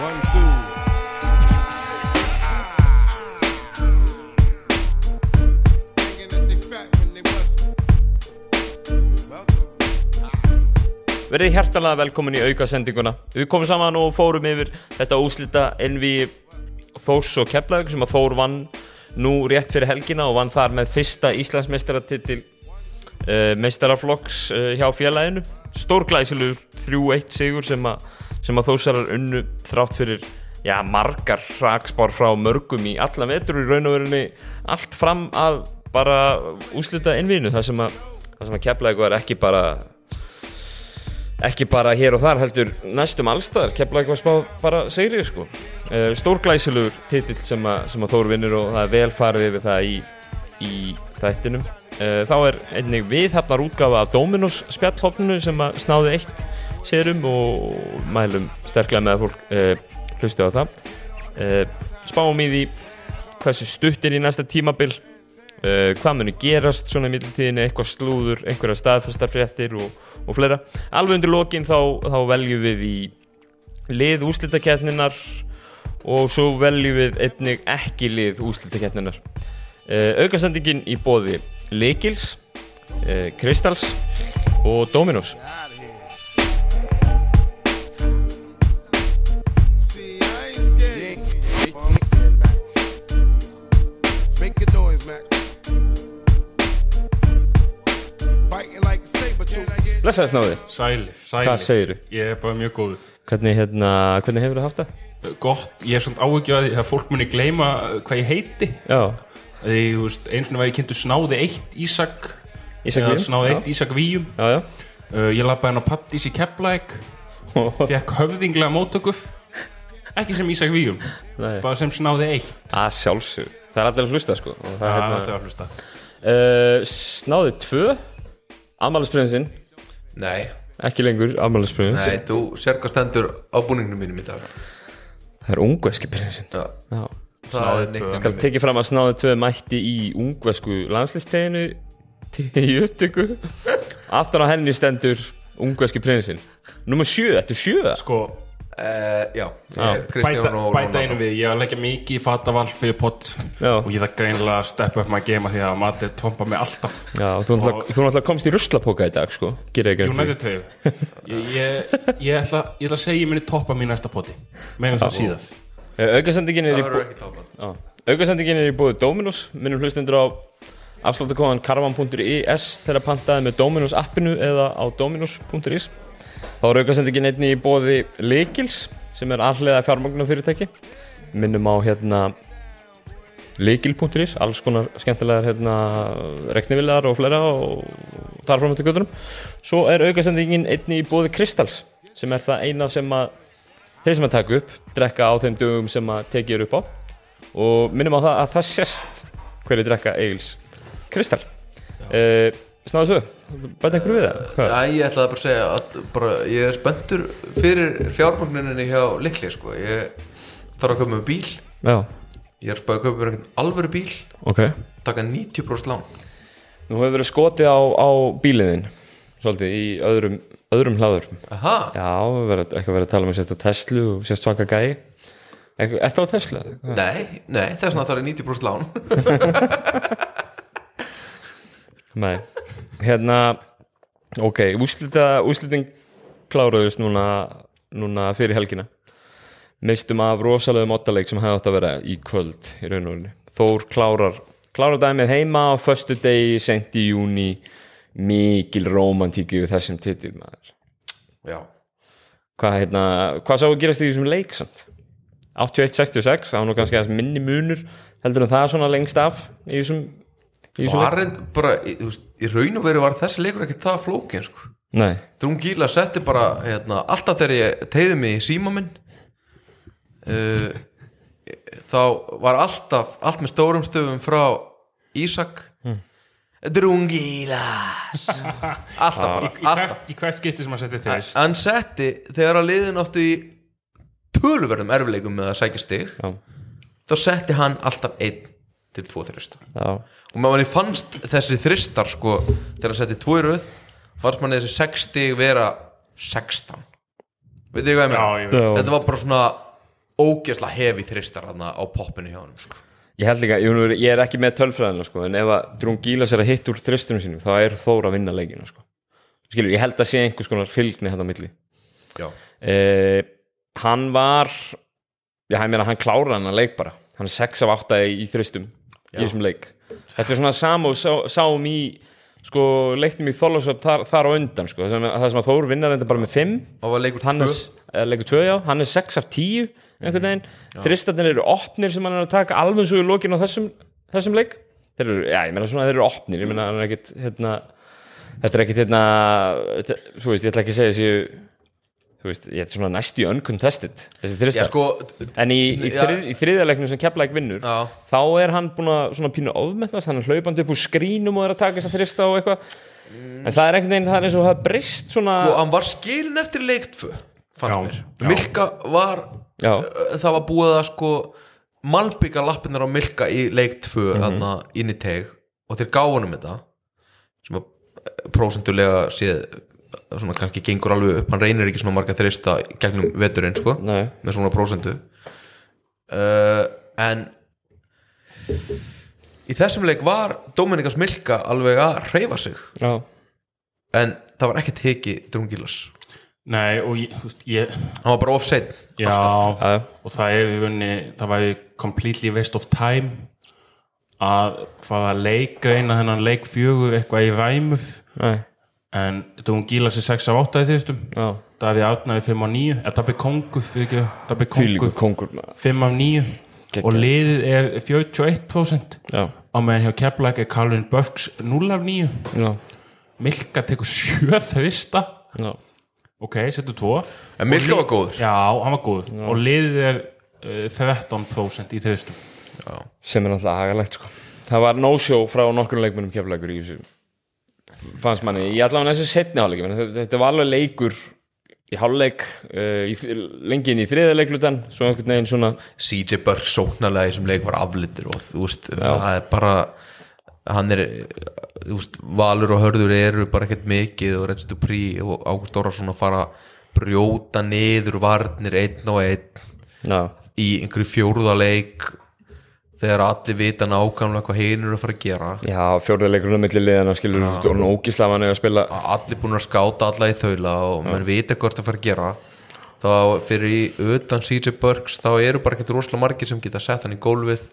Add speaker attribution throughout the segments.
Speaker 1: One, two.
Speaker 2: Thinking that they fat when they wasn't. Welcome.
Speaker 3: Verðið hjertalega velkomin í aukasendinguna Við komum saman og fórum yfir þetta úslita Envi Þórs og Keflavík sem að Þór vann nú rétt fyrir helgina og vann þar með fyrsta Íslandsmeistaratitil uh, meistaraflokks uh, hjá félaginu Stórglæsilegur 3-1 sigur sem að, sem að Þórsarar unnu þrátt fyrir já, margar hrakspár frá mörgum í alla vetur og í raun og verunni allt fram að bara úslita Envinu þar sem að, þar sem að Keflavík var ekki bara ekki bara hér og þar heldur næstum allstaðar, Keflavík var spáð bara segri sko. Eh, Stórglæsilegur titill sem, að- sem að Þór vinnur og það er vel farið yfir það í, í þættinum. Eh, Þá er einnig viðhafnar útgafa af Dominos spjallhóttinu sem að snáði eitt sérum og mælum sterklega með að fólk eh, hlusti á það. Eh, Spáum í því hversu stutt er í næsta tímabil uh, hvað munu gerast svona í mittiltíðinni, eitthvað slúður, einhverja staðfestarfréttir og, og fleira. Alveg undir lokin þá, þá veljum við í lið úslitakeppninar og svo veljum við einnig ekki lið úslitakeppninar. Uh, aukasendingin í bóði Likils, uh, Kristals og Dominos.
Speaker 2: See, I ain't scared. You ain't scared. I'm scared, Mac. Make your noise, Mac. Biting like a saber tooth.
Speaker 3: Blessaði snáði,
Speaker 4: Sælir, sælir
Speaker 3: Hvað segirðu?
Speaker 4: Ég er bara mjög góð
Speaker 3: hvernig, hérna, hvernig hefur það haft það?
Speaker 4: Gott, ég er svona áhugja að því að fólk muni gleyma uh, hvað ég heiti
Speaker 3: Já,
Speaker 4: Því, þú veist, einu svona var ég kynntu snáði eitt Ísak
Speaker 3: Ísak
Speaker 4: eða
Speaker 3: Víum,
Speaker 4: Snáði
Speaker 3: já.
Speaker 4: eitt Ísak Víum
Speaker 3: já, já.
Speaker 4: uh, Ég lappaði hann á Pattís í Keflæk Fekk höfðinglega móttökuf Ekki sem Ísak Víum
Speaker 3: Nei.
Speaker 4: Bara sem snáði eitt
Speaker 3: Að sjálfsög, það er allir að hlusta sko. og Það
Speaker 4: Það
Speaker 3: er
Speaker 4: er
Speaker 3: hérna-
Speaker 4: alltaf að hlusta
Speaker 3: Uh, snáði tvö Amalisprinsinn,
Speaker 5: Nei,
Speaker 3: ekki lengur Amalisprins,
Speaker 5: nei, þú sér hvað stendur á búningnum mínum í dag
Speaker 3: það er ungveski prinsinn
Speaker 5: Já,
Speaker 3: Já.
Speaker 5: það er eh,
Speaker 3: Skal
Speaker 5: neitt
Speaker 3: tekið fram að snáði tvö mætti í ungvesku landslistreginu í upptöku aftan á henni stendur ungveski prinsinn Númer sjö, þetta er sjö
Speaker 4: Sko,
Speaker 5: Eh, Já,
Speaker 3: Já.
Speaker 5: ég-
Speaker 4: bæta,
Speaker 5: Kristján og
Speaker 4: bæta einu
Speaker 5: Rónald.
Speaker 4: við Ég var að leggja mikið í fatavall fyrir pott
Speaker 3: Já.
Speaker 4: Og ég þakka einlega að steppa upp maður gema Því að matið tompa mig alltaf
Speaker 3: Já, þú náttúrulega- þú náttúrulega komst í ruslapoka í dag sko, gera ekki
Speaker 4: United 2 ég, ég, ég, ætla, ég ætla að segja ég minni toppa mín næsta poti meðan það síðar
Speaker 3: Eh, Aukasendingin er í
Speaker 5: Það
Speaker 3: bú-
Speaker 5: verður ekki tópað
Speaker 3: Já. Aukasendingin er í búið Dominos minnum hlustendur á afsláttakóðan karvan.is þegar pantaði með Dominos appinu eða á dominos.is þá er aukasendingin einni í búið Likils sem er allega fjármagnum fyrirtæki minnum á hérna likil.is, alls konar skemmtilegar hérna, reknivilegar og fleira og þar fram eftir göttunum svo er aukasendingin einni í búið Kristals sem er það eina sem að þeir sem að taka upp, drekka á þeim dögum sem að tekið er upp á og minnum á það að það sést hverju drekka Egil's Kristal uh, Snáðu þau, bæta einhverju við það? Hvað?
Speaker 5: Æ, ég ætlaði bara að segja að bara, ég er spenntur fyrir fjármagninni hjá Likli sko. Ég þarf að köpa með bíl
Speaker 3: Já,
Speaker 5: Ég er spæði að köpa með einhvern alvöru bíl
Speaker 3: ok
Speaker 5: taka 90% lán
Speaker 3: Nú hefur verið skotið á, á bíliðin svolítið í öðrum, öðrum hlaður
Speaker 5: Aha,
Speaker 3: Já, við verðum ekki að vera að tala um að sérst á Tesla og sérst svaka gæi Eitthvað- Ertu á Tesla?
Speaker 5: nei, nei, þess vegna þarf ég 90% lán
Speaker 3: Nei, hérna ok, úslita, úslitin kláraðust núna, núna fyrir helgina mistum af rosalegum ottaleik sem hefði átt að vera í kvöld í raun og rauninni. Þór klárar klárar dæmið heima á föstu degi sent í júni mikil romantíki við þessum titil maður.
Speaker 5: Já,
Speaker 3: Hvað, hérna, hvað sáu gerast í þessum leik samt? 81-66, það var nú kannski aðeins minni munur heldur en það svona lengst af í þessum, í þessum leik?
Speaker 5: var reynd bara, í- þú veist, í raun og veru var þessi leikur ekkert það flókin sko.
Speaker 3: Nei,
Speaker 5: Drungíla setti bara hérna, alltaf þegar ég tegði mig í síma minn uh, þá var alltaf allt með stórum stöfum frá Ísak
Speaker 4: Mm.
Speaker 5: Drungíla alltaf bara
Speaker 4: í,
Speaker 5: alltaf.
Speaker 4: hvert, í hvert skipti sem maður setja þeirist
Speaker 5: hann setti þegar að liðin áttu í tölverðum erfileikum með að sækja stig
Speaker 3: já,
Speaker 5: þá setti hann alltaf einn til tvo þrista
Speaker 3: já
Speaker 5: og maður manni fannst þessi þristar sko, þegar hann setti tvo í röð fannst manni þessi 60 vera 16 veit þið hvað ég
Speaker 4: Já,
Speaker 5: meina?
Speaker 4: ég veit.
Speaker 3: Já.
Speaker 5: þetta var bara svona ógeðslega hefi þristar hana á poppinu hjá honum sko.
Speaker 3: Ég held líka, ég, mun vera- ég er ekki með tölfræðina sko, en ef að Drún Gílas er að hitta úr þristunum sínum þá er Þór að vinna leikina sko. Skilur, ég held að sé einhvers konar fylgni hérna á milli
Speaker 5: Já,
Speaker 3: eh, Hann var já, ég meina, hann kláraði hann að leik bara hann er 6 af 8 í, í þristum í þessum leik Þetta er svona sama og sá, sáum í sko, leiknum í Þorlásöf þar, þar á undan sko, það sem, það sem að Þór vinnar þetta bara með 5
Speaker 5: og var leikur tvö
Speaker 3: Hannes er leikur 2 já, hann er 6 af 10 einhvern veginn,
Speaker 5: Mhm,
Speaker 3: þristatnir eru opnir sem hann er að taka alveg svo í lokin á þessum, þessum leik þeir eru, já, ég meina svona þeir eru opnir ég meina hann er ekkit hérna, þetta er ekkit hérna þetta- þú veist, ég ætla ekki að segja þessi þú veist, ég ætla svona næst í uncontested þessi
Speaker 5: Já,
Speaker 3: þristar,
Speaker 5: sko,
Speaker 3: en í, í,
Speaker 5: Já.
Speaker 3: þrið, í þriðarleiknum sem keflæk vinnur
Speaker 5: Já.
Speaker 3: þá er hann búin að svona pínu ofmennast hann er hlaupandi upp úr skrínum og er að taka þess að þrista og eitthvað en það er einhvern veginn, það er eins og það brist svona,
Speaker 5: sko, hann var skilin eftir leik tvö fannst
Speaker 4: Já,
Speaker 5: mér.
Speaker 4: já.
Speaker 5: Milka var
Speaker 3: Já.
Speaker 5: uh, það var búið að sko malbygga lappinnar á Milka í leik tvö mm inn í teg og þeir gáðu honum þetta sem að eh, prósentulega séð eh, svona kannski gengur alveg upp hann reynir ekki svona marga þrista í gegnum veturinn sko
Speaker 3: nei
Speaker 5: með svona prósentu uh, en í þessum leik var Dominikas Milka alveg að reyfa sig
Speaker 3: Já,
Speaker 5: en það var ekkert hiki drungilas
Speaker 4: Nei, og ég, þú veist, ég
Speaker 5: hann var bara offset
Speaker 4: Já,
Speaker 3: já, já.
Speaker 4: og það er við vunni það væri completely waste of time að fara að leika eina þennan leik fjögur eitthvað í ræmur
Speaker 3: nei,
Speaker 4: en þetta hún gíla sér 6 af 8 í þýrstum
Speaker 3: já
Speaker 4: Davi Arnaði 5 af 9 eða Dabbi Kongur, fyrir ekki Dabbi
Speaker 3: Fylgur kongur
Speaker 4: Kongur
Speaker 3: maður.
Speaker 4: 5 af 9
Speaker 3: Geggjað.
Speaker 4: og liðið er 41%
Speaker 3: Já,
Speaker 4: á meðan hjá Keflæk er Karlin Böfks 0 af 9
Speaker 3: já,
Speaker 4: Milka tekur 7 þrista
Speaker 3: já
Speaker 4: ok, setur 2
Speaker 5: en Milka var góður
Speaker 4: já, hann var góð og liðið er uh, 13% í þrýstum
Speaker 3: Sem er náttúrulega agalegt sko Það var no-show frá nokkrum leikmennum keflækur í þessu Fannst manni, ég allavega þessu setni hálfleik ég meina, þetta- Þetta var alveg leikur í hálfleik uh, í, lengi inn í þriða leiklutan svo einhvern veginn svona
Speaker 5: CJ Burke sóknarlega í þessum leik var aflittur og þú veist, það er bara hann er, þú veist Valur og Hörður eru bara ekkert mikið og Redstu Prí og Ágúst Orrarsson að fara að brjóta niður varnir einn og einn
Speaker 3: já,
Speaker 5: í einhverju fjórðaleik þegar allir vita nákvæmlega hvað hinn eru að fara að gera
Speaker 3: já fjórða leikurinn á milli liðana skilur og hún ógislega manni að spila
Speaker 5: að allir búin að skáta alla í þaula og menn vita hvort að fara að gera þá fyrir í utan CJ Burks þá eru bara ekkert rosalega margir sem geta sett hann í gólfið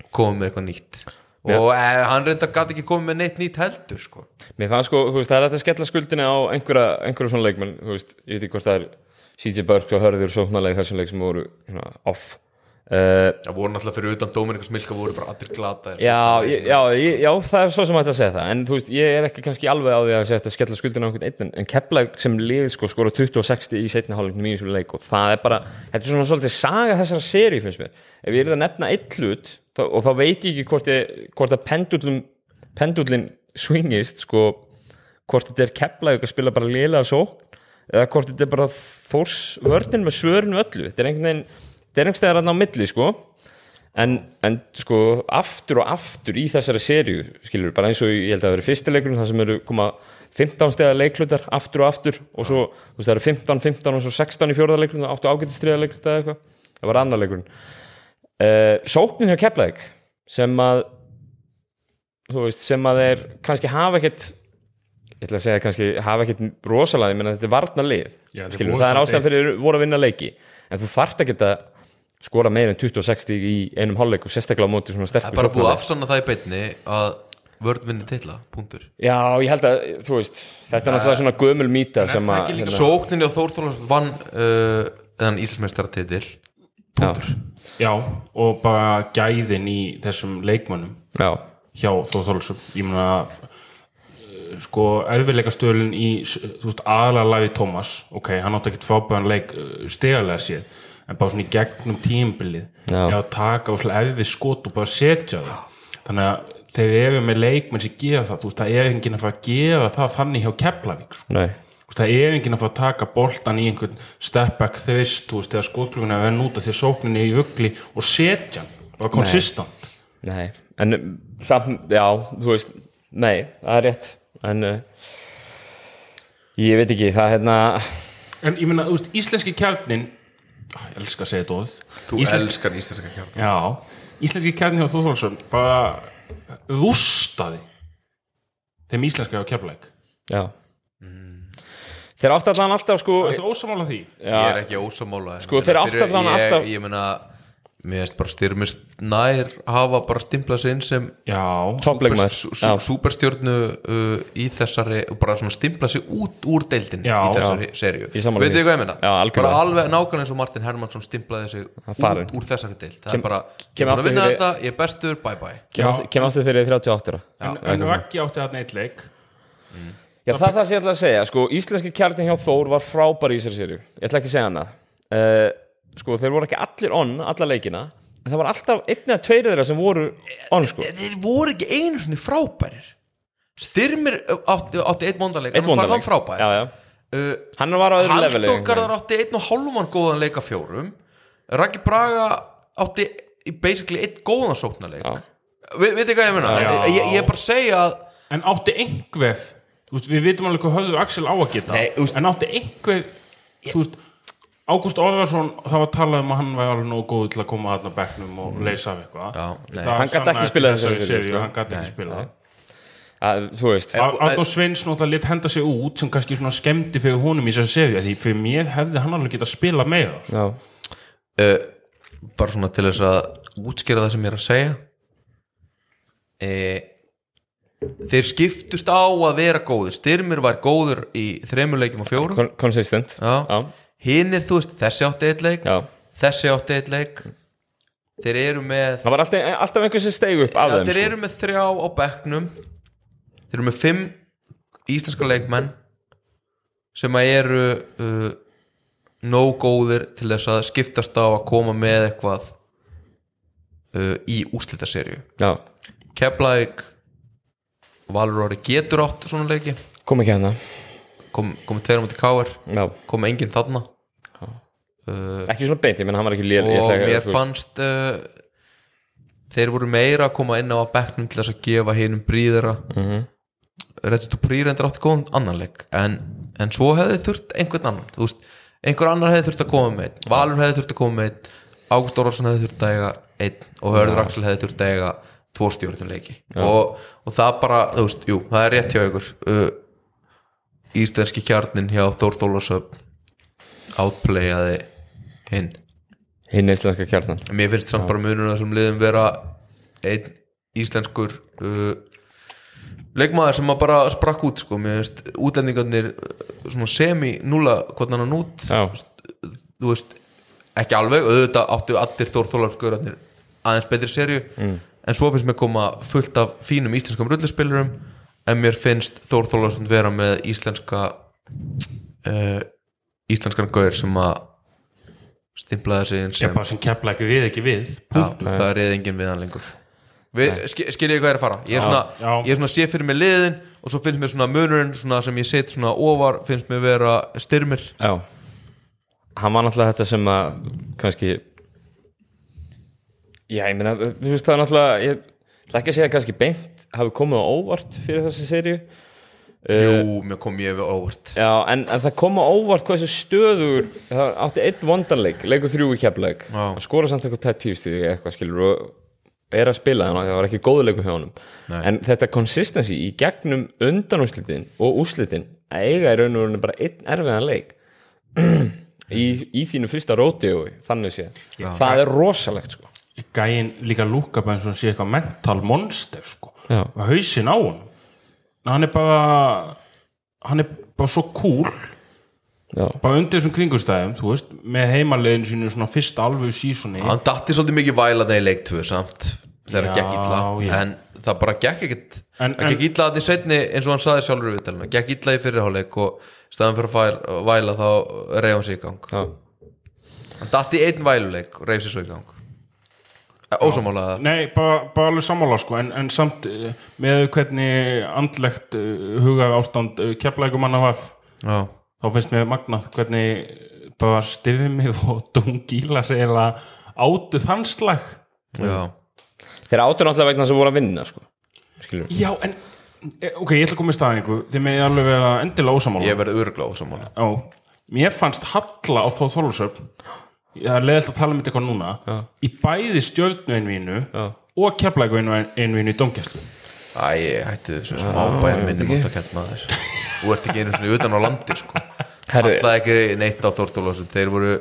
Speaker 5: og komið með eitthvað nýtt og eh, hann reyndar gæti ekki komið með neitt nýtt heldur sko.
Speaker 3: Mér fannst sko, þú veist, það er hægt að skella skuldinni á einhverja, einhverja svona leikmenn, þú veist, ég veit ekki hvort það er CJ Burks og Hörður sóknarlega í þessum leik sem voru hérna, off uh,
Speaker 5: það voru náttúrulega fyrir utan Dominikas Milka voru bara allir glata
Speaker 3: já, ég- já, ég- já, það er svo sem hægt að segja það en þú veist, ég er ekki kannski alveg á því að segja þetta skella skuldina á einhvern einn en, en kepla sem lið sko skora 20-60 í setna hálfleiknum í þessum leik og það er bara þetta er svona svolítið saga þessara seri finnst mér ef ég er að nefna eitt hlut þá, og þá veit ég ekki hvort, ég, hvort að pendullum pendullin swingist sko hvort þetta er kepla að spila bara liðlega sókn eða hvort þetta er bara fórs vörnin með svörin við öllu þetta er einhvern veginn þetta er einhvern veginn á milli sko en, en sko aftur og aftur í þessari serju skilur bara eins og ég held að það verið fyrstileikurinn það sem eru koma 15 stegar leiklutar aftur og aftur og svo þú veist, það eru 15, 15 og svo 16 í fjórða leiklutin og 8 ágætistriða leiklutin eða eitthvað það var annar leikurinn uh, sóknin hjá Keflæk sem að þú veist sem að þeir kannski hafa ekkert ég ætla að segja kannski hafa ekkert rosalega, ég meina þetta er varna lið
Speaker 4: Já, þeir
Speaker 3: skilur,
Speaker 4: voru
Speaker 3: það er
Speaker 4: samt
Speaker 3: ástæðan fyrir þeir voru að vinna leiki en þú þarft að geta skora meira en 20-60 í einum hálfleik og sérstaklega á móti svona sterkur
Speaker 5: bara búið
Speaker 3: sóknarleik.
Speaker 5: að afsanna það í beinni að vörð vinni tilla, punktur
Speaker 3: Já, ég held að, þú veist þetta er náttúrulega svona gömul mýta
Speaker 4: er
Speaker 3: sem
Speaker 4: það
Speaker 3: að hérna-
Speaker 4: ekki líka
Speaker 5: sókninni á Þórþólas vann uh, eðan Íslandsmeistaratitil
Speaker 3: punktur
Speaker 4: Já, og bara gæðin í þessum leikmönnum
Speaker 3: Já,
Speaker 4: hjá Þór Þorlsson ég meina eh, sko erfiðleikastöðlun í s- þú veist aðalega lagi Tómas ok, hann átti ekkert frábæðan leik stegarlega sér, en bara svona í gegnum tímbilið,
Speaker 3: Já.
Speaker 4: ég að taka og svona erfið skot og bara setja það þannig að þegar við erum með leikmenn sem gera það, þú veist, það er enginn að fara að gera það þannig hjá Keflavík sko.
Speaker 3: nei,
Speaker 4: Þú veist, það er enginn að fara að taka boltan í einhvern step back þvist, þú veist, þegar skotkluguna er að renna út af því að sóknin er í vöggli og setja hann, bara konsistant
Speaker 3: nei en um, samt, já, þú veist nei, það er rétt en uh, ég veit ekki, það er hérna
Speaker 4: en ég meina, þú veist, íslenski kjarnin Ég elska að segja þetta óð
Speaker 5: Þú elskar íslenska kjarna
Speaker 4: Já, íslenski kjarni hjá Þórþórsson bara rústaði þeim íslenska á kjarlæk
Speaker 3: já þeir áttu allan alltaf sko
Speaker 4: Þetta er ósamála því
Speaker 5: Ég er
Speaker 3: já,
Speaker 5: ekki ósamála
Speaker 3: Sko, þeir áttu allan
Speaker 5: ég,
Speaker 3: alltaf-
Speaker 5: Ég meina, mér erst bara styrmis nær hafa bara stimplað sér inn sem
Speaker 4: Já,
Speaker 3: toppleikmaður
Speaker 5: sú- sú-
Speaker 3: já,
Speaker 5: súperstjörnu uh, í þessari og bara svona stimpla sig út úr deildin
Speaker 4: Já.
Speaker 5: í þessari
Speaker 3: Já.
Speaker 5: serju
Speaker 3: Ég sammála
Speaker 5: veitir
Speaker 3: því.
Speaker 5: þið hvað ég meina?
Speaker 3: Já, algjörlega.
Speaker 5: bara alveg nákvæmlega eins og Martin Hermansson stimplaði sig
Speaker 3: farinn.
Speaker 5: út úr þessari deild það
Speaker 3: Kem-
Speaker 5: er bara,
Speaker 3: kem aftur
Speaker 5: ég er búin að vinna
Speaker 3: fyrir-
Speaker 5: þetta ég er bestur, bye bye
Speaker 3: kem aftur- kem aftur þegar ég er 38 ára.
Speaker 4: en,
Speaker 3: Já,
Speaker 4: en
Speaker 3: eitthvað svona.
Speaker 4: Raggi átti þarna eitt leik
Speaker 3: Já, það er það sem ég ætla að segja, sko, íslenski kjarni hjá Þór var frábær í þessari sériu, ég ætla ekki að segja hana uh, sko, þeir voru ekki allir onn, alla leikina, en það var alltaf einn eða tveir þeirra sem voru onn, sko
Speaker 5: þeir voru ekki einu svona frábærir styrmir uh, átti, átti eitt vondanleik
Speaker 3: einn
Speaker 5: annars var hann
Speaker 3: vondanleik,
Speaker 5: eh, frábær
Speaker 3: já, já,
Speaker 5: Uh,
Speaker 3: hann var á öðru leveli
Speaker 5: Halldór Garðar átti einn og hálfumann góðan leik af fjórum Raggi Braga átti í basically einn góðan sóknarleik
Speaker 3: Já.
Speaker 5: Vi, Vitið hvað ég meina?
Speaker 4: Já.
Speaker 5: Ég, ég er bara að segja að
Speaker 4: En átti einhver þú veist, Við vitum alveg hvað höfðu Axel á að geta
Speaker 5: Nei, þú veist-
Speaker 4: En átti einhver Þú veist Ágúst Orðarsson, það var talað um að hann væri alveg nógu góð til að koma þarna á bekknum og leysa af eitthvað
Speaker 5: Já, nei.
Speaker 4: Það
Speaker 3: Hann gat ekki
Speaker 4: sannaðist í
Speaker 3: spilað
Speaker 4: þessari
Speaker 3: þessari
Speaker 4: seríu,
Speaker 3: seríu, sko.
Speaker 4: Hann gat ekki spilað
Speaker 3: að, Eh, þú veist,
Speaker 5: En-
Speaker 4: Arnór Sveins náttúrulega lit henda sig út sem kannski svona skemmti fyrir honum í þessari seríu því fyrir mér hefði hann alveg getað spilað meira sko.
Speaker 3: já,
Speaker 5: uh, bara svona til þess að útskýra það sem ég er að segja uh, Þeir skiptust á að vera góður Styrmir var góður í þremur leikjum og fjórum
Speaker 3: kon- consistent
Speaker 5: Já. Hinn er, þú veist, þessi átti einn leik
Speaker 3: já,
Speaker 5: Þessi átti einn leik Þeir eru með
Speaker 3: það var alltaf, alltaf einhver sem steig upp af
Speaker 5: Já,
Speaker 3: þeim,
Speaker 5: þeir
Speaker 3: sko
Speaker 5: eru með þrjá á bekknum Þeir eru með fimm íslenska leikmenn sem að eru uh, nóg góðir til þess að skiptast á að koma með eitthvað uh, í úslitaserju
Speaker 3: já,
Speaker 5: Keflæk Valur Orri getur átt svona leiki
Speaker 3: kom ekki hérna
Speaker 5: kom, komið tveir á múti káar
Speaker 3: já,
Speaker 5: komið enginn þarna uh,
Speaker 3: ekki svona beint, ég menn hann var ekki lél ég
Speaker 5: og
Speaker 3: ætla ekki-
Speaker 5: mér
Speaker 3: þú veist,
Speaker 5: fannst uh, þeir voru meira að koma inn á bekknum til þess að gefa hinum bríðara mm
Speaker 3: Mhm.
Speaker 5: -hmm. Registú Prírendur átti góðan annan leik en, en svo hefði þurft einhvern annan þú veist, einhver annar hefði þurft að koma með einn Valur hefði þurft að koma með einn Ágúst Orvarsson hefði þurft að eiga einn og Hörður Axel hefði þurft að eiga tvo stjórnum leiki og, og það bara, þú veist, jú, það er rétt hjá ykkur uh, Íslenski kjarnin hjá Þór Þólasöfn outplayaði hinn
Speaker 3: hinn íslenska kjarnan
Speaker 5: En Mér finnst samt bara munur á þessum liðum vera einn íslenskur uh, leikmaður sem að bara sprakk út sko, mér finnst útlendingarnir uh, svona semi-núla hvort hann út,
Speaker 3: já,
Speaker 5: þú veist ekki alveg, auðvitað áttu allir Þór Þólarfsgörarnir aðeins betri serju
Speaker 4: Mm.
Speaker 5: en svo finnst mér koma fullt af fínum íslenskum rulluspilurum en mér finnst Þór Þólarfsson vera með íslenska uh, íslenskan gaur sem að stimplaði sig inn
Speaker 4: ég
Speaker 5: sem
Speaker 4: bara sem kepla ekki við ekki við
Speaker 5: Já, það er reyði enginn við hann lengur við, ski, skiljið þið hvað ég er að fara ég er, svona,
Speaker 4: já.
Speaker 5: ég er svona sé fyrir mig liðin og svo finnst mér svona munurinn svona sem ég set svona ofar finnst mér vera styrmir
Speaker 3: já hann var náttúrulega þetta sem að kannski já, ég meina, þú veist það er náttúrulega ég ætla ekki að segja kannski beint hafi komið á óvart fyrir þessi seríu
Speaker 4: Eh.
Speaker 5: jú, mér kom ég við óvart
Speaker 3: Já, en, en það kom á óvart hvað þessu stöður það átti einn vondanleik, leikur þrjú í kefleik
Speaker 5: Já.
Speaker 3: skora samt eitthvað tætt tífstíði eitthvað skilur og er að spila þannig að það var ekki góðleikur hjá honum
Speaker 5: Nei.
Speaker 3: en þetta consistency í gegnum undanúslitin og úslitin að eiga í raun og raun bara einn erfiðan leik í, í þínu fyrsta rótiói, þannig sé það er rosalegt sko
Speaker 4: gæin líka lúka bara eins og hann sé eitthvað mental monster sko
Speaker 3: Já.
Speaker 4: og hausin á hann hann er bara hann er bara svo cool
Speaker 3: Já,
Speaker 4: bara undir þessum kringustæðum, þú veist með heimaliðinu sínu svona fyrsta alveg sísoni
Speaker 5: hann datti svolítið mikið vælaði í leiktöfu samt þegar það
Speaker 4: Já,
Speaker 5: gekk illa
Speaker 4: já.
Speaker 5: en það bara gekk ekkit
Speaker 4: En-
Speaker 5: það gekk illa þannig setni eins og hann saði sjálfur við telma gekk illa í fyrirháleik og staðan fyrir að fæla, væla þá reyði hann sig í gang
Speaker 3: já,
Speaker 5: hann datti einn væluleik og reyði sig svo í gang ósamálaða
Speaker 4: Nei, bara, bara alveg sammála sko en, en samt eh, með hvernig andlegt uh, hugað ástand uh, keflægum manna var
Speaker 5: já
Speaker 4: þá finnst mér magna hvernig eh, bara stifmið og dungíla sig eða átu þanslag
Speaker 5: Já,
Speaker 3: þeir áttu náttúrulega vegna þess að voru að vinna sko skilur
Speaker 4: Já, en eh, ok, ég ætla að koma í staðin ykkur þið með alveg vera endilega ósamála
Speaker 5: ég verði örgla ósamála
Speaker 4: Já, mér fannst Halla á Þóð Þólusöfn það er leðilt að tala um þetta eitthvað núna
Speaker 3: Já.
Speaker 4: í bæði stjörnu einvínu
Speaker 3: Já.
Speaker 4: og keflæku einvínu í domgæslu
Speaker 5: Æ, hættu þessum smábæðum minnum átt að kænt maður Þú ert ekki einu svona utan á landi sko
Speaker 3: Herri.
Speaker 5: Alla ekki neitt á Þórþólasum Þeir voru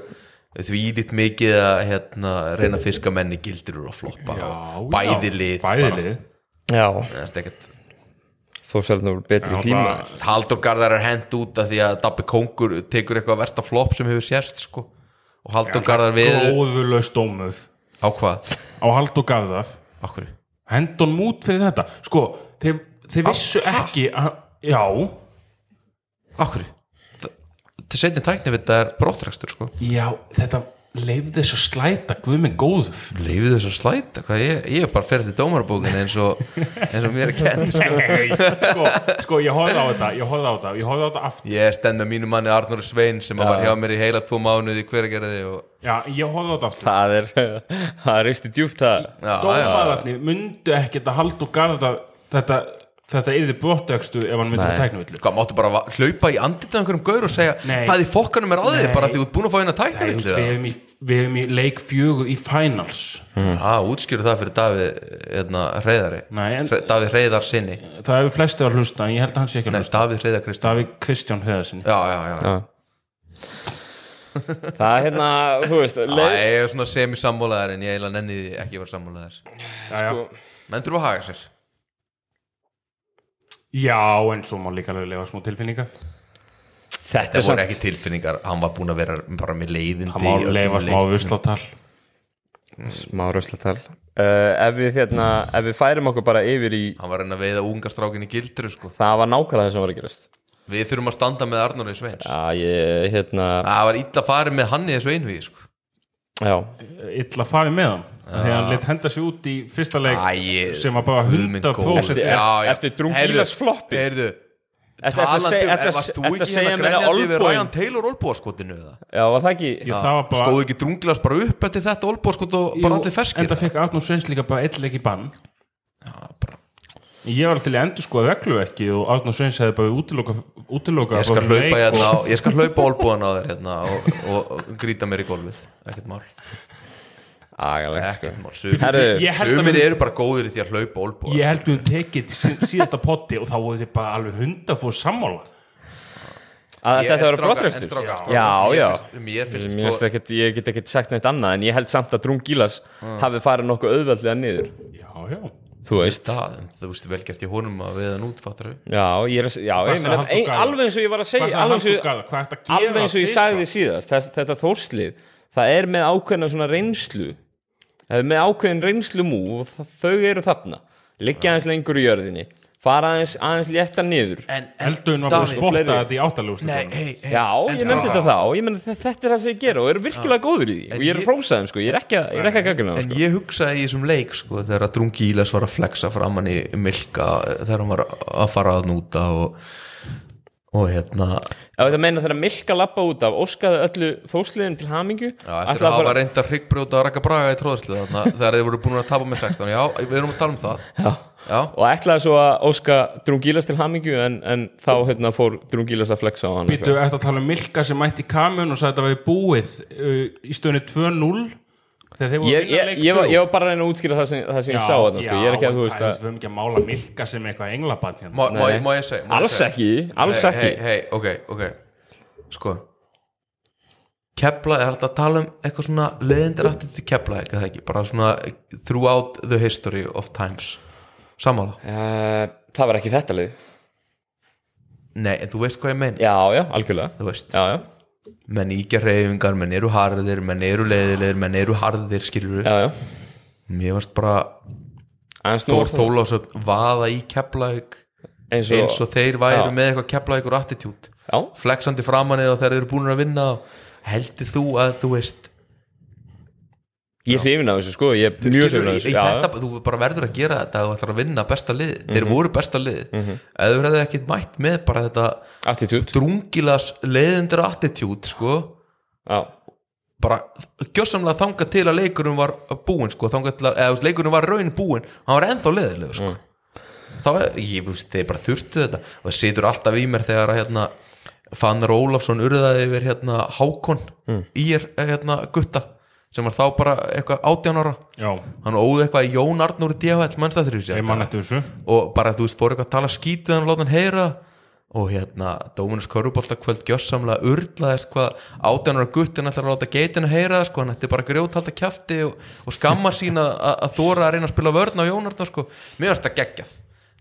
Speaker 5: því lít mikið að hérna, reyna að fiska menni gildir úr að floppa og bæði lið bara.
Speaker 4: bæðilið
Speaker 3: Já,
Speaker 5: En það er ekkert-
Speaker 3: Þórshælnur voru betri í klíma
Speaker 5: Halldór Garðar er hend út af því að Dabbi Kóngur tekur eitthvað versta flopp sem hefur sérst sko og Halldór Garðar við
Speaker 4: gróðulegst dómuð
Speaker 5: á hvað?
Speaker 4: á hald og gafðað
Speaker 5: Á hverju?
Speaker 4: hendun mút fyrir þetta sko, þeir, þeir vissu ekki að, já,
Speaker 5: Á hverju? Þa- Til setni tækni við þetta er brottrækstur sko
Speaker 4: já, þetta leifði þess að slæta guð með góður
Speaker 5: Leifið þess að slæta, hvað ég, ég er bara fyrir til dómarabókin eins og, eins og mér er kent sko.
Speaker 4: Nei, sko, sko, ég horfði á þetta ég horfði á þetta, ég horfði á þetta aftur
Speaker 5: Ég stend með mínu manni Arnur Svein sem var hjá mér í heila tvo mánuði hver að gera þig og
Speaker 4: já, ég horfði á þetta aftur
Speaker 3: Það er, það er reistir djúpt það
Speaker 5: Já, já,
Speaker 4: dómararni myndu ekkert að hald og garða þetta, þetta yfir brottekstu ef hann myndi að tækna villu
Speaker 5: Hvað, máttu bara va- hlaupa í andlitið á einhverjum gaur og segja
Speaker 4: Nei.
Speaker 5: hvað í fokkanum er að þig
Speaker 4: Nei.
Speaker 5: bara því þú ert búin að fá eina tækna
Speaker 4: við
Speaker 5: villu það?
Speaker 4: hefum í, við hefum í leik fjögur í finals
Speaker 5: Já, útskýru Mm. Ah, það fyrir Davíð hérna, Reyðari
Speaker 4: Nei, en-
Speaker 5: Hre, Davíð Reyðar sinni
Speaker 4: það hefur flesti að hlusta, en ég held að hann sé ekki að
Speaker 5: Nei,
Speaker 4: hlusta
Speaker 5: Davíð Reyðar Kristján
Speaker 4: Davík Kristján Hreðarsinni
Speaker 5: Já, já, já, já.
Speaker 3: Það er hérna, þú veist
Speaker 5: Æ,
Speaker 3: leið,
Speaker 5: ég er svona semisammálaðar en ég eiginlega nenni því ekki að vera sammálaðar
Speaker 4: sko,
Speaker 5: Menn þurfa að haga sér
Speaker 4: Já, en svo má líka alveg lefa smá tilfinningar
Speaker 3: Þetta
Speaker 5: Það
Speaker 3: er
Speaker 5: voru
Speaker 3: samt
Speaker 5: ekki tilfinningar, hann var búin að vera bara með leiðindi
Speaker 4: Það má
Speaker 5: í öllum
Speaker 4: lefa smá
Speaker 5: leikjum.
Speaker 4: vuslatal
Speaker 3: smá röslatal uh, ef, við, hérna, ef við færum okkur bara yfir í
Speaker 5: Hann var að reyna að veiða ungastrákin í gildru sko.
Speaker 3: það var nákvæmlega það sem var að gerast
Speaker 5: Við þurfum að standa með Arnóri Sveins
Speaker 3: Já, ég, hérna,
Speaker 5: Það var illa farið með hann í þessu einvíð sko.
Speaker 3: já
Speaker 4: Illa farið með hann Þegar hann lit henda sér út í fyrsta leik
Speaker 5: Æ, ég-
Speaker 4: Sem var bara
Speaker 5: Guð minn
Speaker 4: 100%
Speaker 5: góður.
Speaker 4: eftir-
Speaker 5: Já, já.
Speaker 3: eftir Drew
Speaker 5: Heyrðu,
Speaker 3: Gilas floppið.
Speaker 5: heyrðu,
Speaker 3: Þetta- þetta
Speaker 5: Talandi
Speaker 3: seg-
Speaker 5: um,
Speaker 3: þetta-
Speaker 5: ef varst þú
Speaker 3: þetta
Speaker 5: ekki
Speaker 3: segja
Speaker 5: hérna
Speaker 3: mér að
Speaker 5: grænjandi við
Speaker 3: Olboin-
Speaker 5: Ryan Taylor olbúaskotinu eða?
Speaker 3: Já, var það ekki?
Speaker 4: Ég- Það var bara
Speaker 5: Stóðu ekki drunglas bara upp eftir þetta olbúaskot og
Speaker 4: Jú,
Speaker 5: bara allir feskir?
Speaker 4: Enda fekk Arnur Sveins líka bara eitt leik í bann Ég var til í endur sko að reglu ekki Og Arnur Sveins hefði bara útiloka, útiloka
Speaker 5: Ég skal hlaupa hérna
Speaker 4: sko.
Speaker 5: á, ég skal hlaupa olbúan á þér hérna og, og, og grýta mér í golfið ekkert mál,
Speaker 3: Agalegt, sko
Speaker 5: ekkert mál sumir,
Speaker 3: Herru,
Speaker 4: Ég held að
Speaker 5: sumir
Speaker 4: við-
Speaker 5: eru bara góðir í því að hlaupa sko. olbúan
Speaker 4: Ég held við um tekið sí- síðasta potti Og þá voru þið bara alveg 100% sammála
Speaker 3: að
Speaker 5: Ég-
Speaker 3: þetta
Speaker 5: en
Speaker 3: var
Speaker 5: strákar-
Speaker 3: brottrekstur
Speaker 5: en strákar,
Speaker 3: Já,
Speaker 5: strákar,
Speaker 3: já
Speaker 5: mér finnst- mér finnst
Speaker 3: Mér
Speaker 5: sko-
Speaker 3: ekkit, Ég get ekkert sagt neitt annað En ég held samt að Drún Gílas
Speaker 5: Ah.
Speaker 3: hafi farið nokkuð auðveldlega niður
Speaker 4: Já, já
Speaker 3: Þú veist
Speaker 5: það, en þú veist vel gert í honum að við hann útfattar við
Speaker 3: Já, ég er að s- já,
Speaker 4: Hvað
Speaker 3: ég
Speaker 4: sagði
Speaker 3: meina,
Speaker 4: Halldór
Speaker 3: ein-
Speaker 4: Garðar?
Speaker 3: Alveg eins og ég var að
Speaker 4: Hvað
Speaker 3: segja
Speaker 4: sagði
Speaker 3: Alveg eins
Speaker 4: Halldór
Speaker 3: og
Speaker 4: Garðar? Hvað ertu að gera
Speaker 3: alveg eins og ég
Speaker 4: tvisvar?
Speaker 3: sagði síðast þess, þetta þórslið, það er með ákveðna svona reynslu það er með ákveðin reynslu mú og þa- þau eru þarna, liggja aðeins lengur í jörðinni fara aðeins, aðeins létta niður
Speaker 5: en,
Speaker 4: Eldun var sko. búin að
Speaker 5: Davíð,
Speaker 4: spotta
Speaker 3: fleiri-
Speaker 4: þetta í
Speaker 5: Nei,
Speaker 4: áttalegu
Speaker 5: hei, hei,
Speaker 3: já,
Speaker 5: en sko-
Speaker 3: ég nefndi
Speaker 5: strákar,
Speaker 3: þetta þá ég meni, þetta er það sem ég gera og eru virkilega góður í því og ég er
Speaker 5: ég-
Speaker 3: að frósa þeim sko, ég er ekki, að- sko. ég er ekki að gagna
Speaker 5: En ég hugsaði í þessum leik sko, þegar að Drungi Ílas var að flexa framann í Milka þegar hann var að fara að núta og, og hérna
Speaker 3: ef þetta meina þegar Milka lappa út af óskaði öllu þórsliðin til hamingu
Speaker 5: Já, eftir að hafa reynda hryggbrjóta að rakka braga í tróðslu þarna þegar þeir voru búin að tapa með 16 Já, við erum að tala um það
Speaker 3: já,
Speaker 5: Já,
Speaker 3: og ætlaði svo að óska Drungilas til hamingju en, en þá hérna fór Drungilas að flexa á hann
Speaker 4: Býtu eftir að tala um Milka sem mætti kamun og sagði þetta væri búið uh, í stöðunni 2-0 þegar þeir voru
Speaker 3: ég, ég, ég, var, ég var bara að reyna að útskýra það sem, það sem ég sá þarna sko. ég er ekki að þú veist
Speaker 4: Við
Speaker 3: að
Speaker 4: höfum ekki að mála Milka sem eitthvað englabann hérna.
Speaker 5: má, má,
Speaker 3: Nei.
Speaker 5: ég- má ég segja má ég
Speaker 3: alls
Speaker 5: segja?
Speaker 3: ekki, alls
Speaker 5: Hei,
Speaker 3: ekki
Speaker 5: hei, hei, ok, ok Sko Kepla er alltaf að tala um eitthvað svona leðindir aftur til Kepla, ekki það ekki bara svona throughout the history of times Samála
Speaker 3: uh, það var ekki þetta lið
Speaker 5: Nei, en þú veist hvað ég meina
Speaker 3: já, já, algjörlega
Speaker 5: Þú veist,
Speaker 3: já, já,
Speaker 5: menn íkja reyfingar, menn eru harðir menn eru leiðilegir, menn eru harðir skilur
Speaker 3: já, já.
Speaker 5: Mér varst bara
Speaker 3: Aðeins nú
Speaker 5: Þór
Speaker 3: var það
Speaker 5: Þólásöp vaða í Keplavík
Speaker 3: eins og,
Speaker 5: eins og þeir væru
Speaker 3: Já.
Speaker 5: með eitthvað kepla ykkur attitút
Speaker 3: já,
Speaker 5: flexandi framan eða þegar þeir eru búin að vinna heldur þú að þú veist
Speaker 3: ég er hrifin af þessu sko ég er
Speaker 5: þú
Speaker 3: mjög
Speaker 5: skilur,
Speaker 3: hrifin af
Speaker 5: í, í
Speaker 3: þessu já,
Speaker 5: þetta,
Speaker 3: já.
Speaker 5: þú bara verður að gera þetta ef þú ætlar að vinna besta lið
Speaker 3: Mhm.
Speaker 5: þeir voru besta lið eða þú verður ekkert mætt með bara þetta
Speaker 3: attitút
Speaker 5: drungilas leiðundur attitút sko
Speaker 3: já,
Speaker 5: bara gjössamlega þangað til að leikurum var búinn sko, þangað til að eða, þú veist, leikurum var raun búinn, hann var ennþá leiðilegu sko.
Speaker 4: Mm.
Speaker 5: þá, er- ég veist, þeir bara þurftu þetta og það situr alltaf í mér þegar að hérna Fannar Ólafsson urðaði yfir hérna Hákon
Speaker 4: Mm.
Speaker 5: í er hérna gutta sem var þá bara eitthvað 18 ára
Speaker 4: Já,
Speaker 5: hann óði eitthvað í Jón Arnóri DHL mennstættur í
Speaker 4: ég
Speaker 5: sér
Speaker 4: mann eftir þessu
Speaker 5: og bara þú veist fór eitthvað að tala skít við hann og láta hann heyra það. og hérna Dóminus Körubólta kvöld gjössamlega urlaðist hvað átjánara guttin ætlar að láta geitina heyra það sko, hann ætti bara grjóthalda kjafti og, og skamma sín að, að- að þóra að reyna að spila vörn á Jónarna sko, mér varst það geggjað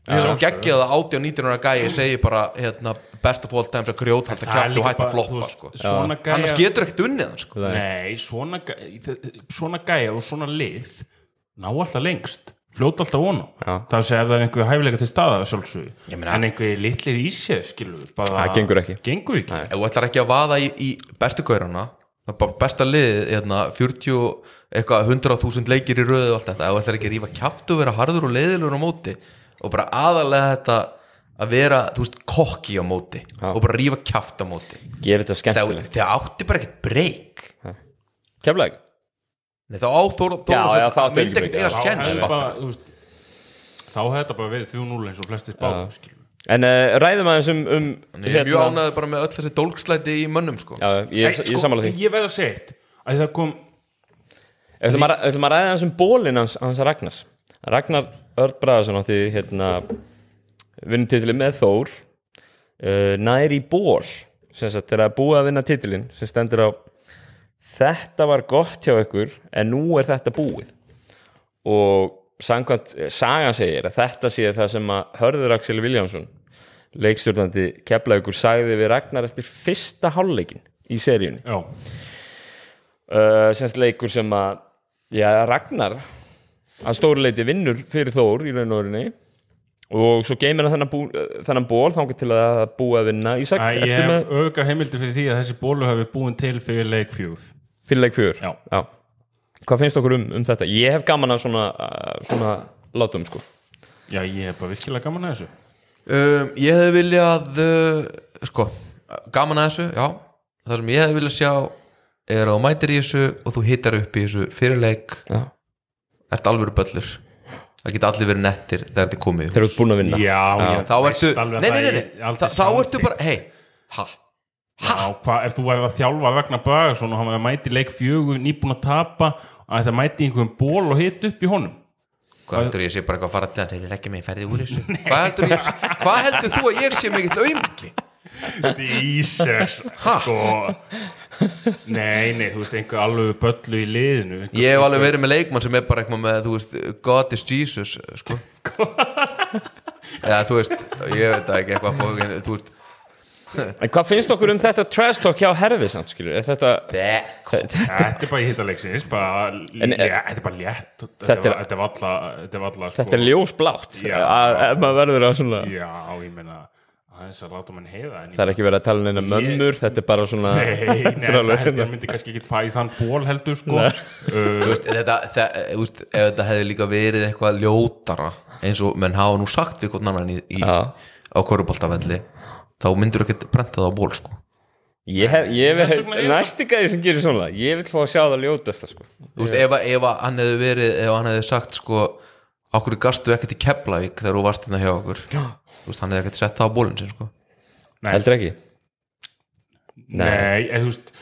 Speaker 5: mér varst það geggjað að átján 19 ára gæi segi bara hérna, best of all times að grjóthalda
Speaker 4: Það er
Speaker 5: kjafti
Speaker 4: líka
Speaker 5: og hætti
Speaker 4: bara,
Speaker 5: að
Speaker 4: þú
Speaker 5: floppa
Speaker 4: veist,
Speaker 5: sko.
Speaker 4: svona gæja-
Speaker 5: annars getur ekkert unnið hann, sko.
Speaker 4: Nei, svona, gæ- þe- svona gæja og svona lið ná alltaf lengst fljóta alltaf vonu
Speaker 3: Já.
Speaker 4: það sé ef það er einhver hæfilega til staða sjálfsögðu
Speaker 5: Ég meina-
Speaker 4: en einhver litlir í sér skilur bara,
Speaker 3: Það gengur ekki.
Speaker 4: gengur ekki.
Speaker 5: ef þú ætlar ekki að vaða í, í bestu gaurana það er bara besta liðið hérna, 40, og eitthvað 100.000 leikir í röðu og allt þetta, ef þú ætlar ekki að rífa kjaft og vera harður og leiðilegur á móti og bara aðalega þetta að vera, þú veist, kokki á móti og bara rífa kjaft á móti
Speaker 3: Gerir þetta
Speaker 5: þegar
Speaker 3: skemmtilegt
Speaker 5: þegar átti bara ekkert breyk
Speaker 3: Keflæk
Speaker 5: Nei, þá á Þóra
Speaker 3: Já, já, það átti ekki
Speaker 5: myndi ekkert
Speaker 3: break.
Speaker 5: eiga
Speaker 4: þá
Speaker 5: skjens
Speaker 4: hefði
Speaker 5: fattar.
Speaker 4: bara, þú veist, þá hefði þetta bara við 3-0 eins og flestir bá
Speaker 3: En uh, ræðum aðeins um, um
Speaker 5: Ég er mjög ánæður bara með öll þessi dólkslæti í mönnum sko.
Speaker 3: Já, ég, ég, ég sammála því
Speaker 4: ég veð að segja eitt að það kom
Speaker 3: Ef þú maður ræðið hans um bólinn hans, hans Ragnars Ragnar Örd Braðarsson átti hérna vinnum titli með Þór uh, nær í ból sem sagt þegar að búið að vinna titilinn sem stendur á þetta var gott hjá ykkur en nú er þetta búið og samkvæmt eh, sagan segir að þetta sé það sem að Hörður Axel Viljámsson leikstjórnandi keflaugur sagði við Ragnar eftir fyrsta hálfleikin í seríunni
Speaker 4: já,
Speaker 3: uh, semst leikur sem að já, Ragnar að stóri leiti vinnur fyrir Þór í raun og orinni og svo geymir hann þennan, bú, uh, þennan ból þangar til að búa að vinna Ísak,
Speaker 4: að
Speaker 3: ertu
Speaker 4: ég
Speaker 3: með
Speaker 4: hef öfga heimildi fyrir því að þessi bólu hefur búin til fyrir leik fjúð
Speaker 3: fyrir leik fjör
Speaker 4: Já.
Speaker 3: hvað finnst okkur um, um þetta? ég hef gaman að svona, uh, svona látum sko
Speaker 4: já, ég hef bara virkilega gaman að þessu
Speaker 5: Um, ég hefði viljað uh, sko, gaman að þessu já, það sem ég hefði viljað sjá er að þú mætir í þessu og þú hittar upp í þessu fyrirleik,
Speaker 3: já.
Speaker 5: ert alvöru böllur það geta allir verið nettir þegar þetta er komið
Speaker 3: þeir eru búin að vinna
Speaker 4: já, já,
Speaker 5: þá ertu, nei, nei, nei, nei, þá, þá ertu bara hei, ha,
Speaker 4: Já, hvað, ef þú væri að þjálfa Ragnar Bragason og hann væri að mæti leik fjögur, nýbúin að tapa að þetta mæti einhverjum ból og hit upp í honum
Speaker 5: hvað heldur ég sé bara eitthvað að fara til að þeir ekki með ferði úr þessu hvað heldur, ég, hvað heldur þú að ég sé mikill auðmikli
Speaker 4: Jesus sko, Nei, nei, þú veist, einhver alveg böllu í liðinu einhver,
Speaker 5: ég hef alveg verið með leikmann sem er bara eitthvað með þú veist, God is Jesus sko. eða þú veist ég veit það ekki eitthvað fókin, þú veist
Speaker 3: en hvað finnst okkur um þetta trash talk hjá herði samt skilur, er þetta
Speaker 5: Þe-
Speaker 4: Þetta er bara í hittalegsins bara,
Speaker 3: En,
Speaker 4: en,
Speaker 3: eh,
Speaker 4: Þetta er bara létt
Speaker 3: þetta
Speaker 4: Þetta
Speaker 3: er-
Speaker 4: var- þetta var alla Þetta var alla sko,
Speaker 3: þetta er ljósblátt
Speaker 4: Já.
Speaker 3: að ef maður verður að svona
Speaker 4: Já, ég meina aðeins að láta mann heyra en ég-
Speaker 3: það er ekki verið að tala um neina mömmur þetta er bara svona hérna.
Speaker 4: Nei, nei,
Speaker 3: Dralega.
Speaker 4: þetta held ég myndi kannski ekki fæði þann ból heldur sko
Speaker 5: Þú
Speaker 4: uh,
Speaker 5: veist, þetta, það, þú veist, ef þetta hefði líka verið eitthvað ljótara eins og menn hafa nú sagt við hvort annan í, í,
Speaker 3: Já.
Speaker 5: á koruboltafelli þá myndur ekkert brenta það á ból sko.
Speaker 3: Ég hef, ég
Speaker 4: Þess
Speaker 3: hef,
Speaker 4: vegna er-
Speaker 3: næsti gæði sem gerir svona Ég vil fá að sjá það ljótast það sko
Speaker 5: Þú veist, ef, að- ef að hann hefði verið ef hann hefði sagt sko okkur gastu ekkert í Keflavík þegar þú varst hérna hjá okkur Þú veist, hann hefði ekkert sett það á bólinn sin sko.
Speaker 4: Nei.
Speaker 3: Heldur ekki
Speaker 4: Nei, eða þú veist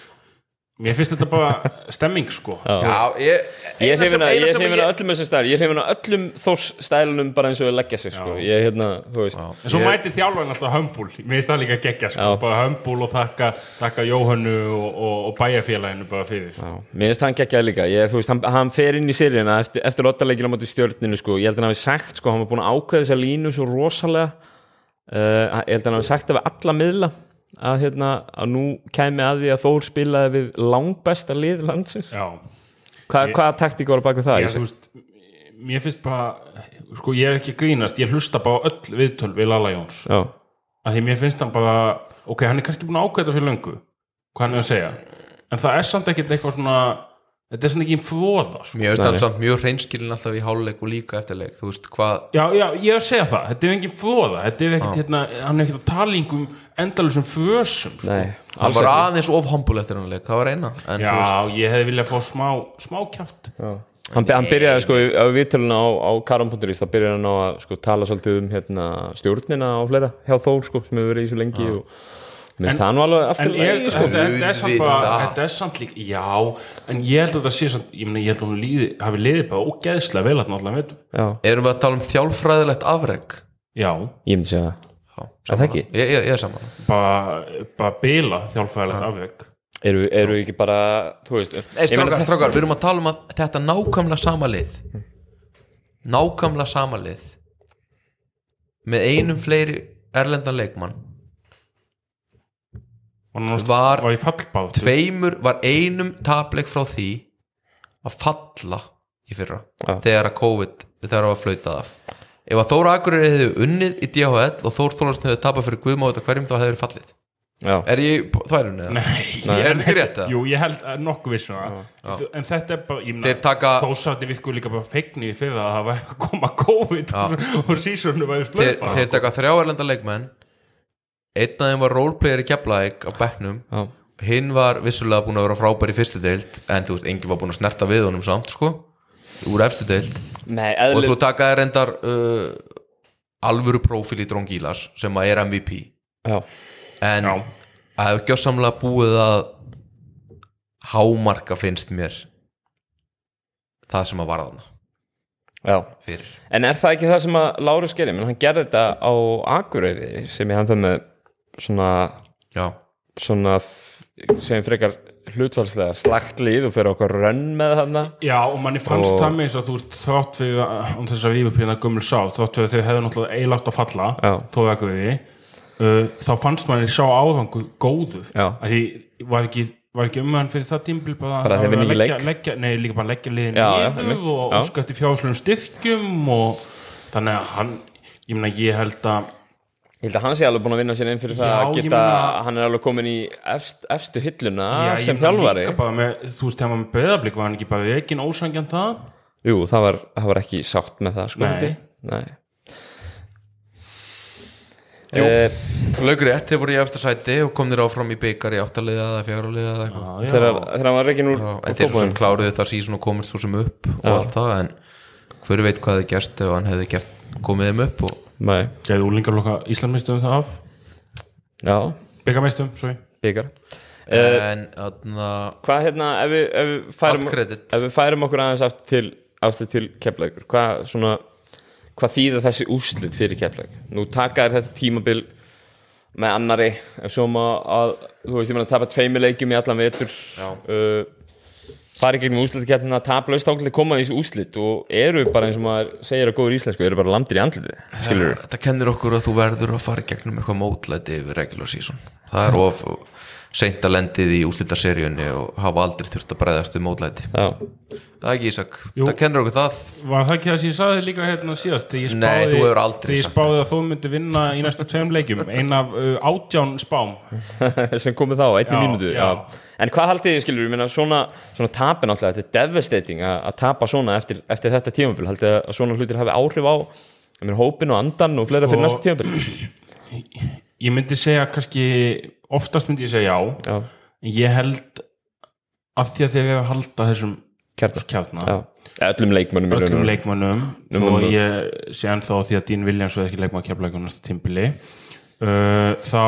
Speaker 4: Mér finnst þetta bara stemming sko
Speaker 5: Já, ég,
Speaker 3: Ég er
Speaker 5: eina sem-
Speaker 3: hrifin að,
Speaker 5: eina
Speaker 3: ég er
Speaker 5: sem
Speaker 3: hrifin að öllum þessum stæl Ég er hrifin að öllum þós stælunum bara eins og við leggja sig sko Ég er hérna, þú veist
Speaker 4: En svo mæti þjálfarinn alltaf hömbúl Mér finnst það líka geggja sko
Speaker 3: Já.
Speaker 4: Bara hömbúl og þakka, þakka Jóhannu og, og, og bæjarfélaginu bara fyrir
Speaker 3: Já, Mér finnst hann geggjaði líka ég, þú veist, hann, hann fer inn í sérina eftir, eftir lottaleikina móti stjörninu sko Ég held að hann hafi sagt sko, hann var búin að ákveða þessa línu svo rosalega uh, Ég held að hann hafi sagt það við alla miðla að, hérna, að nú kæmi að því að Þór spilaði við langbesta lið landsins
Speaker 4: Já,
Speaker 3: Hva, Hvaða taktík var að baka það?
Speaker 4: ég, þú veist Mér finnst bara, sko ég er ekki að grínast Ég hlusta bara á öll viðtöl við Lala Jóns
Speaker 3: Já,
Speaker 4: að Því mér finnst hann bara Ok, hann er kannski búin að ákveða þetta fyrir löngu Hvað hann er að segja En það er samt ekkert eitthvað svona Þetta er samt ekki um fróða sko.
Speaker 5: Mér veist hann
Speaker 3: Nei.
Speaker 5: samt mjög hreinskilin alltaf í háluleik og líka eftirleik Þú veist hvað
Speaker 4: Já, já, ég er að segja það, þetta er engin flóða þetta er ekkert, hérna, hann er ekkert að tala í einhverjum endalusum fösum sko.
Speaker 3: nei,
Speaker 5: Hann
Speaker 3: alls
Speaker 5: var
Speaker 3: ekki
Speaker 5: aðeins of humble eftir hann leik, það var eina En þú
Speaker 4: Já,
Speaker 5: veist,
Speaker 4: ég hefði viljað fá smá, smá kjátt
Speaker 3: hann, hann byrjaði sko í- á viðtöluna á, á karam.is þá byrjaði hann á að sko, tala svolítið um hérna, stjórnina og fleira hjá Þór sko, sem hefur verið í svo lengi og, Mér finnst það nú alveg aftur
Speaker 4: En
Speaker 3: í
Speaker 4: ég
Speaker 3: lagi, sko.
Speaker 4: held að þetta er samt bara
Speaker 5: Auðvitað.
Speaker 4: þetta er samt líka, já en ég held að þetta sé samt, ég meina ég held að hún líði, hafi liðið bara ógeðslega vel að náttúrulega veitum
Speaker 3: Já,
Speaker 5: Erum við að tala um þjálfræðilegt afreg?
Speaker 4: Já,
Speaker 3: ég myndi segja það Er
Speaker 5: Já,
Speaker 3: það ekki?
Speaker 5: Ég, ég, ég er saman
Speaker 4: bara, bara bila þjálfæðilegt afveg
Speaker 3: Eru, eru ekki bara, þú veist
Speaker 5: Nei,
Speaker 3: ég meina- Hm.
Speaker 5: strákar, strákar, við erum að tala um að þetta nákvæmlega sama lið Nákvæmlega sama lið Með einum fleiri erlendan leikmann
Speaker 4: og nánast
Speaker 5: Var-
Speaker 4: var, í fallbátt
Speaker 5: Tveimur var einum tapleik frá því að falla í fyrra
Speaker 3: Já.
Speaker 5: þegar að COVID þegar það var flautað af Ef að Þóra Akurir hefði unnið í DHL og Þór Þólarsson hefði tapað fyrir Guðmóð og hverjum þá hefði fallið
Speaker 3: Já,
Speaker 5: Er ég þvælun eða?
Speaker 4: Nei,
Speaker 5: Er
Speaker 4: ég-
Speaker 5: þetta ekki rétt, eða?
Speaker 4: Jú, ég held að nokkuð vissum það En þetta er bara, ég
Speaker 5: Þeir taka-
Speaker 4: þó sattir við sko líka bara feigni í fyrir að það var að koma COVID og sísunum var
Speaker 5: þeir,
Speaker 4: slöpa
Speaker 5: þeir taka þrjá erlenda leikmenn einn af þeim var roleplayer í Keflæk á bekknum,
Speaker 3: já,
Speaker 5: hinn var vissulega búin að vera frábær í fyrstu deild en þú veist, enginn var búin að snerta við honum samt sko, úr efstu deild
Speaker 3: nei,
Speaker 5: og
Speaker 3: eðlið
Speaker 5: þú taka þeir reyndar uh, alvöru prófíl í Drongílas sem að er MVP
Speaker 3: Já,
Speaker 5: en
Speaker 4: Já.
Speaker 5: að hefur gjössamlega búið að hámarka finnst mér það sem að varða hana
Speaker 3: já
Speaker 5: fyrir
Speaker 3: En er það ekki það sem að Lárus gerir? Menn hann gerði þetta á Akureyri sem ég hann fyrir með svona,
Speaker 5: já,
Speaker 3: svona f- sem frekar hlutfalslega slagt lið og fyrir okkur rönn með þarna
Speaker 4: Já, og manni fannst
Speaker 3: Og-
Speaker 4: það með þess að þú veist þátt við, um þess að við upplýna gömul sá þátt við að þau hefðu náttúrulega eilátt að falla
Speaker 3: Já.
Speaker 4: tóðu ekki við uh, þá fannst manni sá áðangu góður
Speaker 3: Já.
Speaker 4: að því var ekki, var ekki umhæðan fyrir það tímbil bara,
Speaker 3: Bara þeir
Speaker 4: að
Speaker 3: vinna ekki
Speaker 4: leggja,
Speaker 3: leik.
Speaker 4: leggja, nei, líka bara leggja liðin
Speaker 3: Já, já,
Speaker 4: yfir
Speaker 3: einmitt.
Speaker 4: og
Speaker 3: Já.
Speaker 4: óska eftir fjárslunum styrkjum og þannig að hann ég, meina, ég held að
Speaker 3: Ég held að hann sé alveg búin að vinna sér inn fyrir það
Speaker 4: Já,
Speaker 3: að
Speaker 4: ég
Speaker 3: geta,
Speaker 4: meina-
Speaker 3: hann er alveg komin í efst, efstu hilluna
Speaker 4: ég
Speaker 3: Ah, sem
Speaker 4: meina
Speaker 3: þjálfari
Speaker 4: líka bara með, þú veist, þegar maður með beðablík var hann ekki bara veginn ósangjan það
Speaker 3: Jú, það var, það var ekki sátt með það sko
Speaker 4: Nei.
Speaker 3: held ég. Nei. Eh,
Speaker 5: Laugrétt, þeir voru í eftir sæti og komnir áfram í byggar í áttaliða eða fjáraliða eða eitthvað
Speaker 4: Já, já.
Speaker 3: Þegar, þegar hann var reikin úr
Speaker 5: Já,
Speaker 3: úr
Speaker 5: en þeir svo sem
Speaker 3: Kópavogi.
Speaker 5: kláruðu það síðan og komist svo sem upp og
Speaker 3: Já.
Speaker 5: allt það en hver veit hvað þið gerst ef hann hefði gert, komið þeim upp og
Speaker 3: Nei,
Speaker 4: Gæði úlingarloka Íslandmeistum það af
Speaker 3: já,
Speaker 4: byggameistum, sorry
Speaker 3: byggar
Speaker 4: Eh,
Speaker 5: en þarna
Speaker 3: Hvað hérna, ef við, ef við færum
Speaker 5: Allt kredit.
Speaker 3: Ef við færum okkur aðeins aftur til, aftur til keflaugur Hvað svona Hvað þýða þessi úrslit fyrir keflaug Nú taka þér þetta tímabil með annari ef svo má að, þú veist, ég meina að tapa tveimur leikjum í allan vetur
Speaker 5: Já.
Speaker 3: uh, fara í gegnum úslitkeppnina tapa laust ákveðlega koma í þessu úslit og eru bara eins og maður segir að góður íslensku eru bara landir í andliti, skilur
Speaker 5: þetta Eh, kennir okkur að þú verður að fara í gegnum eitthvað mótlæti yfir regular season það er of seint að lendið í úslitaseríunni og hafa aldrei þurft að bregðast við mótlæti
Speaker 3: Já,
Speaker 5: það er ekki Ísak,
Speaker 4: Jú.
Speaker 5: það kennir okkur það
Speaker 4: Var það ekki það sem ég saði líka hérna síðast þegar ég
Speaker 5: Nei,
Speaker 4: spáði,
Speaker 5: þú hefur aldrei
Speaker 4: þegar ég
Speaker 5: sagt
Speaker 4: spáði að þú myndi vinna í næstu tveim leikjum ein af uh, átján spám
Speaker 3: sem komið þá, einni
Speaker 4: Já,
Speaker 3: mínútu
Speaker 4: já.
Speaker 3: en hvað haldið þið skilur, ég meina svona svona tapin alltaf, þetta er devastating að að tapa svona eftir, eftir þetta tímafél haldið þið að svona hlutir hafi áhrif á ég meina, hópin og andan og fleira
Speaker 4: Sko-
Speaker 3: fyrir næsta tímafél
Speaker 4: Ég myndi segja kannski oftast myndi ég segja já,
Speaker 3: já,
Speaker 4: en ég held af því að þegar við hefum halda þessum
Speaker 3: kjarnar,
Speaker 4: kjartna,
Speaker 3: já, Ja, öllum leikmönnum í raun
Speaker 4: öllum
Speaker 3: og-
Speaker 4: leikmönnum
Speaker 3: Nú, nú.
Speaker 4: þó ég sé ennþá því að Dín Williams er ekki leikmann keflaði á næsta tímbili uh, þá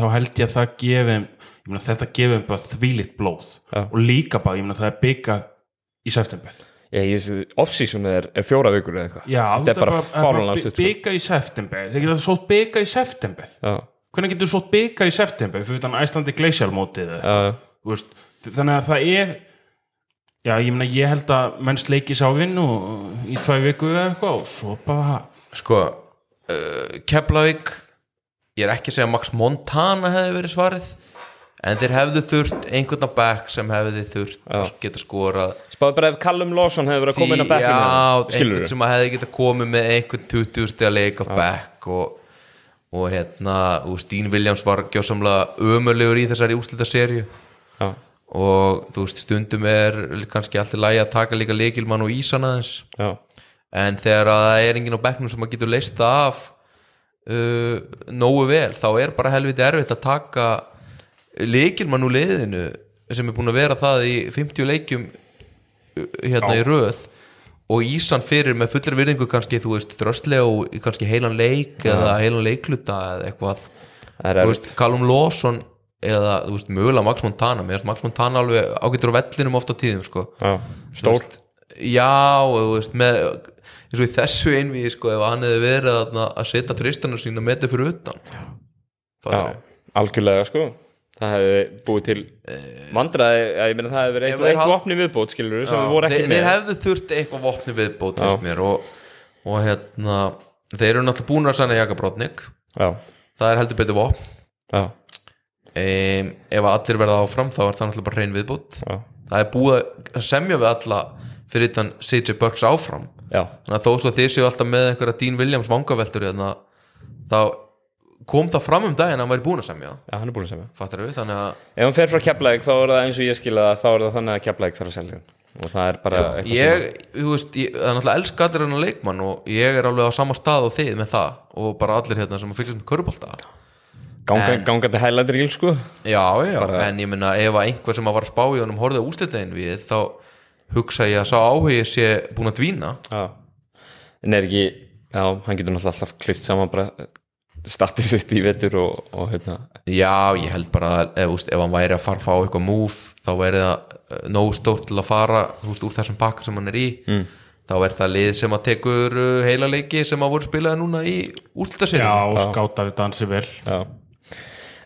Speaker 4: þá held ég að það gefum ég meina þetta gefum bara þvílitt blóð
Speaker 3: Já.
Speaker 4: og líka bara, ég meina það er byggað í september
Speaker 3: ég, ég, off-season er, er fjóra vikur eða eitthvað
Speaker 4: Já,
Speaker 3: þetta er bara fálanlega stutt sko.
Speaker 4: Bygga í september, þeir geta sótt bygga í september
Speaker 3: já,
Speaker 4: Hvernig getur sótt bygga í september fyrir þannig æslandi gleisjarmótið
Speaker 3: já,
Speaker 4: veist, Þannig að það er Já, ég meina ég held að menn sleikis á vinn og í tvær viku eða eitthvað og svo bara
Speaker 5: sko uh, Keflavík ég er ekki að segja að Max Montana hefði verið svarið en þeir hefðu þurft einhvern á back sem hefði þurft að geta skorað
Speaker 3: spáðu bara ef Callum Lawson hefur verið að koma inn á hérna,
Speaker 5: já,
Speaker 3: bekkinu skilur
Speaker 5: einhvern sem að hefði geta komið með einhvern 20 steg að leika á back og, og hérna og Stín Williams var gjósamlega ömurlegur í þessari úslita
Speaker 3: já,
Speaker 5: og þú veist stundum er kannski allt í lagi að taka líka leikilmann og ísan aðeins
Speaker 3: já,
Speaker 5: en þegar að það er enginn á bekknum sem að getur leist það af uh, nógu vel, þá er bara helviti erfitt að taka líkilmann úr liðinu sem er búin að vera það í 50 leikjum uh, hérna í röð og Ísan fyrir með fullir virðingu kannski þú veist þröstlega og í kannski heilan leik eða heilan leikluta eða eitthvað
Speaker 3: Það er
Speaker 5: þú
Speaker 3: erfitt.
Speaker 5: veist, Callum Lawson eða, þú veist, mögulega Max Montana mér finnst Max Montana alveg ágættur á vellinum ofta tíðum, sko
Speaker 3: Já,
Speaker 5: Þú
Speaker 3: stór
Speaker 5: veist, já, og þú veist, með eins og í þessu einvíði, sko, ef hann hefði verið að, að setja þristanur sína metið fyrir utan
Speaker 3: Já,
Speaker 5: Fattarðu?
Speaker 3: algjörlega sko það hefði búið til
Speaker 5: Eh,
Speaker 3: vandræði að ég meina það hefði verið
Speaker 5: Ef
Speaker 3: eitthvað
Speaker 5: þeir
Speaker 3: eitt
Speaker 5: hal-
Speaker 3: vopni viðbót skilur sem
Speaker 5: Já,
Speaker 3: við voru ekki
Speaker 5: þeir,
Speaker 3: með
Speaker 5: þeir hefðu þurft eitthvað vopni viðbót
Speaker 3: Já.
Speaker 5: fyrst mér og, og hérna þeir eru náttúrulega búin að sanna Jakabrótnik
Speaker 3: já,
Speaker 5: það er heldur betur vopn
Speaker 3: já,
Speaker 5: um, ef allir verða áfram þá er það náttúrulega bara hrein viðbót
Speaker 3: já,
Speaker 5: það er búið að semja við alla fyrir þann CJ Burks áfram
Speaker 3: já,
Speaker 5: þannig að þó svo að þið séu alltaf með einhverja Dean Williams vangaveltur hérna, þá kom það fram um daginn að hann væri búin að semja
Speaker 3: já, hann er búin að segja
Speaker 5: fattar við, þannig að
Speaker 3: ef hann fer frá Keflæk þá er það eins og ég skil að þá er það þannig að Keflæk þarf að selja hann og það er bara eitthvað
Speaker 5: ég, þú veist, ég, það er náttúrulega elska allir hennar leikmann og ég er alveg á sama stað og þið með það og bara allir hérna sem að fylgjast með körubólta
Speaker 3: sem ganga,
Speaker 5: en-
Speaker 3: gangandi hælættir íl sko
Speaker 5: já, já,
Speaker 3: Bara-
Speaker 5: en ég meina ef að einhver sem að var að spá í honum horfði á úslitegin við þá hugsa ég að sá áhugi sé búin að dvína
Speaker 3: já, en er ekki já, hann getur náttúrulega alltaf klift saman bara statið sitt í vetur og, og hérna,
Speaker 5: já, ég held bara að ef, þú veist, ef hann væri að fara að fá eitthvað múf þá væri það eh, nógu stórt til að fara þú veist, úr þessum pakka sem hann er í mm. þá er það lið sem að tekur eh, heila leiki sem að voru spilaði núna í
Speaker 4: Já,
Speaker 5: úrslitaseríunni.
Speaker 4: og skáta við dansi vel
Speaker 3: já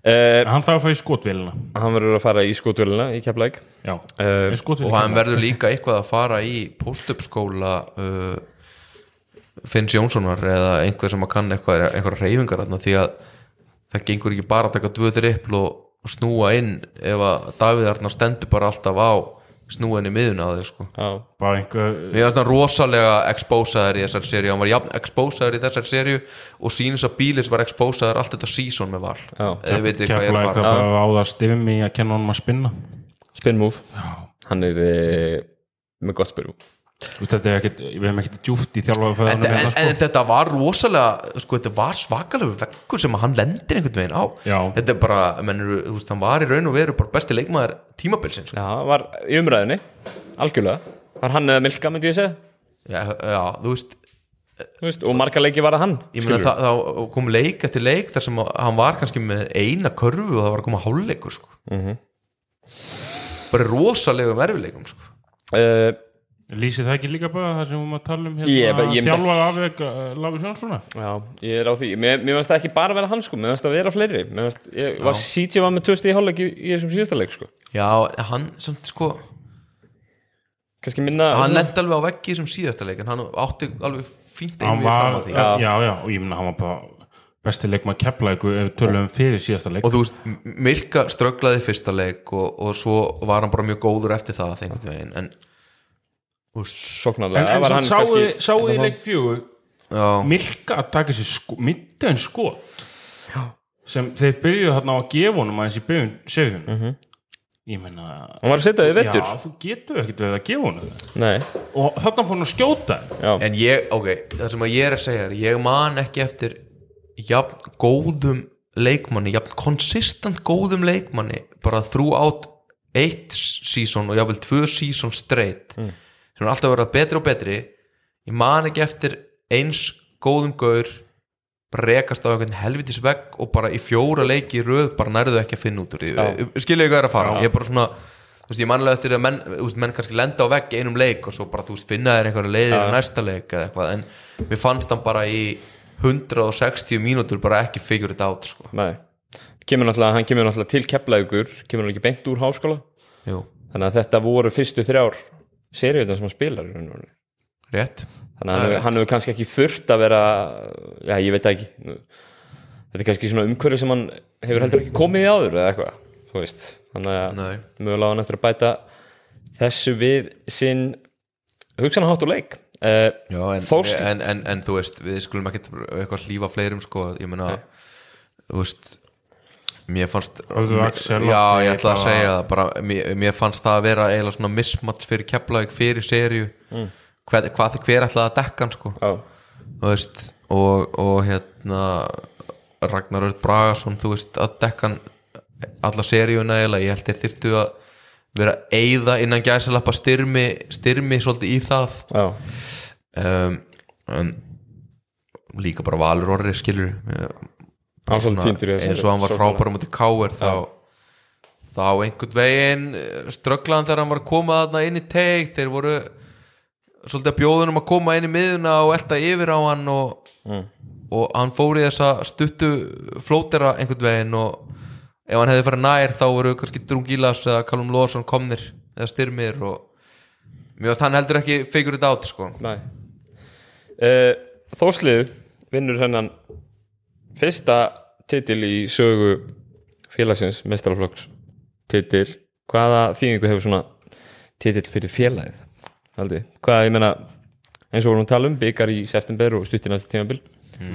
Speaker 3: Uh,
Speaker 4: Hann þarf að fá í skotvélina
Speaker 3: hann verður að fara í skotvöluna í Keflæk
Speaker 4: Já,
Speaker 3: Eh,
Speaker 4: í skotvélina
Speaker 5: og hann verður líka eitthvað að fara í postupskóla uh, Finns Jónssonar eða einhver sem að kann eitthvað einhverja reyfingar þarna því að það gengur ekki bara að taka dvöður upp og og snúa inn ef að Davíð Arnar stendur bara alltaf á snúin í miðuna að þér sko
Speaker 3: já,
Speaker 4: Bara einhver
Speaker 5: Mér finnst hann rosalega exposaður í þessar seríu, hann var jafn exposaður í þessar seríu og sínins að Bílis var exposaður allt þetta season með val
Speaker 3: Já.
Speaker 5: eða við veitir hvað ég er
Speaker 4: Keflaði
Speaker 5: að
Speaker 4: það
Speaker 5: fara
Speaker 4: bara á það stifum í að kenna honum að spinna
Speaker 3: spin move hann er eh, með gott spyrjú
Speaker 4: Þú veist, þetta er ekkit, við hefum ekkert djúft í hérna, sko. þjálfaðu
Speaker 5: en, en,
Speaker 4: fæðanum
Speaker 5: en þetta var rosalega sko, þetta var svakalegu vekkur sem að hann lendir einhvern veginn á
Speaker 4: Já.
Speaker 5: þetta er bara, mennur, þú veist, hann var í raun og veru bara besti leikmaður tímabilsin sko.
Speaker 3: já, var í umræðinni, algjörlega var hann eða Milka myndi ég segja
Speaker 5: já, já, þú veist
Speaker 3: Þú veist, og marga leiki var það hann
Speaker 5: ég meina
Speaker 3: skilurðu.
Speaker 5: það, þá kom leik eftir leik þar sem að- hann var kannski með eina körfu og það var að koma hálfleikur sko. -hmm. bara rosalegum erfileikum sko.
Speaker 3: Eh,
Speaker 4: Lýsi það ekki líka bara það sem við erum að tala um hérna
Speaker 3: Ég- ég- ég-
Speaker 4: Þjálfaðu afveg Láfi Sjónssona
Speaker 3: já, ég er á því mér, mér finnst það ekki bara vera hann sko, mér finnst það vera fleiri mér finnst, ég var sítið var með tvösti í hálfleik í, í þessum síðasta leik sko
Speaker 5: já, hann samt sko
Speaker 3: kannski minna
Speaker 5: hann
Speaker 3: svona-
Speaker 5: lendi alveg á veggi sem síðasta leik en hann átti alveg fínt
Speaker 4: Hann
Speaker 5: einvið fram
Speaker 4: var,
Speaker 5: að því
Speaker 4: já, já, og ég minna hann var bara besti leikma að kepla ykkur ef við tölum um fyrir síðasta leik
Speaker 5: og þú veist, M- Milka strögglaði fyrsta leik og, og svo var hann bara mjög góður eftir það þengt veginn en, þú veist,
Speaker 4: En,
Speaker 3: sóknarlega
Speaker 4: en
Speaker 3: var
Speaker 4: sem
Speaker 3: hann
Speaker 4: sáu
Speaker 3: kannski-
Speaker 4: sáu í leik fjögur
Speaker 5: já,
Speaker 4: Milka að taka sér sko, middan skot sem þeir byrjuðu þarna á að gefa honum aðeins í byrjun segjum Ég meina
Speaker 3: hann var að setja þau vettur
Speaker 4: Já, þú getur ekkert verið að gefa honum það.
Speaker 3: nei,
Speaker 4: og þarna fór hann að skjóta
Speaker 3: já,
Speaker 5: en ég, ok það sem að ég er að segja er, ég man ekki eftir jafn góðum leikmanni, jafn konsistant góðum leikmanni, bara þrjúátt eitt sísón og jafnvel tvö sísón straight sem er alltaf að vera betri og betri ég man ekki eftir eins góðum gaur bara rekast á einhvern helvitis vegg og bara í fjóra leiki í röð bara nærðu ekki að finna út úr því skilja ég hvað er að fara, ég er bara svona þú veist, ég manlega eftir að menn, þú veist, menn kannski lenda á vegg í einum leik og svo bara þú veist, finna þér einhverja leiðir á næsta leik eða eitthvað en mér fannst hann bara í 160 mínútur bara ekki figure it out sko.
Speaker 3: nei kemur náttúrulega, hann kemur náttúrulega til keflaugur kemur hann ekki beint úr háskóla
Speaker 5: Jú,
Speaker 3: þannig að þetta voru fyrstu þrjár seriðan sem hann spilar í raun og veru.
Speaker 5: rétt
Speaker 3: þannig að
Speaker 5: Það er
Speaker 3: hann,
Speaker 5: rétt.
Speaker 3: hann hefur kannski ekki þurft að vera já, ég veit það ekki Nú, þetta er kannski svona umhverfi sem hann hefur heldur ekki komið í áður eða eitthvað þú veist, þannig að
Speaker 5: Nei.
Speaker 3: mögulega á hann eftir að bæta þessu við sinn hugsanhátt og leik uh,
Speaker 5: Já, en,
Speaker 3: Fórst-
Speaker 5: en, en, en þú veist, við skulum ekkit eitthvað hlífa fleirum sko, ég meina þú veist mér fannst
Speaker 4: Höfðu Axel átti
Speaker 5: já, ég ætla að
Speaker 4: eitthvað-
Speaker 5: segja það bara, mér, mér fannst það að vera eiginlega svona mismats fyrir keflavík fyrir serju mm. hvað, hvað, hver ætlaði að dekka hann sko
Speaker 3: á,
Speaker 5: þú veist, og, og hérna Ragnar Örd Bragason þú veist, að dekkan alla seríuna eiginlega, ég held þér þyrftu að vera eigða innan gæsalappa styrmi, styrmi svolítið í það
Speaker 3: á,
Speaker 5: Ehm, um, en líka bara Valur Orri skilur
Speaker 3: Hann var svolítið
Speaker 5: Svona,
Speaker 3: týndur í þessari-
Speaker 5: eins og hann var
Speaker 3: stórkala.
Speaker 5: frábæra mútið káir þá, þá einhvern veginn eh, strögglaði hann þegar hann var að koma þarna inn í teik þeir voru svolítið að bjóðunum að koma inn í miðuna og elta yfir á hann og,
Speaker 3: Mm.
Speaker 5: og hann fór í þessa stuttu flótera einhvern veginn og ef hann hefði farið nær þá voru kannski Drungilas eða Callum Lawson komnir eða styrmir og mjög að hann heldur ekki figure it out sko.
Speaker 3: Nei uh, Þórslið vinnur hennan fyrsta titil í sögu félagsins mestaraflokks titil hvaða þýðingu hefur svona titil fyrir félagið Haldi? hvað ég meina eins og vorum að tala um byggar í september og stutt í næsta tímabil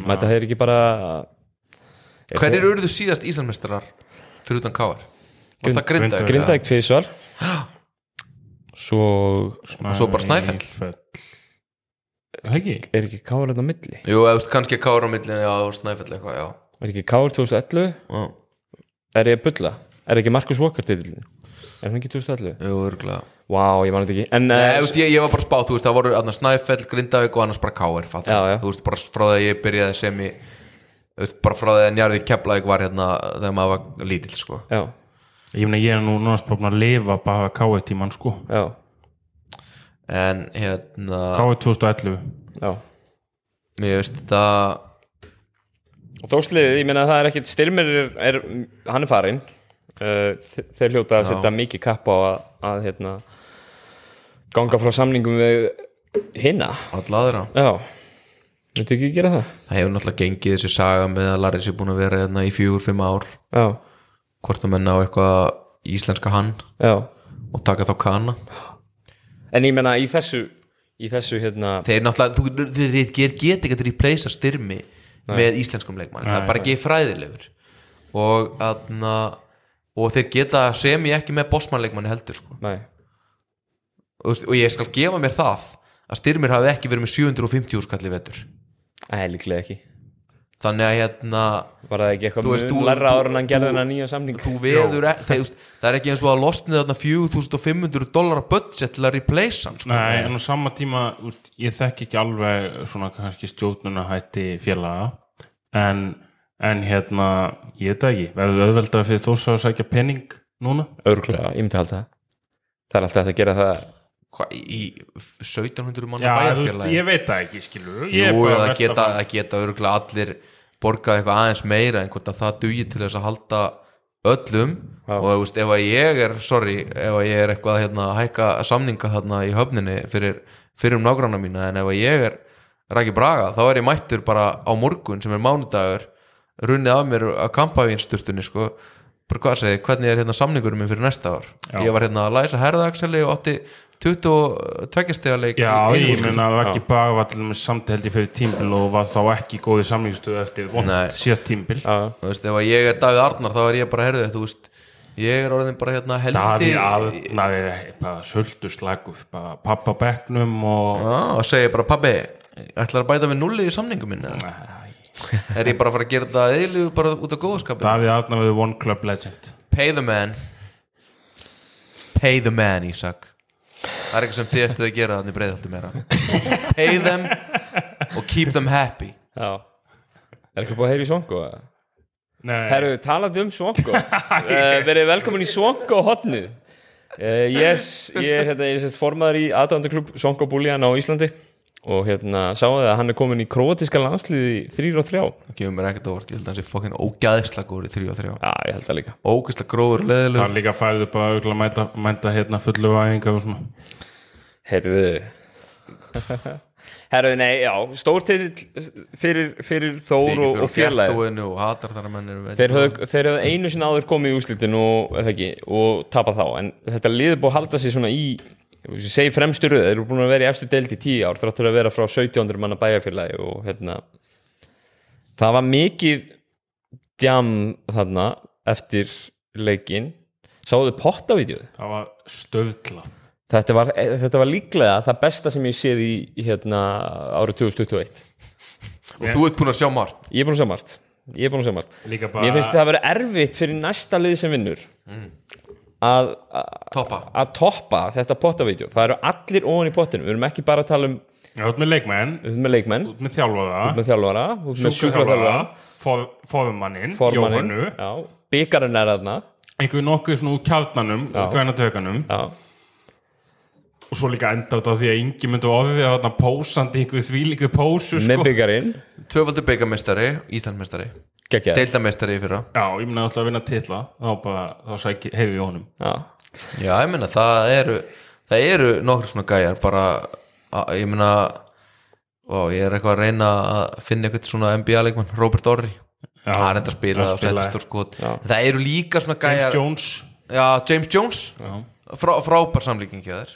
Speaker 3: mæta þeir ekki bara
Speaker 5: Hverjir eruðu síðast Íslandmestrar fyrir utan káir? Var það
Speaker 4: Grind-
Speaker 5: grinda?
Speaker 3: grinda ekki tvísvar svo
Speaker 4: og
Speaker 5: svo bara Snæfell.
Speaker 4: Það ekki?
Speaker 3: er ekki káður þetta á milli
Speaker 5: Jú, eða þú veist, kannski káir á millin já, og snæfell eitthvað, já.
Speaker 3: er ekki káður 2011
Speaker 5: já
Speaker 3: er ég að bulla? er ekki Markus Walker titillin? er hann ekki 2011?
Speaker 5: Jú, örgulega
Speaker 3: Vá, ég man þetta ekki en,
Speaker 5: Nei,
Speaker 3: eh,
Speaker 5: þú veist, ég, ég var bara að spá, þú veist, það voru annars Snæfell, Grindavík og annars bara KR fattar
Speaker 3: Já, já.
Speaker 5: Þú veist, bara frá því að ég byrjaði sem í þú veist, bara frá því að Njarðvík Keflavík var hérna þegar maður var lítill, sko
Speaker 3: já,
Speaker 4: Ég meina ég er nú náttúrulega bara búinn að lifa bara K1 tíman sko
Speaker 3: já,
Speaker 5: En hérna,
Speaker 4: K1 2011
Speaker 3: já
Speaker 5: mér veist þetta
Speaker 3: og þórsliðið, ég meina það er ekkit styrmir er, er, hann er farinn uh, þe- þeir hljóta að
Speaker 5: Já.
Speaker 3: setja mikið kapp á að, að hérna, ganga frá samningum við hinna
Speaker 5: alla aðra
Speaker 3: já, veitu ekki að gera það?
Speaker 5: Það hefur náttúrulega gengið þessi saga með að Larris er búin að vera hérna í fjögur, fimm ár
Speaker 3: já,
Speaker 5: hvort að menna á eitthvað íslenska hann
Speaker 3: já
Speaker 5: og taka þá kana
Speaker 3: en ég meina í þessu í þessu hérna
Speaker 5: Þeir náttúrulega, þú, þeir, þeir get, get ekki að replacea styrmi með íslenskum leikmann það er bara ekki fræðilegur og, aðna, og þeir geta sem ég ekki með bossmannleikmanni heldur sko.
Speaker 3: nei,
Speaker 5: og, þú veist, og ég skal gefa mér það að styrmir hafi ekki verið með 750 úrskalli vetur
Speaker 3: eða líklega ekki
Speaker 5: þannig að hérna
Speaker 3: var það ekki eitthvað
Speaker 5: Þú veist,
Speaker 3: mun
Speaker 5: þú-
Speaker 3: larra
Speaker 5: þú-
Speaker 3: ára en hann gerði
Speaker 5: þú-
Speaker 3: hennar nýja samning
Speaker 5: þú veður ekki, þeir, þú veist, það er ekki eins og að losnið þarna 4500 dólar budget til að replace hann sko.
Speaker 4: Nei, en á sama tíma úst, ég þekki ekki alveg svona kannski stjórnunahætti félaga en, en hérna ég veit það ekki, verður auðvelda fyrir þós að sækja pening núna
Speaker 3: Örglega, ég myndi halda það Það er alltaf hægt að gera það
Speaker 5: Hva, í í 1700 manna
Speaker 4: Já,
Speaker 5: bæjarfélagi
Speaker 4: þú- ég veit það ekki, skilur
Speaker 5: Jú, eða það geta, það geta örgulega allir borgað eitthvað aðeins meira en hvort að það dugi til þess að halda öllum
Speaker 3: Já.
Speaker 5: og þú veist, ef að ég er, sorry ef að ég er eitthvað hérna, að hækka samninga þarna í höfninni fyrir, fyrir um nágranna mína en ef að ég er Raki Braga, þá er ég mættur bara á morgun sem er mánudagur runnið af mér að kampavínsturtunni sko bara hvað segi, hvernig er hérna samningurum minn fyrir næsta ár
Speaker 4: Já.
Speaker 5: ég var hérna að læsa herðaxeli og átti 22 stegaleik
Speaker 4: Já, ég meina að
Speaker 3: Já.
Speaker 4: ekki bara var til með samteldi fyrir tímbil og var þá ekki góði samlingstöðu eftir vond
Speaker 5: Nei.
Speaker 4: síðast tímbil
Speaker 3: Já,
Speaker 5: þú veist, ef að ég er Davíð Arnar þá er ég bara, herðu, þú veist ég er orðin bara hérna heldi
Speaker 4: Daði Arnar er bara söldu slagur bara pappa á bekknum og
Speaker 5: Já, og segja bara, pabbi ætlar að bæta við nulli í samningum minna er ég bara að fara að gera þetta eðlug bara út af góðskapin
Speaker 4: Davíð Arnar verður One Club Legend
Speaker 5: pay the man pay the man, Ísak það er eitthvað sem þið ættu að gera þannig breiðhaldi meira pay them og keep them happy
Speaker 3: já Er ekki búið að heyra í Svonko?
Speaker 4: Nei,
Speaker 3: Herru, talandi um Svonko uh, Verið velkomin í Svonko hotnu uh, yes, Ég er, hérna, ég er sérst formaður í aðdóndaklub Svonko Búlíjan á Íslandi og hérna sáðu það að hann er komin í króatiska landsliði þrýr og þrjá Já,
Speaker 5: það gefur mér ekkert óvart, ég held að hann sé fokkin ógæðisla góður í 3 og 3
Speaker 3: ég held það líka
Speaker 5: ógæðisla gróður, leðilug
Speaker 4: það er líka fæður bara auðvitað að mæta, mæta hérna fullu æfinga og svona
Speaker 3: Herðu Herðu, nei, já, stór titill fyrir, fyrir Þór og, og fjarlæði
Speaker 5: og hatar þar að menn eru
Speaker 3: Þeir höfðu, þeir höfðu einu sinna áður komið í úslitin og, eða ekki, og tapað þá en þetta liður búið að halda sig svona í ég segi fremstu röð, þeir eru búin að vera í efstu deild í tíu ár þráttur að vera frá 1700 manna bæjarfélagi og hérna það var mikið djam þarna eftir leikin sáðu pottavídjóð
Speaker 4: það var stöðla
Speaker 3: þetta var, þetta var líklega það besta sem ég séð í hérna árið 2021
Speaker 5: og þú ert búin að sjá margt
Speaker 3: ég er búin að segja margt ég er búin að segja margt
Speaker 4: Líka bara-
Speaker 3: mér finnst það að vera erfitt fyrir næsta lið sem vinnur að, að,
Speaker 5: toppa
Speaker 3: að toppa þetta pottavídjó það eru allir ofan í pottinu við erum ekki bara að tala um
Speaker 4: Já, út með leikmenn,
Speaker 3: við erum með leikmenn,
Speaker 4: út með þjálfara
Speaker 3: með þjálfara og með sjúkraþjálfara
Speaker 4: sjúkraþjálfara, fóðumanninn,
Speaker 3: formaninn
Speaker 4: Jóhannu
Speaker 3: byggarinn er þarna
Speaker 4: einhver nokkuð svona úr kjarnanum
Speaker 3: Já.
Speaker 4: kvænatökanum
Speaker 3: já.
Speaker 4: og svo líka enda út á því að yngi myndu ofið að þarna pósandi ykkur þvílíku pósu sko.
Speaker 3: með byggarinn
Speaker 5: Tvöfaldur byggamestari, Íslandmestari
Speaker 3: geggjað
Speaker 5: Deildamestari í fyrra
Speaker 4: Já, ég myndi alltaf að vinna titla þá bara, þá sæki, hefði ég honum
Speaker 3: Já.
Speaker 5: Já, ég meina, það eru það eru nokkur svona gæjar bara, að, ég meina ó, ég er eitthvað að reyna að finna eitthvað svona NBA-leikmann, Robert Orri
Speaker 4: Já,
Speaker 5: það er enda að spila
Speaker 4: hann
Speaker 5: og
Speaker 4: spilaði.
Speaker 5: setja stór skot það eru líka svona
Speaker 4: James
Speaker 5: gæjar
Speaker 4: Jones
Speaker 5: Já, James Jones
Speaker 4: Já.
Speaker 5: Frá, frábær samlíking hjá þér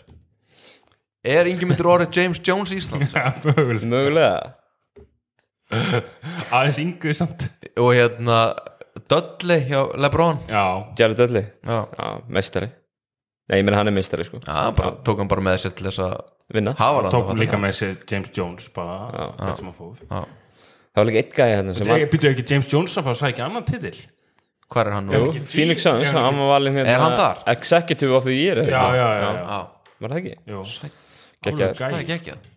Speaker 5: er Ingemyndur Orri James Jones Íslands
Speaker 4: Já, mögulega.
Speaker 3: mögulega
Speaker 4: aðeins yngu samt
Speaker 5: og hérna Dudley hjá Lebron
Speaker 4: Já,
Speaker 3: Jared Dudley,
Speaker 5: Já,
Speaker 3: já, meistari nei, ég menn hann er meistari sko
Speaker 5: Já bara tók hann bara með sér til þess að
Speaker 3: vinna
Speaker 5: hafa hann
Speaker 4: tók líka með sér James Jones bara, hvað sem að fóð
Speaker 3: það var líka eitt gæði hérna sem
Speaker 4: Ég
Speaker 3: var
Speaker 4: býtu ekki James Jones að fara að sækja annan titil
Speaker 5: Hvar er hann nú?
Speaker 3: Jú, Phoenix Suns,
Speaker 4: Já,
Speaker 3: hann var valinn hérna
Speaker 5: Er hann þar?
Speaker 3: Executive of the Year eða
Speaker 4: Já,
Speaker 3: eitthvað.
Speaker 4: já, já, já.
Speaker 5: Já,
Speaker 3: Var það ekki?
Speaker 4: Jú.
Speaker 3: Gekkjaður.
Speaker 5: það er
Speaker 4: Alveg gæi.
Speaker 5: ekki ekki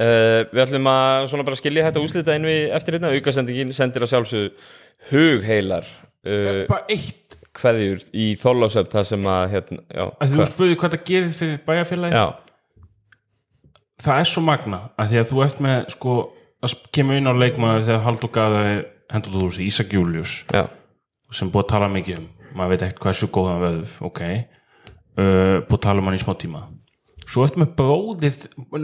Speaker 3: Uh, við ætlum að svona bara skilja þetta úslita inn við eftir hérna aukasendingin sendir að sjálfsögðu hugheilar uh,
Speaker 4: Bara eitt
Speaker 3: kveðjur í þólasöfn þar sem að hérna, já,
Speaker 4: að þú
Speaker 3: hvað-
Speaker 4: spurði hvað það gefið fyrir bæjarfélagi
Speaker 3: já,
Speaker 4: það er svo magna að því að þú ert með sko að sp- kemur inn á leikmaður þegar Haldur Gaði hendur þú þessi Ísak Július
Speaker 3: já,
Speaker 4: sem búið að tala mikið um maður veit ekkert hversu góðan vöðu ok uh, búið að tala um hann í smá tíma svo ertu með bróðið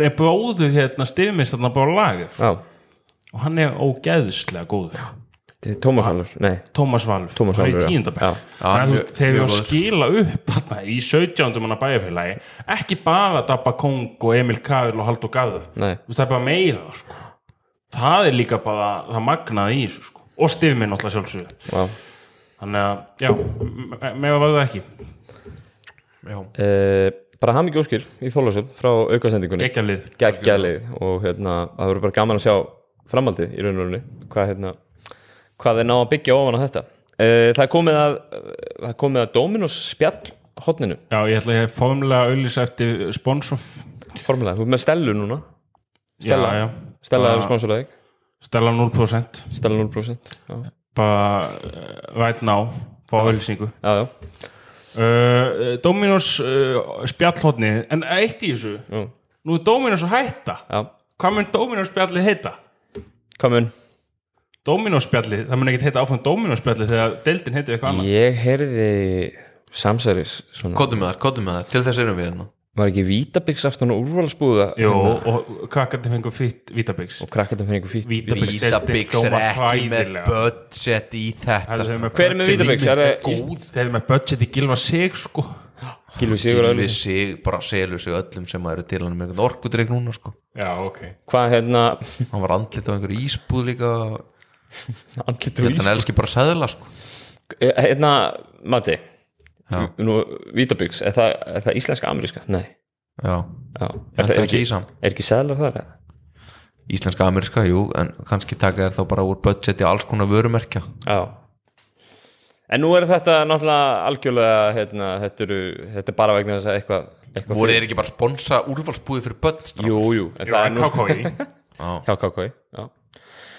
Speaker 4: nei, bróður hérna stifmist þarna bara lagið
Speaker 3: já
Speaker 4: og hann er ógeðslega góður
Speaker 3: Þetta er Tómas Hallur, nei,
Speaker 4: Tómas Valur,
Speaker 3: Tómas
Speaker 4: hann er
Speaker 3: Valur, já.
Speaker 4: í
Speaker 3: Já.
Speaker 4: tíundabæk
Speaker 5: Já,
Speaker 4: þegar
Speaker 5: mjög-
Speaker 4: við
Speaker 5: mjög
Speaker 4: að
Speaker 5: góður.
Speaker 4: skila upp hana, í 17. manna bæjarfélagi ekki bara Dabba Kong og Emil Kavil og Haldur Garð
Speaker 3: Nei.
Speaker 4: Þú veist, það er bara meira sko. það er líka bara það magnaði í þessu sko. og stifminn alltaf sjálfsögðu
Speaker 3: já
Speaker 4: þannig að, já, m- m- meira var það ekki
Speaker 5: Já,
Speaker 3: uh, bara hamingi óskir í þólasöfn frá aukasendingunni
Speaker 4: geggjalið
Speaker 3: geggjalið og hérna, það verður bara gaman að sjá framhaldið í raun og rauninu hvað, hérna, hvað er ná að byggja ofan á þetta uh, það er komið að eh, það er komið að Dominos spjall hotninu,
Speaker 4: já, ég ætla að ég formlega að auðlýsa eftir sponsor
Speaker 3: formulega, þú er með Stellu núna Stella,
Speaker 4: já, já.
Speaker 3: Stella
Speaker 5: Ah.
Speaker 3: er
Speaker 4: Bara-
Speaker 3: sponsoraði
Speaker 4: Stella 0%
Speaker 3: Stella 0% já,
Speaker 4: bara uh, right now fá auðlýsingu
Speaker 3: já, já,
Speaker 4: uh, Dominos uh, spjallhotni en eitt í þessu
Speaker 3: já,
Speaker 4: nú er Dominos að hætta
Speaker 3: já.
Speaker 4: hvað mun Dominos spjallið heita?
Speaker 3: komin,
Speaker 4: Dominos spjallið, það mun ekkert heita áfram Dominos spjallið þegar deildin heiti eitthvað annað
Speaker 3: ég heyrði samsæris svona,
Speaker 5: kóttum með þar, kóttum með þar, til þess erum við hérna
Speaker 3: var ekki vítabyggsaftan og úrvalsbúða hérna?
Speaker 4: Jó, og krakkandi fengur fýtt Vítabix
Speaker 3: og krakkandum fyrir einhver fít
Speaker 5: Vítabix er ekki með budget í þetta
Speaker 3: Hver er með Vítabix? Er það Ísland?
Speaker 4: Þeir eru með budget í gilva sig sko
Speaker 3: Gilvi Sigur
Speaker 5: Við sig, bara selur sig öllum sem að eru til hann með einhvern orkudrykk núna sko
Speaker 4: Já, ok
Speaker 3: Hvað hérna
Speaker 5: Hann var andlit á einhverju ísbúð líka
Speaker 3: Andlit
Speaker 5: Ég
Speaker 3: og
Speaker 5: held að hann elski bara sæðla sko
Speaker 3: Ísland Hérna, Mati
Speaker 5: Já.
Speaker 3: Nú, Vítabyggs, er, það- er það íslenska ameríska? Nei
Speaker 5: Já,
Speaker 3: Já.
Speaker 5: Er það ekki ísam?
Speaker 3: Er ekki sæðlar þar? eða?
Speaker 5: íslenska ameríska, jú En kannski taka þér þá bara úr budgeti alls konar vörumerkja
Speaker 3: Já En nú er þetta náttúrulega algjörlega hérna, þetta, eru, þetta er bara vegna þess að eitthvað, eitthvað
Speaker 5: Voru þeir ekki bara að sponsa úrvalsbúði fyrir börn?
Speaker 3: Jú, jú, en
Speaker 4: Já,
Speaker 3: það er
Speaker 4: en
Speaker 3: nú
Speaker 4: KKI
Speaker 3: Já, kákói Já,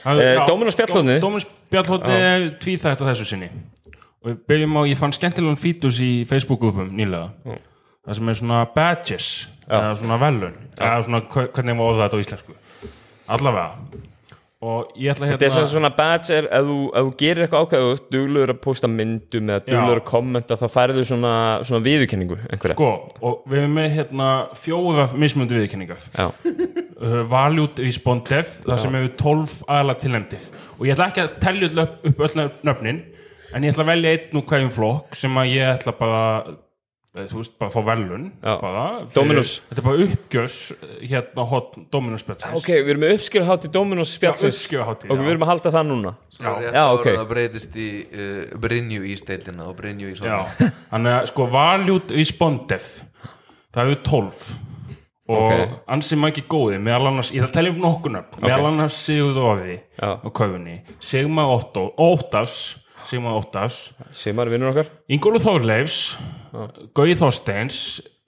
Speaker 3: Eh, Dominos spjallhornið.
Speaker 4: Dominos Spjallhóttið tvíð þetta þessu sinni og við byrjum á, ég fann skemmtilegan fítus í Facebook-grupum nýlega
Speaker 3: Mm.
Speaker 4: það sem er svona badges eða svona velun eða svona hva- hvernig var orðað þetta á íslensku allavega og ég ætla
Speaker 3: Þetta er sem
Speaker 4: hérna
Speaker 3: svona badge er ef þú, ef þú gerir eitthvað ákveðu duglur að posta myndum eða duglur að kommenta þá færðu svona, svona viðurkenningu einhverja
Speaker 4: sko, og við erum með hérna fjóra mismundu viðkynningar
Speaker 3: Já,
Speaker 4: uh, Valued Respondev þar sem hefur 12 aðla tilnæmdið og ég ætla ekki að tellja öll upp, upp öll nöfnin en ég ætla að velja einn úr hverjum flokk sem að ég ætla bara eh, þú veist, bara að fá velun
Speaker 3: Já.
Speaker 4: bara,
Speaker 3: Dominus.
Speaker 4: þetta er bara uppgjörs eh, hérna hot Dominus spjöldsins
Speaker 3: ok, við erum með uppskjöruhátti Dominos spjallsins
Speaker 4: uppskeruhátíð,
Speaker 3: Ok,
Speaker 4: já.
Speaker 3: við erum að halda það núna
Speaker 5: Rétt
Speaker 3: Já,
Speaker 5: áður
Speaker 3: ok.
Speaker 5: en Það breytist í uh, Brynju í steildina og Brynju í
Speaker 4: Já,
Speaker 5: svona
Speaker 4: þannig að sko Valued Respondev það hefur 12 og
Speaker 3: Ok.
Speaker 4: ansi mæki góði meðal annars, ég ætla að telja um nokkunar okay. meðal annars Sigurð Orði
Speaker 3: Já.
Speaker 4: og köfunni Sigmar Otto, Óttas Sigmar Óttas
Speaker 3: Simar vinnur okkar
Speaker 4: Ingólu Þorleifs Gauði Þorsteins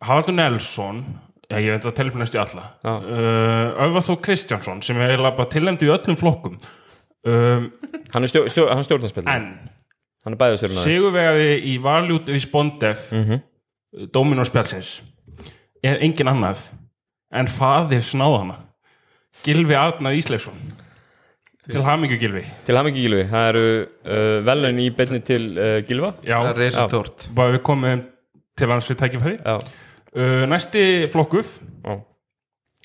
Speaker 4: Haraldur Nelson já, ég veit að telja upp næstu í alla
Speaker 3: Já.
Speaker 4: uh, Örvar Þór Kristjánsson sem er eiginlega bara tilnæmd í öllum flokkum um,
Speaker 3: Hann er stjó, stjó, hann stjórnarspil
Speaker 4: en
Speaker 3: Hann er bæðastjórnar
Speaker 4: sigurvegaði í Valjút við Spondef mm
Speaker 5: Mhm.
Speaker 4: -hmm. Dominor Spjallsins er engin annað en faðir snáðana Gilvi Arnar Ísleifsson til hamingju Gilvi
Speaker 3: Til hann ekki Gilvi, það eru uh, velun í beinni til uh, Gilva
Speaker 4: já,
Speaker 5: það er
Speaker 3: Já.
Speaker 5: reisastórt
Speaker 4: bara við komum til hans við tækifæri
Speaker 3: Já,
Speaker 4: uh, næsti flokkur
Speaker 3: já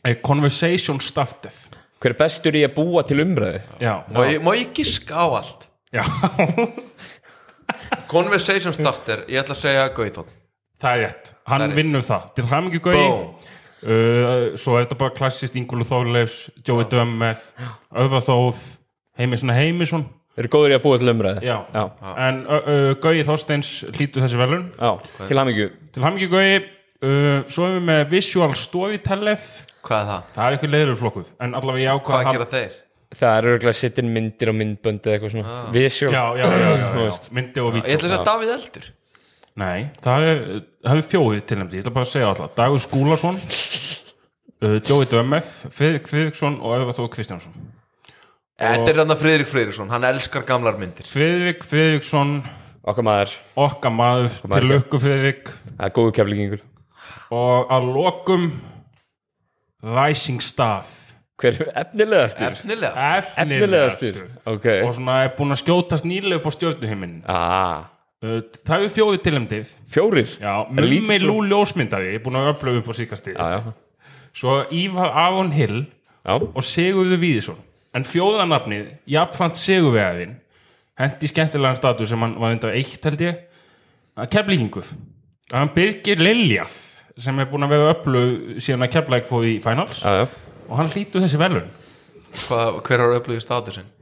Speaker 4: er Conversation Staftef
Speaker 3: Hver er bestur í að búa til umræðu?
Speaker 4: já,
Speaker 5: má ég, má ég giska á allt
Speaker 4: já
Speaker 5: Conversation starter, ég ætla að segja Gauðón
Speaker 4: það er rétt, hann
Speaker 5: Það er rétt.
Speaker 4: vinnur það til hamingju Gauði
Speaker 5: Bóm,
Speaker 4: Uh, svo er þetta bara klassist Ingúlu Þorleifs, Jói Dömmeth Öðvar Þóð, Heimisson Heimisson
Speaker 3: Eru góður í að búa til umræðu?
Speaker 4: Já.
Speaker 3: Já,
Speaker 4: en uh, uh, Gauði Þorsteins hlýtu þessi velun
Speaker 3: já. til hann ekki
Speaker 4: til hamingju Gauði, uh, svo erum við með Visual Storytellef
Speaker 5: hvað er það?
Speaker 4: það er eitthvað leiður flokkuð, en allavega ég ákvað
Speaker 5: Hvað
Speaker 4: að
Speaker 5: gera þeir?
Speaker 3: Það eru örugglega sittin myndir og myndbönd eða eitthvað svona Visual
Speaker 4: Já, já, já, já,
Speaker 3: Þú
Speaker 4: já,
Speaker 3: veist.
Speaker 4: já. myndi og
Speaker 5: Ég
Speaker 4: vít
Speaker 5: ætla að segja Davíð Eldur
Speaker 4: Nei, það er, það er fjóðið til þeim ég ætla bara að segja alltaf, Dagur Skúlason uh, Jói Dömmeth Friðrik Friðriksson og Öðvar Þóð Kristjánsson
Speaker 5: Þetta er hann að Friðrik Friðriksson, hann elskar gamlar myndir
Speaker 4: Friðrik Friðriksson
Speaker 3: Okkar maður,
Speaker 4: okkar maður
Speaker 3: maður,
Speaker 4: til lukku Friðrik
Speaker 3: það er góðu keflingingur
Speaker 4: og að lokum Rising Staff
Speaker 3: Hver er efnilegastur?
Speaker 5: Efnilega
Speaker 4: efnilegastur
Speaker 3: Efnilegastur, ok
Speaker 4: og svona er búin að skjótast nýlega upp á stjórnuheimin
Speaker 3: ah,
Speaker 4: það eru fjóði tilemdið
Speaker 3: Fjórir?
Speaker 4: Já,
Speaker 3: Er lítið
Speaker 4: Mummi
Speaker 3: fló-
Speaker 4: Lú ljósmyndaði, ég er búin að upplöfu upp á síkastíð
Speaker 3: Já, já,
Speaker 4: svo Ívar Aron Hill
Speaker 3: já
Speaker 4: og Sigurður Víðisson en fjóðanafnið, jafnfant Sigurvegaðin hendi skemmtilegan status sem hann var undan eitt held ég að keflingur að hann Birgir Liljaf sem er búin að vera upplöfu síðan að keflæk fóði í finals
Speaker 3: Já, já.
Speaker 4: og hann hlýtu þessi velun
Speaker 5: Hvað- Hver var upplöfið statusin?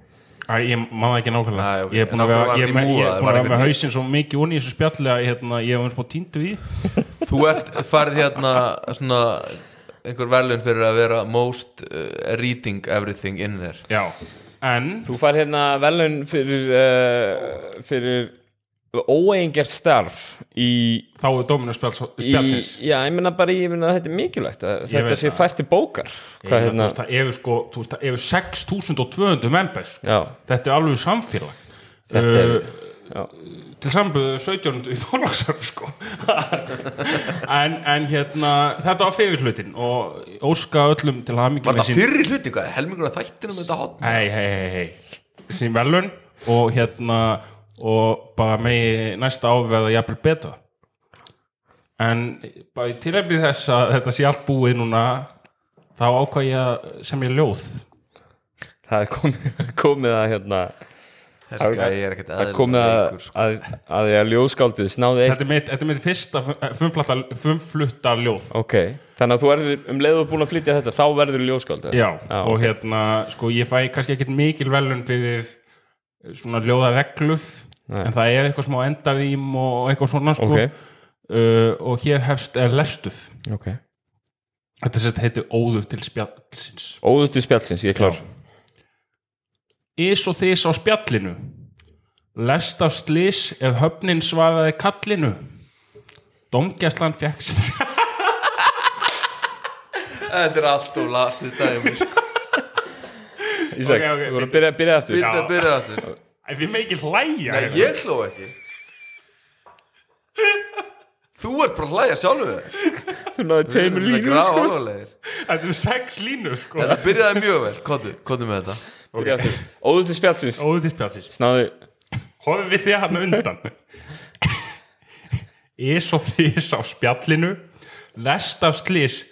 Speaker 4: Æ, ég man það ekki nákvæmlega
Speaker 5: Æ, ok.
Speaker 4: Ég er búin að
Speaker 5: Nákvæmlega
Speaker 4: vera, ég, er með- ég,
Speaker 5: remove-aður,
Speaker 4: er búin
Speaker 5: var
Speaker 4: að vera með
Speaker 5: einhver-
Speaker 4: hausinn svo mikið onni í þessu spjalli að hérna, ég hef eins og týndu í því.
Speaker 5: Þú ert farið hérna svona einhver verðlun fyrir að vera most uh, reading everything in there
Speaker 4: Já, en
Speaker 3: Þú fær hérna velun fyrir uh, fyrir óeingjart starf í,
Speaker 4: þá er dóminu
Speaker 3: í
Speaker 4: spjallsins
Speaker 3: já, ég meina bara, ég meina að þetta er mikilvægt að þetta
Speaker 4: veit
Speaker 3: sé
Speaker 4: það.
Speaker 3: fært til bókar hvað
Speaker 4: Ég meina,
Speaker 3: hérna,
Speaker 4: þú veist, það eru sko, þú veist, það eru 6200 members, sko.
Speaker 3: já,
Speaker 4: þetta er alveg samfélag
Speaker 3: þetta er
Speaker 4: uh, til samböðu 1700 í Þorlagsarf sko. en, en hérna þetta var fyrir hlutin og óska öllum til hamingi
Speaker 5: Var það fyrri hluti, hvað? Helmingur af þættinum þetta hot
Speaker 4: hei, hei, hei, hei sín velun og hérna og bara megi næsta áverða jafnvel betra en bara í tilefni þess að þetta sé allt búið núna þá ákvað ég að semja ljóð
Speaker 3: það er komið, komið að hérna
Speaker 5: Þessi gæi er ekkert
Speaker 3: það er komið að,
Speaker 5: eðlilega veikur, sko.
Speaker 3: að, að því að ljóðskáldið snáði eitt
Speaker 4: þetta er mitt, þetta er mitt fyrsta eh, fumflutta, fumflutta ljóð
Speaker 3: ok, þannig að þú verður um leiðu búin að flytja þetta, þá verður ljóðskáldið
Speaker 4: já,
Speaker 3: já
Speaker 4: og
Speaker 3: ok.
Speaker 4: hérna, sko ég fæ kannski ekkert mikil velun fyrir eh, svona ljóða regluð en það er eitthvað smá endarím og eitthvað svona sko
Speaker 3: Ok.
Speaker 4: uh, og hér hefst er lestuð
Speaker 3: ok,
Speaker 4: þetta sett heitir óður til spjallsins
Speaker 3: óður til spjallsins, ég er klár
Speaker 4: Ís og þís á spjallinu Lest af slís ef höfnin svaraði kallinu Dómgæslan fekk sér
Speaker 5: Þetta er allt og lasið dæmi sko.
Speaker 3: Ísak,
Speaker 4: Ok, ok,
Speaker 3: þú voru
Speaker 4: bíddu.
Speaker 3: að byrja, byrja aftur
Speaker 5: Byrja að byrja þetta
Speaker 4: Ef ég meikil hlæja hérna.
Speaker 5: Nei, ég hló ekki Þú ert bara að hlæja sjálfum þér.
Speaker 3: þú náðu
Speaker 5: Við erum
Speaker 3: tveimur
Speaker 5: að
Speaker 3: línur
Speaker 5: grafa
Speaker 3: sko.
Speaker 5: alvarlegir.
Speaker 4: Þetta er sex línur sko
Speaker 5: Þetta byrjaði mjög vel, kottu, kottu með þetta
Speaker 3: Byrja aftur. óður til spjallsins,
Speaker 4: Óður til spjallsins
Speaker 3: snáði
Speaker 4: Hóðum við þið hann undan Ís og þís á spjallinu Lest af slís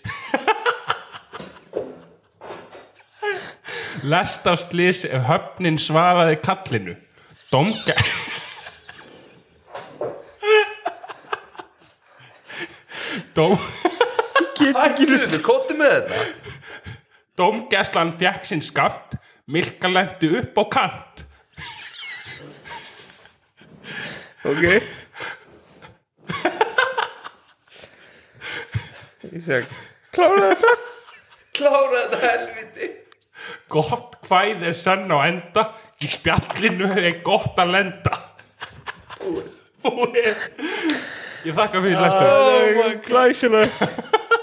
Speaker 4: Lest af slís ef höfnin svaraði kallinu Dómgæ Dóm
Speaker 5: Æ, Kristi, Kottu með þetta
Speaker 4: Dómgæslan fekk sinn skamt Milka lendi upp á kant
Speaker 3: Ok Ísak Klára þetta
Speaker 5: Klára þetta helviti
Speaker 4: Gott hvæð er senn á enda Í spjallinu er gott að lenda Búið Ég þakka fyrir lestu
Speaker 5: Oh my God.
Speaker 3: Glæsileg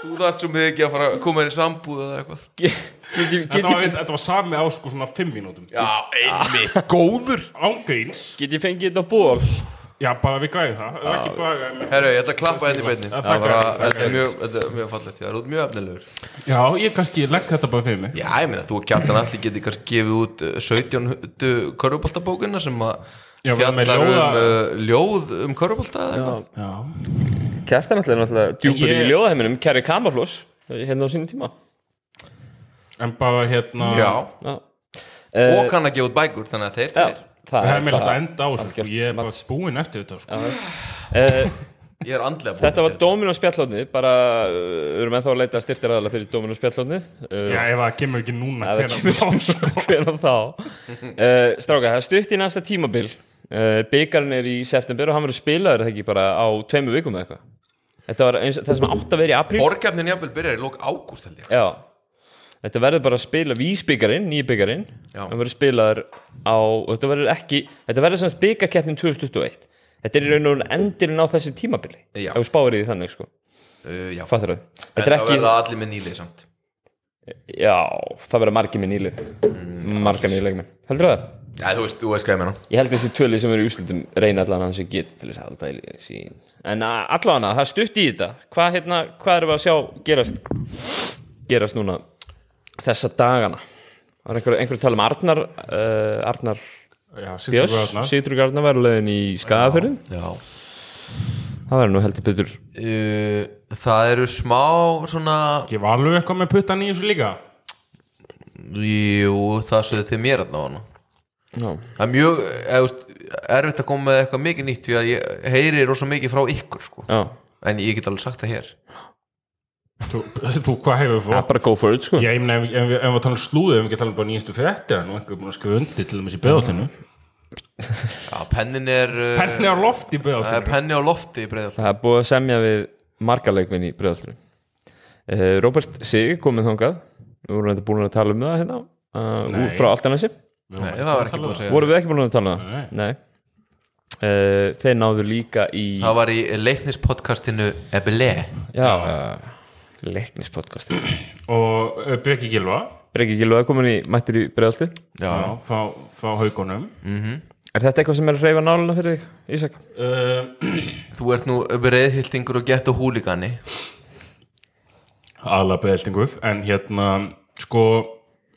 Speaker 5: Þú þarft svo mikið að fara að koma inn í sambúð eða eitthvað
Speaker 3: get, get, get,
Speaker 4: Þetta
Speaker 3: ég,
Speaker 4: var,
Speaker 3: fengið-
Speaker 4: þetta var sami á sko svona fimm mínútum
Speaker 5: Já, einmitt, góður
Speaker 4: Ángríns
Speaker 3: get ég fengið þetta ból
Speaker 4: Já, bara við græðum það Það er ekki bara
Speaker 5: Herru, ég ætla að klappa henni í beinni
Speaker 4: Já,
Speaker 5: Það var að,
Speaker 4: þakka,
Speaker 5: þetta er
Speaker 4: þakka.
Speaker 5: mjög, þetta er mjög fallegt Það er út mjög efnilegur
Speaker 4: Já, ég kannski legg þetta bara fyrir mig
Speaker 5: Já, ég meina, þú og Kjartan Alli geti kannski gefið út uh, 17 körfuboltabókina sem að
Speaker 4: Já, við erum með
Speaker 5: fjallar um
Speaker 4: ljóða-
Speaker 5: uh, ljóð um körfubolta eða eitthvað
Speaker 4: Já,
Speaker 3: Kjartan alltaf er náttúrulega djúpur
Speaker 4: Ég-
Speaker 3: í ljóðaheiminum Kjæri Kamafloss hérna á sínum tíma
Speaker 4: en bara hérna
Speaker 5: Já, Eh,
Speaker 3: Já, Eh,
Speaker 5: og kann að gefa út bækur þannig að
Speaker 3: já
Speaker 5: þeir tveir
Speaker 4: Það
Speaker 3: bara-
Speaker 4: er meðlega að enda á þessu sko.
Speaker 3: algjört
Speaker 4: Ég er bara
Speaker 3: mat.
Speaker 4: búinn eftir þetta sko.
Speaker 3: Eh,
Speaker 5: Ég er andlega búin
Speaker 3: Þetta var
Speaker 5: til
Speaker 3: Dominó spjallóni bara uh, við erum ennþá að leita styrtir aðalega fyrir Eh, Dominó spjallóni
Speaker 4: Já, ef það kemur ekki núna
Speaker 3: það
Speaker 4: hvenær
Speaker 3: kemur
Speaker 4: þá, sko?
Speaker 3: hvernig þá uh, Stráka, það er stutt í næsta tímabil uh, byggarinn er í september og hann verður spilaður er það ekki bara á tveimu vikum eða eitthvað Þetta var eins, það sem átt að vera í apríl
Speaker 5: Forkefnin jafnvel byrjar í lók ágúst held ég
Speaker 3: Já Þetta verður bara að spila vísbyggarinn, nýbyggarinn
Speaker 5: Já.
Speaker 3: hann verður spilaður á og þetta verður ekki, þetta verður sem byggakeppnin 2021 Þetta er í raun og raun endirinn á þessi tímabili
Speaker 5: Já.
Speaker 3: ef þú spáir í því þannig sko,
Speaker 5: uh, Já,
Speaker 3: fattur þau
Speaker 5: en
Speaker 3: Þetta er
Speaker 5: það
Speaker 3: ekki,
Speaker 5: verða allir með nýlið samt
Speaker 3: já, það verður margir með nýlið margir með leikmenn, heldur það?
Speaker 5: Já, þú veist, þú veist hvað ég menna
Speaker 3: Ég held þessi tölið sem eru í úslutum reyna allan hans sem getur til þess að halda í sín En að- allavega, það er stutt í þetta Hvað, hérna, hvað erum við að sjá gerast gerast núna þessa dagana Var einhver, einhver að tala um Arnar uh, Arnar
Speaker 4: Já, hérna.
Speaker 3: Björs
Speaker 4: Sigurður
Speaker 3: Sigurður Arnar var leiðin í Skagafjörðin
Speaker 5: Já
Speaker 3: Það verður nú heldur betur
Speaker 5: Uh, það eru smá svona
Speaker 4: Ekki valur eitthvað með puttan í þessu líka
Speaker 5: jú, það sögðu þið mér að hana
Speaker 3: Já,
Speaker 5: það er mjög eða, þú veist, erfitt að koma með eitthvað mikið nýtt því að ég heyri rosa mikið frá ykkur sko.
Speaker 3: já.
Speaker 5: en ég get alveg sagt það hér
Speaker 4: Þú, þú hvað
Speaker 3: Það
Speaker 4: hefur
Speaker 3: er
Speaker 4: fótt?
Speaker 3: bara go for it sko
Speaker 4: Já, ég meina, ef, ef, við- ef við talum slúðu, ef við ekki talum bara nýjastu frétti en nú einhver er búin að skrifa undir til dæmis í
Speaker 5: Mm.
Speaker 4: beðaltinu
Speaker 5: já, pennin er uh,
Speaker 4: Penni á loft í
Speaker 5: það er
Speaker 4: beðaltinu
Speaker 5: penni á lofti í breiðall
Speaker 3: Það er búið að semja við margarleikminn í bregðallinu uh, Robert Sig komið þangað Við vorum þetta búin að tala um það hérna uh,
Speaker 4: Nei.
Speaker 3: Frá Altanesi
Speaker 5: Nei, það
Speaker 4: um
Speaker 5: var ekki búin að segja
Speaker 3: Vorum við ekki búin að tala um það? Nei uh, Þeir náðu líka í
Speaker 5: það var í leiknispodcastinu Ebele
Speaker 3: Já uh, Leiknispodcasti
Speaker 4: Og uh, Beki Gilva
Speaker 3: Breki Gilvaði komin í mættur í bregðaldi
Speaker 4: Já, frá, frá haugunum
Speaker 5: Mm.
Speaker 3: Er þetta eitthvað sem er að reyfa nála fyrir þig, Ísak?
Speaker 4: uh,
Speaker 5: þú ert nú breiðhildingur og gett og húligani
Speaker 4: Aðla beðaltinguð En hérna, sko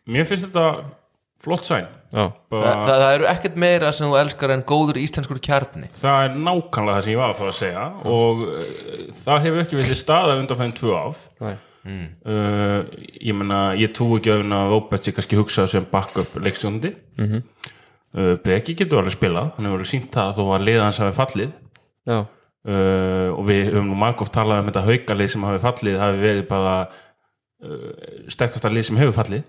Speaker 4: Mér finnst þetta flott sæn
Speaker 3: Já
Speaker 5: Þa,
Speaker 4: bara,
Speaker 5: það, það eru ekkert meira sem þú elskar en góður íslenskur kjarni
Speaker 4: Það er nákvæmlega það sem ég var að fara að segja
Speaker 5: Mm.
Speaker 4: og uh, það hefur ekki verið staða undanfæðin tvö áf
Speaker 3: Nei.
Speaker 4: uh, ég meina, ég trú ekki öfn að Robert sér kannski hugsað sem backup leikstjóndi mm uh, Beggi getur alveg spilað, hann hefur alveg sínt það þó að liða hans hafi fallið
Speaker 3: Já
Speaker 4: uh, og við höfum nú mangoft talað um þetta haukalið sem hafi fallið hafi verið bara uh, sterkasta lið sem hefur fallið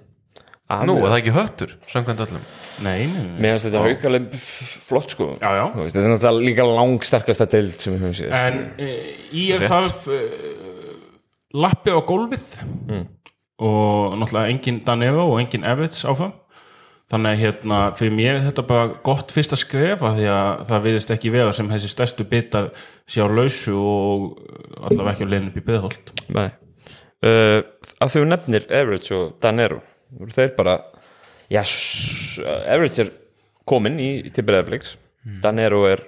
Speaker 5: nú, er það ekki höttur, samkvæmt öllum
Speaker 4: Nei, nei, nei.
Speaker 3: Mér finnst þetta haukaleg flott sko
Speaker 4: Já, já.
Speaker 3: Þú veist, Þetta er náttúrulega líka langsterkasta deild sem við höfum
Speaker 5: Eh,
Speaker 3: séð
Speaker 4: En uh, ég þarf uh, lappi á gólfið og náttúrulega engin Danero og engin Evits áfram þannig að hérna, fyrir mér er þetta bara gott fyrst að skrefa því að það virðist ekki vera sem þessi stærstu bitar sé á lausu og allavega ekki á leiðin upp í byggðholt
Speaker 3: Nei uh, Af því hún nefnir Everett og Danero voru þeir bara já, s- Everett er komin í, til Breiðabliks
Speaker 5: Hmm.
Speaker 3: Danero er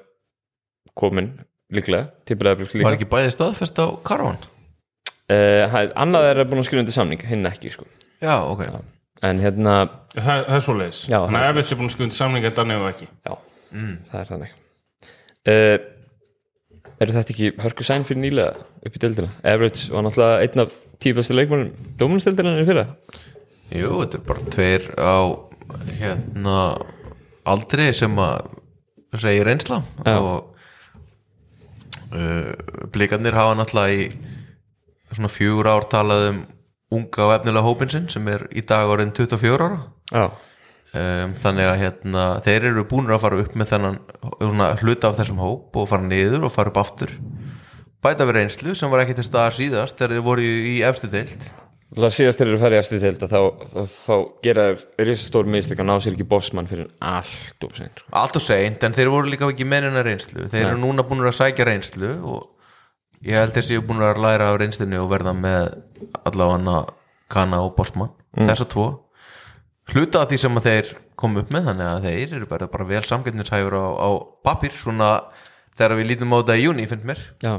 Speaker 3: komin líklega til Breiðabliks líka
Speaker 5: var ekki bæði staðfest á Karvan
Speaker 3: uh, hæ- Annað er búin að skrifa undir samning hinn ekki sko
Speaker 5: já, ok
Speaker 3: en hérna,
Speaker 4: Það, það er svo leiðis,
Speaker 3: Já,
Speaker 4: þannig
Speaker 3: það
Speaker 4: að
Speaker 3: er
Speaker 4: Evits er búin að skunda samlinga Danero ekki
Speaker 3: já,
Speaker 5: Mm.
Speaker 3: það er þannig uh, eru þetta ekki hörku sæn fyrir nýlega upp í deildina Everett var náttúrulega einn af tíu bestu leikmannum dómunsteldina en fyrra
Speaker 5: Jú, þetta er bara tveir á hérna aldri sem að segja reynsla og uh, blikarnir hafa náttúrulega í svona fjögur ár talað um unga og efnilega hópin sinn sem er í dag orðin 24 ára
Speaker 3: já,
Speaker 5: um, þannig að hérna, þeir eru búinir að fara upp með þennan svona, hluta af þessum hóp og fara niður og fara upp aftur bæta við reynslu sem var ekki til staðar síðast þegar þið voru í efstu deild
Speaker 3: Það síðast þeir eru að fara í eftir til þetta þá, þá, þá gera þeir risastór mistök að ná sér ekki bossmann fyrir allt og sen sko.
Speaker 5: allt og seint en þeir voru líka ekki menina reynslu þeir eru núna búin að sækja reynslu og Ég held þessi ég er búin að læra á reynslunni og verða með allavega Kana og Bosman
Speaker 4: Mm.
Speaker 5: þessa tvo hluta af því sem að þeir komu upp með þannig að þeir eru bara, bara vel samgætnishæfur á, á papir svona þegar við lítum á þetta í júni finnst mér
Speaker 3: já,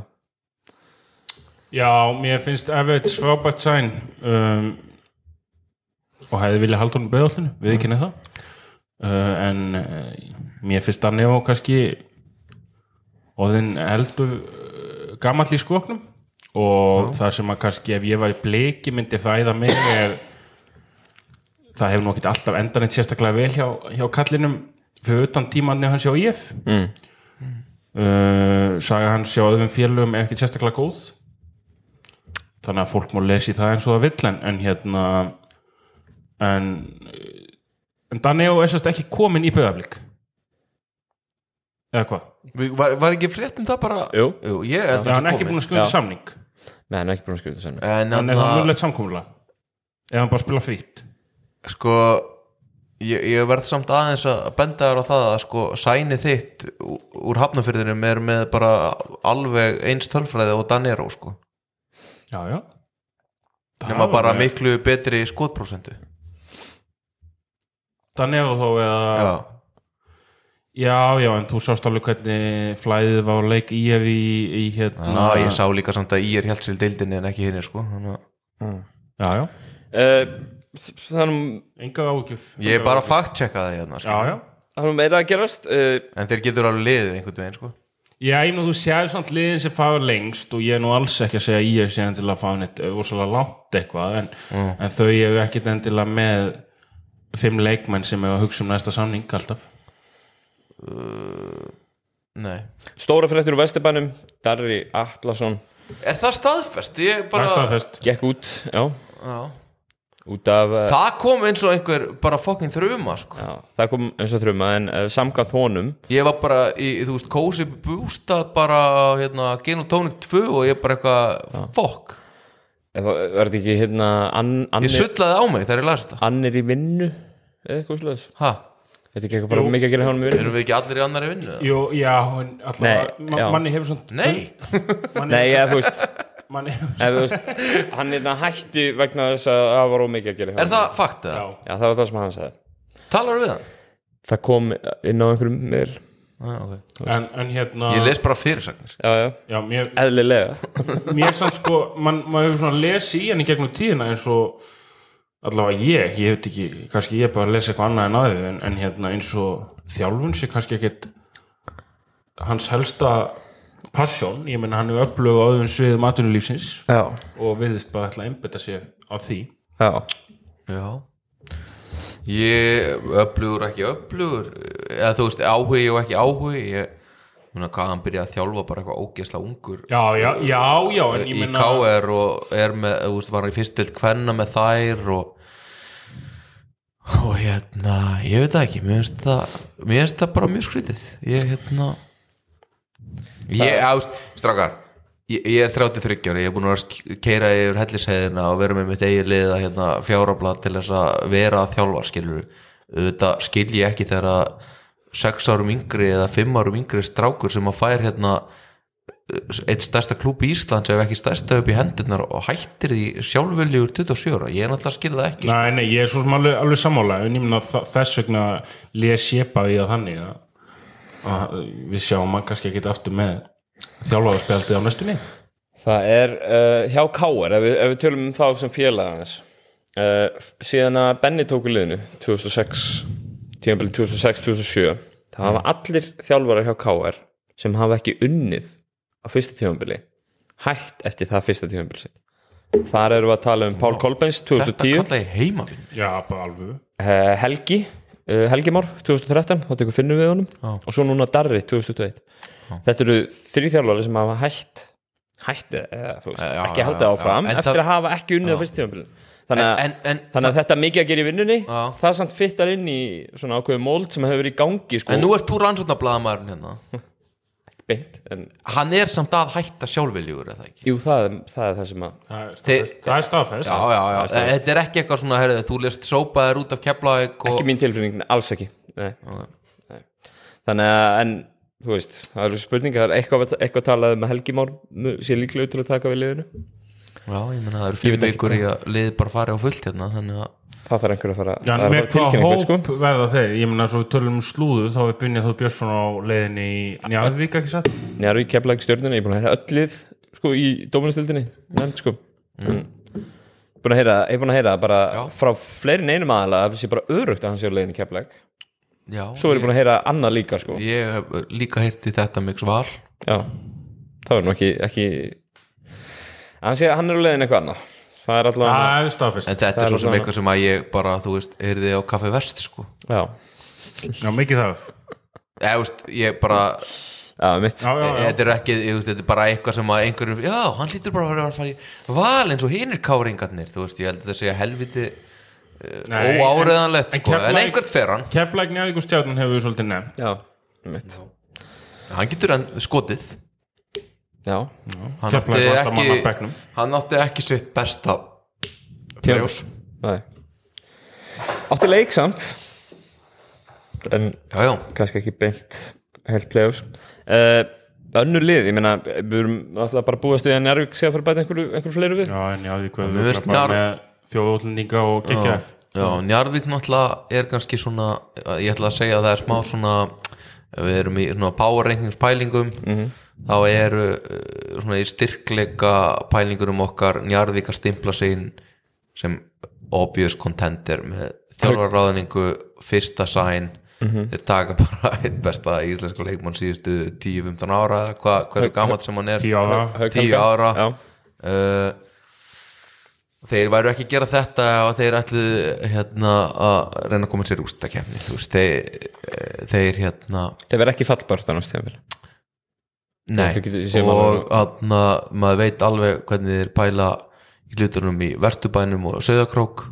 Speaker 4: Já, mér finnst Everts frábært sæn um, og hefði vilja halda honum beðallinu, við ekki nefn það uh, en uh, mér finnst að nefn kannski orðin heldur uh, gamall í skoknum og það sem að kannski ef ég var í bliki myndi fæða mig er það hefur nú ekki alltaf endan eitt sérstaklega vel hjá, hjá kallinum fyrir utan tímanni hans hjá IF mm. uh, saga hans hjá öðrum félögum er ekki sérstaklega góð þannig að fólk má lesi það eins og það vill en, en hérna en en Daneo er sérst ekki komin í bauðaflik eða hvað
Speaker 5: Við- var, var ekki frétt um það bara
Speaker 3: Jú.
Speaker 5: ég held
Speaker 4: það er hann ekki búin að skrifa
Speaker 3: Já.
Speaker 4: samning
Speaker 3: nei, hann er ekki búin að skrifa þessu
Speaker 5: en
Speaker 4: þannig að það er
Speaker 5: þarna-
Speaker 4: mjöglega samkomulega ef hann bara spila frýtt
Speaker 5: sko ég, ég verð samt aðeins að benda þér á það að sko sæni þitt ú- úr hafnafyrðinum er með bara alveg eins tölfræði og Danero sko
Speaker 4: já, já Það
Speaker 5: nema
Speaker 4: var
Speaker 5: bara
Speaker 4: með-
Speaker 5: miklu betri skotprósentu
Speaker 4: Daneo þó eða já.
Speaker 5: já,
Speaker 4: já, en þú sást alveg hvernig flæðið var á leik í ef í, í hérna
Speaker 5: Ná, ég sá líka samt að ég er hjálpsil deildinni en ekki henni sko Þannig að
Speaker 4: já, já
Speaker 3: uh, þannig
Speaker 4: engar ágjuf
Speaker 5: ég er bara að fact-checka það hérna sko.
Speaker 4: já, já
Speaker 3: hann er meira að gerast uh,
Speaker 5: en þeir getur alveg liðið einhvern veginn sko
Speaker 4: Já, ég meina þú séð samt liðin sem fara lengst og ég er nú alls ekki að segja ég er séðan til að fá neitt ósala langt eitthvað en,
Speaker 5: Mm.
Speaker 4: en þau eru ekkit endilega með fimm leikmenn sem eru að hugsa um næsta samning alltaf
Speaker 5: Nei.
Speaker 3: stóra fréttur úr Vesturbænum Darri Atlason
Speaker 5: er það staðfest? Ég
Speaker 4: Það
Speaker 5: bara...
Speaker 4: er staðfest
Speaker 3: gekk út, já,
Speaker 5: Já.
Speaker 3: út af uh,
Speaker 5: það kom eins og einhver bara fokkin þruma sko.
Speaker 3: já, það kom eins og þrjum en uh, samkvæmt honum
Speaker 5: ég var bara í, í, þú veist, kósi bústað bara hérna, gin og tónik 2 og ég bara eitthvað fokk,
Speaker 3: ef- eh, var þetta ekki hérna an,
Speaker 5: ég
Speaker 3: annir,
Speaker 5: sullaði á mig þegar ég las þetta
Speaker 3: annir í vinnu eða eitthvað slags
Speaker 5: ha,
Speaker 3: þetta ekki eitthvað bara mikið að gera hjá honum í vinnu
Speaker 5: erum við ekki allir í annari vinnu? eða?
Speaker 4: Jú, já, en alltaf
Speaker 3: Nei,
Speaker 4: ma
Speaker 3: já.
Speaker 4: manni hefur svona
Speaker 5: Nei,
Speaker 4: manni
Speaker 3: nei,
Speaker 4: hefur
Speaker 3: eða þú veist,
Speaker 4: svona- manni hefur svona
Speaker 3: eða, þú veist hann hérna hætti vegna þess að það var ómikið að gera hjá
Speaker 5: er
Speaker 3: honum
Speaker 5: það fakt
Speaker 4: Já,
Speaker 5: eða?
Speaker 3: já, það var það sem hann sagði
Speaker 5: Talar við hann?
Speaker 3: það kom inn á einhverjum mér
Speaker 5: Ah, okay.
Speaker 4: en, en hérna
Speaker 5: Ég les bara fyrirsagnir
Speaker 3: já, já,
Speaker 4: Já, mér,
Speaker 3: eðlilega
Speaker 4: mér samt sko mann man hefur svona lesið í henni gegnum tíðina eins og allavega ég, ég veit ekki kannski ég er bara að lesa eitthvað annað en aðeins en, en hérna eins og þjálfun sé kannski ekkit hans helsta passion, ég menn hann er upplöfu á öðvun sviðum atvinnulífsins
Speaker 3: já,
Speaker 4: og viðist bara ætla að einbetta sér á því
Speaker 3: já,
Speaker 5: Já Ég öflugur ekki öflugur eða þú veist áhugi og ekki áhugi ég meina hvað hann byrjaði að þjálfa bara eitthvað ógesla ungur
Speaker 4: Já, já, já, já en ég
Speaker 5: í
Speaker 4: menna
Speaker 5: KR og er með þú veist var hann í fyrst til kvenna með þær og og hérna ég veit það ekki mér finnst það, mér finnst það bara mjög skrítið ég hérna ég ást, strákar ég, ég er 33 ára, ég er búin að keira yfir hellisæðina og vera með mitt eigin lið að hérna, fjárabla til þess að vera að þjálfa skilur auðvitað skil ég ekki þegar að 6 árum yngri eða 5 árum yngri strákur sem að fær hérna eitt stærsta klúb í Íslands ef ekki stærsta upp í hendurnar og hættir því sjálfvöljugur 27 ára, ég er náttúrulega að skilja það ekki sko.
Speaker 4: Nei, nei, ég er svo sem alveg, alveg sammála en ég menna þess vegna les ég bara í það þannig að, að við sjáum hann kannski ekkit aftur með þjálfaðarspjaldið á næstunni
Speaker 3: það er uh, hjá Káar ef, við- ef við tölum um þá sem félagans uh, síðan að Benny tóku liðinu 2006 tíðanbili 2006-2007 það hafa allir þjálfarar hjá Káar sem hafa ekki unnið á fyrsta tíðanbili hætt eftir það fyrsta tíðanbili sitt þar erum við að tala um Pál Kolbens
Speaker 5: þetta
Speaker 3: 2010
Speaker 5: kalla ég heimavinn
Speaker 4: Já, bara alveg
Speaker 3: Eh, Helgi uh, Helgi Már 2013, þá tekur finnum við honum
Speaker 5: Já.
Speaker 3: og svo núna Darri 2021 þetta eru þrýþjálfari sem hafa hætt hætt, eða, þú veist,
Speaker 5: Eh, Já, já,
Speaker 3: ekki haldið
Speaker 5: já, já.
Speaker 3: áfram
Speaker 5: En
Speaker 3: eftir
Speaker 5: það-
Speaker 3: að hafa ekki unnið á fyrst tímabilin þannig, að-
Speaker 5: En- en- en
Speaker 3: þannig að þetta mikið að gera í vinnunni
Speaker 5: Já.
Speaker 3: það samt fittar inn í svona ákveðu móld sem hefur verið í gangi sko,
Speaker 5: en nú ert þú rannsóknarbladamaðurinn hérna
Speaker 3: beint, en
Speaker 5: hann er samt að hætta sjálfvöljugur eða ekki
Speaker 3: jú, það, er- það er það sem að
Speaker 4: Það er staðfest, það er staðfest.
Speaker 5: já, já, já, þetta er ekki eitthvað svona herrið, þú lest sópaðir út af keflaðik og
Speaker 3: ekki mín tilfinning, alls ekki Nei. Nei. þannig að en þú veist, það eru spurningar eitthvað, eitthvað talaði með Helgi Már mu- sé líklega til að taka við liðinu
Speaker 5: Já, ég menna það
Speaker 3: Ég
Speaker 5: eru fimm
Speaker 3: veit ekki
Speaker 5: vikur í að liði bara fari á fullt hérna þannig að
Speaker 3: það þarf einhver að fara
Speaker 4: Já,
Speaker 3: það
Speaker 4: en
Speaker 3: er
Speaker 4: með
Speaker 3: bara
Speaker 4: hvaða
Speaker 3: tilkynningar, sko.
Speaker 4: hóp
Speaker 5: sko.
Speaker 4: verða þeir? Ég meina, svo við tölum um slúðu, þá er Brynja Þór Björnsson á leiðinni í Njarðvík, ekki satt?
Speaker 3: Njárvík keflaði stjórnuna, ég er búin að heyra öll lið sko í dóminastildinni, nefnd sko mm. búin að heyra, ég er búin að heyra bara
Speaker 5: Já.
Speaker 3: frá fleiri en einum aðalega það sé bara örugt að hann sé á leiðinu keflag
Speaker 5: já,
Speaker 3: svo er ég búin að heyra annað líka sko
Speaker 5: ég, ég hef líka heyrti þetta mjög sval
Speaker 3: já, það er nú ekki, ekki... hann sé að hann er á leiðinu eitthvað annað það er
Speaker 4: Já,
Speaker 3: allavega
Speaker 4: það er staðfest.
Speaker 5: en þetta
Speaker 3: Það
Speaker 5: er
Speaker 3: er
Speaker 5: svo sem
Speaker 3: svona-
Speaker 5: eitthvað sem að ég bara, þú veist, heyrði á kaffi vest sko,
Speaker 3: já,
Speaker 4: Já, mikið það.
Speaker 5: eða, þú veist, ég bara e,
Speaker 3: já, mitt
Speaker 4: Já, já, já.
Speaker 5: þetta er ekki, ég, þú veist, þetta er bara eitthvað sem að einhverjum, já, hann lítur bara að vera að fara í val eins og hinir káringarnir þú veist, ég held að þetta sé að helviti
Speaker 4: Nei,
Speaker 5: óáreðanlegt, sko, en
Speaker 4: Keflavík-
Speaker 5: einhvern fer hann.
Speaker 4: Keflavík, Njarðvík og stjárnum hefur við svolítið nefn.
Speaker 3: já, mitt
Speaker 5: hann getur hann skotið
Speaker 3: já,
Speaker 4: Mm.
Speaker 5: hann átti
Speaker 4: Keflavík vantar mann að
Speaker 5: ekki,
Speaker 4: bekknum.
Speaker 5: hann átti ekki sitt besta
Speaker 3: Tímabil. nei átti leik samt en
Speaker 5: já, já,
Speaker 3: kannski ekki beint heilt play-offs uh, önnur lið, ég meina við erum alltaf bara að búast við að Njárvík sé að fara að bæta einhverju, einhverju fleiru við
Speaker 4: Já, en Njarðvík
Speaker 5: Mér
Speaker 4: verður
Speaker 5: finnst
Speaker 4: bara
Speaker 5: Njar-
Speaker 4: með fjóðutlendinga og
Speaker 5: já,
Speaker 4: KKF.
Speaker 5: já, Njarvík náttúrulega er kannski svona ég ætla að segja að það er smá svona ef við erum í svona power rankings pælingum
Speaker 4: Mhm.
Speaker 5: þá eru uh, svona í styrkleika pælingurum okkar Njarvík að stimpla sig inn sem obvious contender með þjálfarráðningu fyrsta sæn
Speaker 4: Mhm.
Speaker 5: þeir taka bara eitt besta íslenska leikmann síðustu 10-15 ára eða hva, hversu gamalt sem hann er
Speaker 4: Tíu ára.
Speaker 3: Hauk
Speaker 5: tíu
Speaker 3: Helga.
Speaker 5: ára
Speaker 3: já,
Speaker 5: uh, þeir væru ekki að gera þetta og þeir ætlu hérna, að reyna að koma sér úst að kemni veist, þeir, eh, þeir hérna
Speaker 3: það verður ekki fallbart þannig að
Speaker 5: nei,
Speaker 3: Þú getur- séu
Speaker 5: og
Speaker 3: maður-
Speaker 5: hérna, maður veit alveg hvernig þeir pæla í hlutunum í Verstubænum og Söðakrók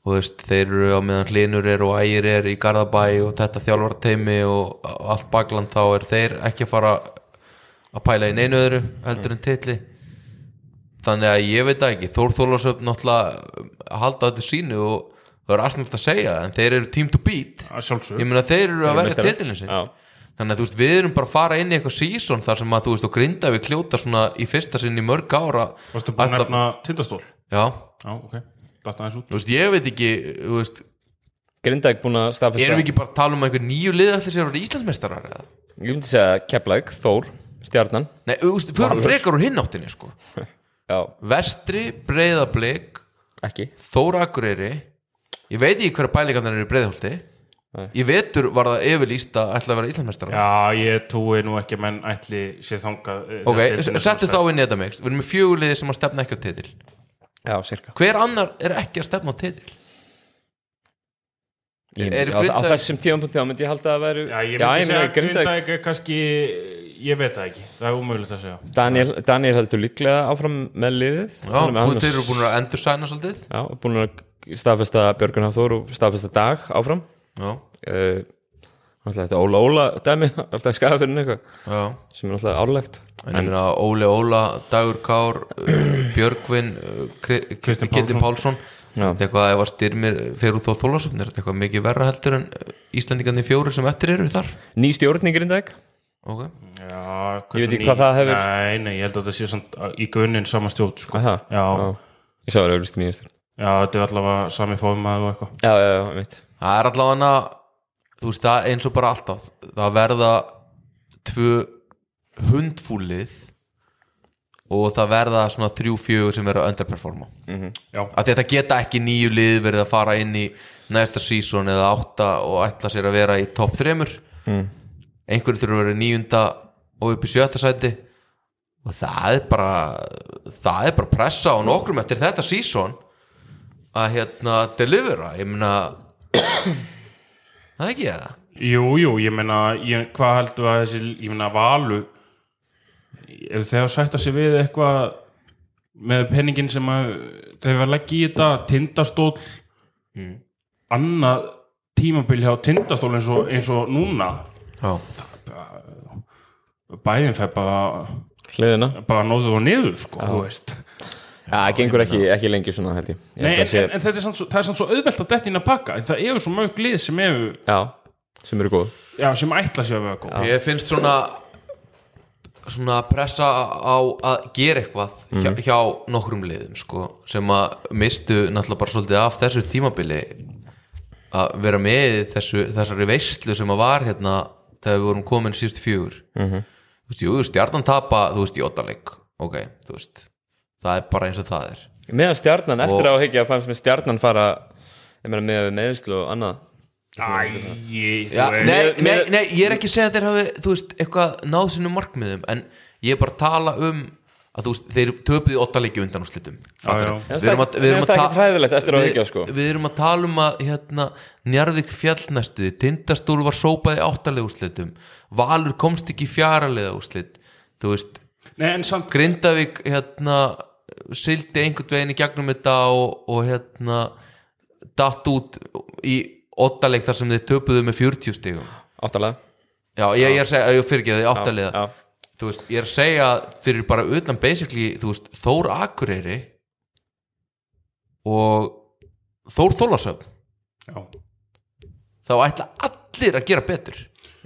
Speaker 5: og þú veist, þeir eru á meðan hlinur er og ægir er í Garðabæ og þetta þjálfarteimi og og allt bakland þá er þeir ekki að fara að pæla í neinu öðru heldur en titli þannig að ég veit það ekki Þór Þólasöf náttúrulega um, halda þetta sínu og það er allt náttúrulega að segja en þeir eru team to beat
Speaker 4: Að
Speaker 5: ég
Speaker 4: sjálfsög.
Speaker 5: meina þeir eru að verja
Speaker 3: meistarar.
Speaker 5: titilin sinn
Speaker 3: Já.
Speaker 5: þannig að þú veist við erum bara að fara inn í eitthvað season þar sem að þú veist og grinda við kljóta svona í fyrsta sinn í mörg ára
Speaker 4: Varstu búin að
Speaker 5: Ætla-
Speaker 4: nefna tindastól?
Speaker 5: já,
Speaker 4: Já, ok. Datt aðeins út.
Speaker 5: þú veist ég veit ekki þú veist,
Speaker 3: Grindag búin að staðfesta
Speaker 5: erum við ekki bara að tala um að einhver nýju lið allir sér að vera Íslandsmeistarar eða?
Speaker 3: ég myndi segja Keflag, Þór, Stjarnan
Speaker 5: Nei, þú veist, fyrir frekar úr hinnáttinni sko
Speaker 3: já,
Speaker 5: Vestri, Breiðablik
Speaker 3: ekki
Speaker 5: Þóra Akureyri ég veit ekki hverja bælingarnir eru í Breiðholti
Speaker 3: Nei.
Speaker 5: í vetur var það yfirlýst að ætla að vera Íslandsmeistarar
Speaker 4: Já, ég trúi nú ekki að menn ætli sér þangað. eh,
Speaker 5: ok,
Speaker 4: þegar deildin er svona
Speaker 5: settu
Speaker 4: sterk.
Speaker 5: þá inn í þetta mix við erum með fjöguliði sem að stefna ekki á titil
Speaker 3: já, cirka
Speaker 5: hver annar er ekki að stefna á titil
Speaker 3: ég,
Speaker 5: Eru
Speaker 3: á, á
Speaker 5: Grindavík-
Speaker 3: þessum tíðanpunkt þá myndi ég halda að veru
Speaker 4: Já, ég myndi
Speaker 3: já, ég
Speaker 4: segja
Speaker 3: meina
Speaker 4: að
Speaker 3: Grindag
Speaker 4: Grindavík er kannski, ég veit það ekki, það er umögulegt að segja.
Speaker 3: Daniel, Daniel heldur líklega áfram með liðið
Speaker 5: já,
Speaker 3: Hann er með
Speaker 5: búið
Speaker 3: annars-
Speaker 5: þeir eru búin að endur sæna svolítið
Speaker 3: já, búin að staðfesta Björgun Hafþór og staðfesta Dag áfram
Speaker 5: já,
Speaker 3: uh, alltaf þetta Óla Óla dæmi, alltaf skafirinn eitthvað
Speaker 5: já
Speaker 3: sem er alltaf árlegt
Speaker 5: En ég meina Óli Óla, Dagur Kár, uh, Björgvin, Kristinn Pálsson, Pálsson.
Speaker 3: Já.
Speaker 5: Þetta eitthvað ef að styrmir fyrir úr þó þólasöfnir, þetta eitthvað mikið verra heldur en Íslandingarnir fjóri sem eftir eru þar.
Speaker 3: ný stjórn í Grindag
Speaker 5: Ok,
Speaker 3: Ég
Speaker 4: Já, hversu
Speaker 3: veit ekki
Speaker 4: ný-
Speaker 3: hvað það hefur-
Speaker 4: Nei, nei, ég held að það sé samt að- í grunninn sama stjórn sko.
Speaker 3: Aha,
Speaker 4: já, já.
Speaker 3: ég sá það auðvist nýja stjórn
Speaker 4: þetta er allavega sami fóðmaður og eitthvað
Speaker 3: já, já, já, mitt
Speaker 5: það er allavega þú veist það eins og bara alltaf það verða tvö hundfúlið og það verða svona þrjú fjögur sem eru að underperforma
Speaker 4: Já,
Speaker 5: af því að það geta ekki nýju lið verið að fara inn í næsta season eða átta og ætla sér að vera í topp þremur mm. einhverju þurfa að vera í níunda og upp í sjötta sæti og það er bara það er bara pressa á nokkrum eftir þetta season að hérna delivera, ég meina það er ekki það
Speaker 4: jú, jú, ég meina ég, hvað heldur að þessi, ég meina valu ef þegar sætta sig við eitthvað með penningin sem að þeir verða að leggja í þetta, tindastóll
Speaker 3: Mm.
Speaker 4: annað tímabil hjá tindastóll eins og, eins og núna
Speaker 5: Já,
Speaker 4: bæðin fær bara
Speaker 3: hliðina,
Speaker 4: bara nóðu og niður sko, þú veist
Speaker 3: já, það gengur ekki, ekki lengi svona held ég, ég
Speaker 4: Nei,
Speaker 3: held
Speaker 4: en,
Speaker 3: að sé-
Speaker 4: en, en þetta er samt svo, það er samt svo auðvelt að detta inn að pakka en það eru svo mörg lið sem eru
Speaker 3: já, sem eru góð
Speaker 4: já, sem ætla sér að vera góð
Speaker 5: Ég finnst svona svona pressa á að gera eitthvað hjá, hjá nokkrum liðum sko, sem að mistu náttúrulega bara svolítið af þessu tímabili að vera með í þessu, þessari veislu sem að var hérna þegar við vorum komin síðustu fjögur þú veist, jú, stjarnan tapa þú veist, í ottaleik, ok, þú veist það er bara eins og það er
Speaker 3: meðan stjarnan, eftir
Speaker 5: Og-
Speaker 3: á hekja fannst með stjarnan fara ég meina með meðslu og annað
Speaker 4: Æ,
Speaker 5: Já,
Speaker 4: þú
Speaker 3: Mér-
Speaker 4: veist.
Speaker 5: nei, nei,
Speaker 3: mér-
Speaker 5: nei, ég er ekki að segja að þeir hafi þú veist, eitthvað náð sínum markmiðum en ég er bara að tala um að þú veist, þeir töpuðu óttalegi undan úr slittum
Speaker 4: já.
Speaker 3: Mér finnst það- mér finnst það ekkert hræðilegt eftir á að hyggja, sko.
Speaker 5: Við erum að tala um að hérna, Njarðvík fjall næstu Tindastól var sópaði áttalega úr slittum Valur komst ekki í fjaralega úr slitt þú veist,
Speaker 4: Nei, en samt
Speaker 5: Grindavík hérna, sildi einhvern veginn í gegnum þetta og, og hérna datt út í óttaleg þar sem þeir töpuðu með 40 stigum
Speaker 3: áttalega
Speaker 5: Já, ég, ég er að segja, ég fyrir ekki að þið
Speaker 3: já.
Speaker 5: áttaliða Þú veist, ég er að segja að fyrir bara utan basically, þú veist, Þór Akureyri og Þór Þólasöf
Speaker 4: já.
Speaker 5: þá ætla allir að gera betur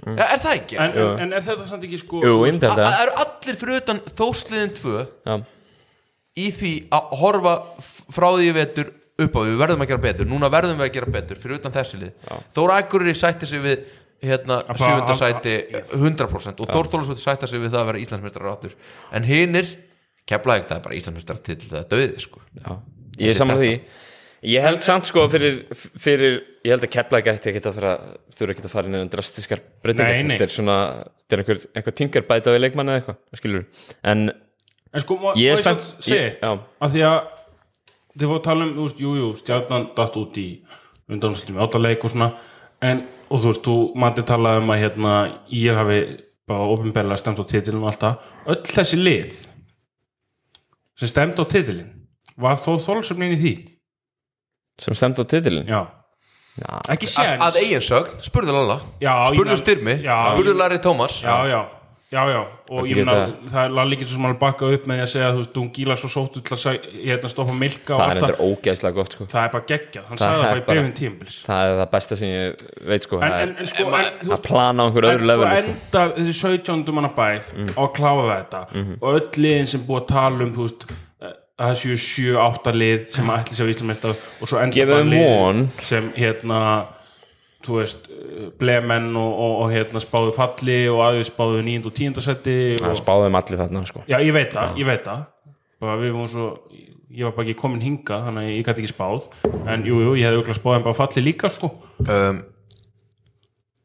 Speaker 5: mm. Er það ekki?
Speaker 4: En,
Speaker 3: Jú.
Speaker 4: en, en er þetta samt ekki sko
Speaker 3: Jú,
Speaker 4: þú veist,
Speaker 3: ymdi
Speaker 5: A-
Speaker 3: þetta
Speaker 5: Það eru allir fyrir utan Þórsliðin 2
Speaker 3: Já.
Speaker 5: í því að horfa f- frá því í vetur upp á við verðum að gera betur, núna verðum við að gera betur fyrir utan þessi lið, Þór Akureyri sætti sig við hérna
Speaker 4: Að bara- að-
Speaker 5: sjöfundasæti
Speaker 4: að- yes.
Speaker 5: 100% og Þór Þólasvöld sætti sig við það að vera Íslandsmeistrar áttur en hinir, keflaði það er bara Íslandsmeistrar til það er döðið sko
Speaker 3: Já. ég er saman því ég held samt sko fyrir, fyrir ég held að kepla ekki eftir ekki að fara þurfa ekki að fara inn drastiskar breytingar
Speaker 4: Nei, nei.
Speaker 3: þetta er svona, þetta er einhver, einhver tingar bæta við leikmann eða eitthvað, skilur en
Speaker 4: En sko, má má
Speaker 3: Ég er
Speaker 4: ég
Speaker 3: spennt-
Speaker 4: samt segja
Speaker 3: ég- já.
Speaker 4: eitt? Af því að þið voru að tala um, þú veist, jú, jú, stjarnan datt út í undanúrslitum í átaleik og svona en, og þú veist, þú mandi talaði um að hérna, ég hafi bara ofinberlega stemt á titilin og alltaf öll þessi lið sem stemt á titilin var þó þólsöfnin í því
Speaker 3: sem stemd á titilin
Speaker 4: já,
Speaker 3: Já.
Speaker 4: ekki
Speaker 5: að,
Speaker 4: séns
Speaker 5: að eigin sögn, spurðu Lalla
Speaker 4: Já, ég
Speaker 5: spurðu
Speaker 4: meina-
Speaker 5: Styrmi,
Speaker 4: Já,
Speaker 5: spurðu
Speaker 4: ég-
Speaker 5: Larry Thomas
Speaker 4: já, já, já, já og
Speaker 3: Þetta
Speaker 4: ég meina,
Speaker 3: geta-
Speaker 4: það er Lalli getur sem alveg bakkað upp með því að segja, þú veist, hún gílar svo sóttu til að seg- hérna, stoppa milka og
Speaker 3: það er
Speaker 4: alltaf
Speaker 3: þetta ógeðslega gott sko
Speaker 4: það er bara geggjað, hann
Speaker 3: Það
Speaker 4: sagði það
Speaker 3: er
Speaker 4: bara í
Speaker 3: bara-
Speaker 4: byrjun tímbils
Speaker 3: það er það besta sem ég veit sko
Speaker 4: en,
Speaker 3: það
Speaker 4: en,
Speaker 3: er
Speaker 4: en sko en, þú
Speaker 3: að plana á einhver öðru
Speaker 4: en svo
Speaker 3: level sko. Mhm.
Speaker 4: enda þessi 17. manna bæð á að klára þetta og öll liðin sem búið að tala um þú veist, eh, að það séu 7-8 lið sem að ætli sér Íslamesta og svo enda
Speaker 3: Gefum
Speaker 4: bara
Speaker 3: þeim von.
Speaker 4: sem hérna þú veist, eh, blemenn og, og, og hérna spáðu falli og aðeins spáðu 9. og 10. seti
Speaker 3: það
Speaker 4: og,
Speaker 3: spáðum allir þarna sko
Speaker 4: já, ég veit það, ég veit það bara við vorum svo ég var bara ekki komin hingað, þannig að ég gæti ekki spáð en jú, jú, ég hefði auðvitað spáð en bara falli líka sko
Speaker 5: um,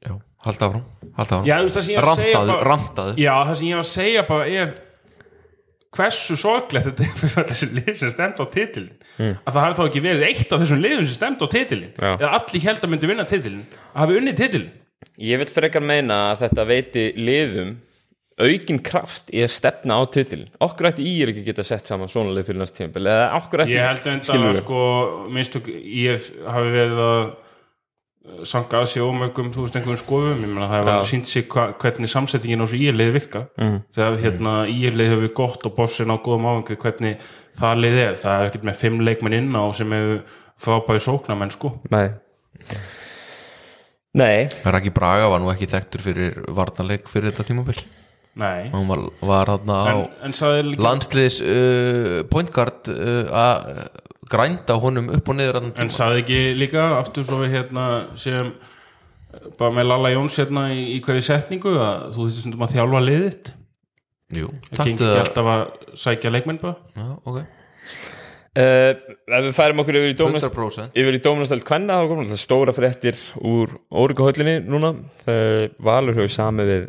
Speaker 5: já, halda áfram, halda
Speaker 4: Já,
Speaker 5: áfram.
Speaker 4: þú veist það sem ég var að segja
Speaker 5: rantaðu,
Speaker 4: bara-
Speaker 5: rantaðu
Speaker 4: Já, það sem ég var að segja bara er hversu sorglegt þetta er fyrir öll þessi lið sem stemd á titilin
Speaker 5: Hmm.
Speaker 4: að það hafi þá ekki verið eitt af þessum liðum sem stemd á titilin
Speaker 3: Já.
Speaker 4: eða allir held að myndi vinna titilin að hafi unnið titilin
Speaker 3: ég vil frekar meina að þetta veiti liðum aukin kraft í að stefna á titil okkur ætti í er ekki að geta sett saman svona lið fyrir næst tímpil eða okkur ætti
Speaker 4: ég held enda
Speaker 3: skilurðu?
Speaker 4: að sko minnstök ég hafi verið að eh, sanga að sér ómörgum þú veist einhverjum skofum, ég meina það hefur
Speaker 3: Já.
Speaker 4: alveg sínt sig hva, hvernig samsettingin á þessu íerlið virka mm. þegar hérna
Speaker 3: Mm.
Speaker 4: íerlið hefur gott og bossin á góðum áhengu hvernig það lið er, það er ekkert með fimm leikmenn inn á sem hefur frábæði sóknamenn sko
Speaker 3: nei nei,
Speaker 5: Raki Braga var nú ekki þekktur fyrir varnarleik fyrir þetta tímabil
Speaker 4: Nei,
Speaker 5: hann var, var hann á
Speaker 4: en, en sagði líka
Speaker 5: landsliðs uh, point guard uh, að grænda honum upp og niður hann
Speaker 4: en sagði ekki líka aftur svo við hérna sem bara með Lalla Jóns hérna í, í hverju setningu að þú þurftir stundum að þjálfa liðið þitt.
Speaker 5: Jú,
Speaker 4: það
Speaker 5: taktu
Speaker 4: gengur ekki
Speaker 5: það
Speaker 4: alltaf að sækja leikmenn bara
Speaker 5: Já, ok.
Speaker 3: uh, ef við færum okkur yfir í dómast
Speaker 5: 100%
Speaker 3: yfir í dóminastöld kvenna þá komum alltaf stóra fréttir úr órygghöllinni núna þegar Valur hefur samið við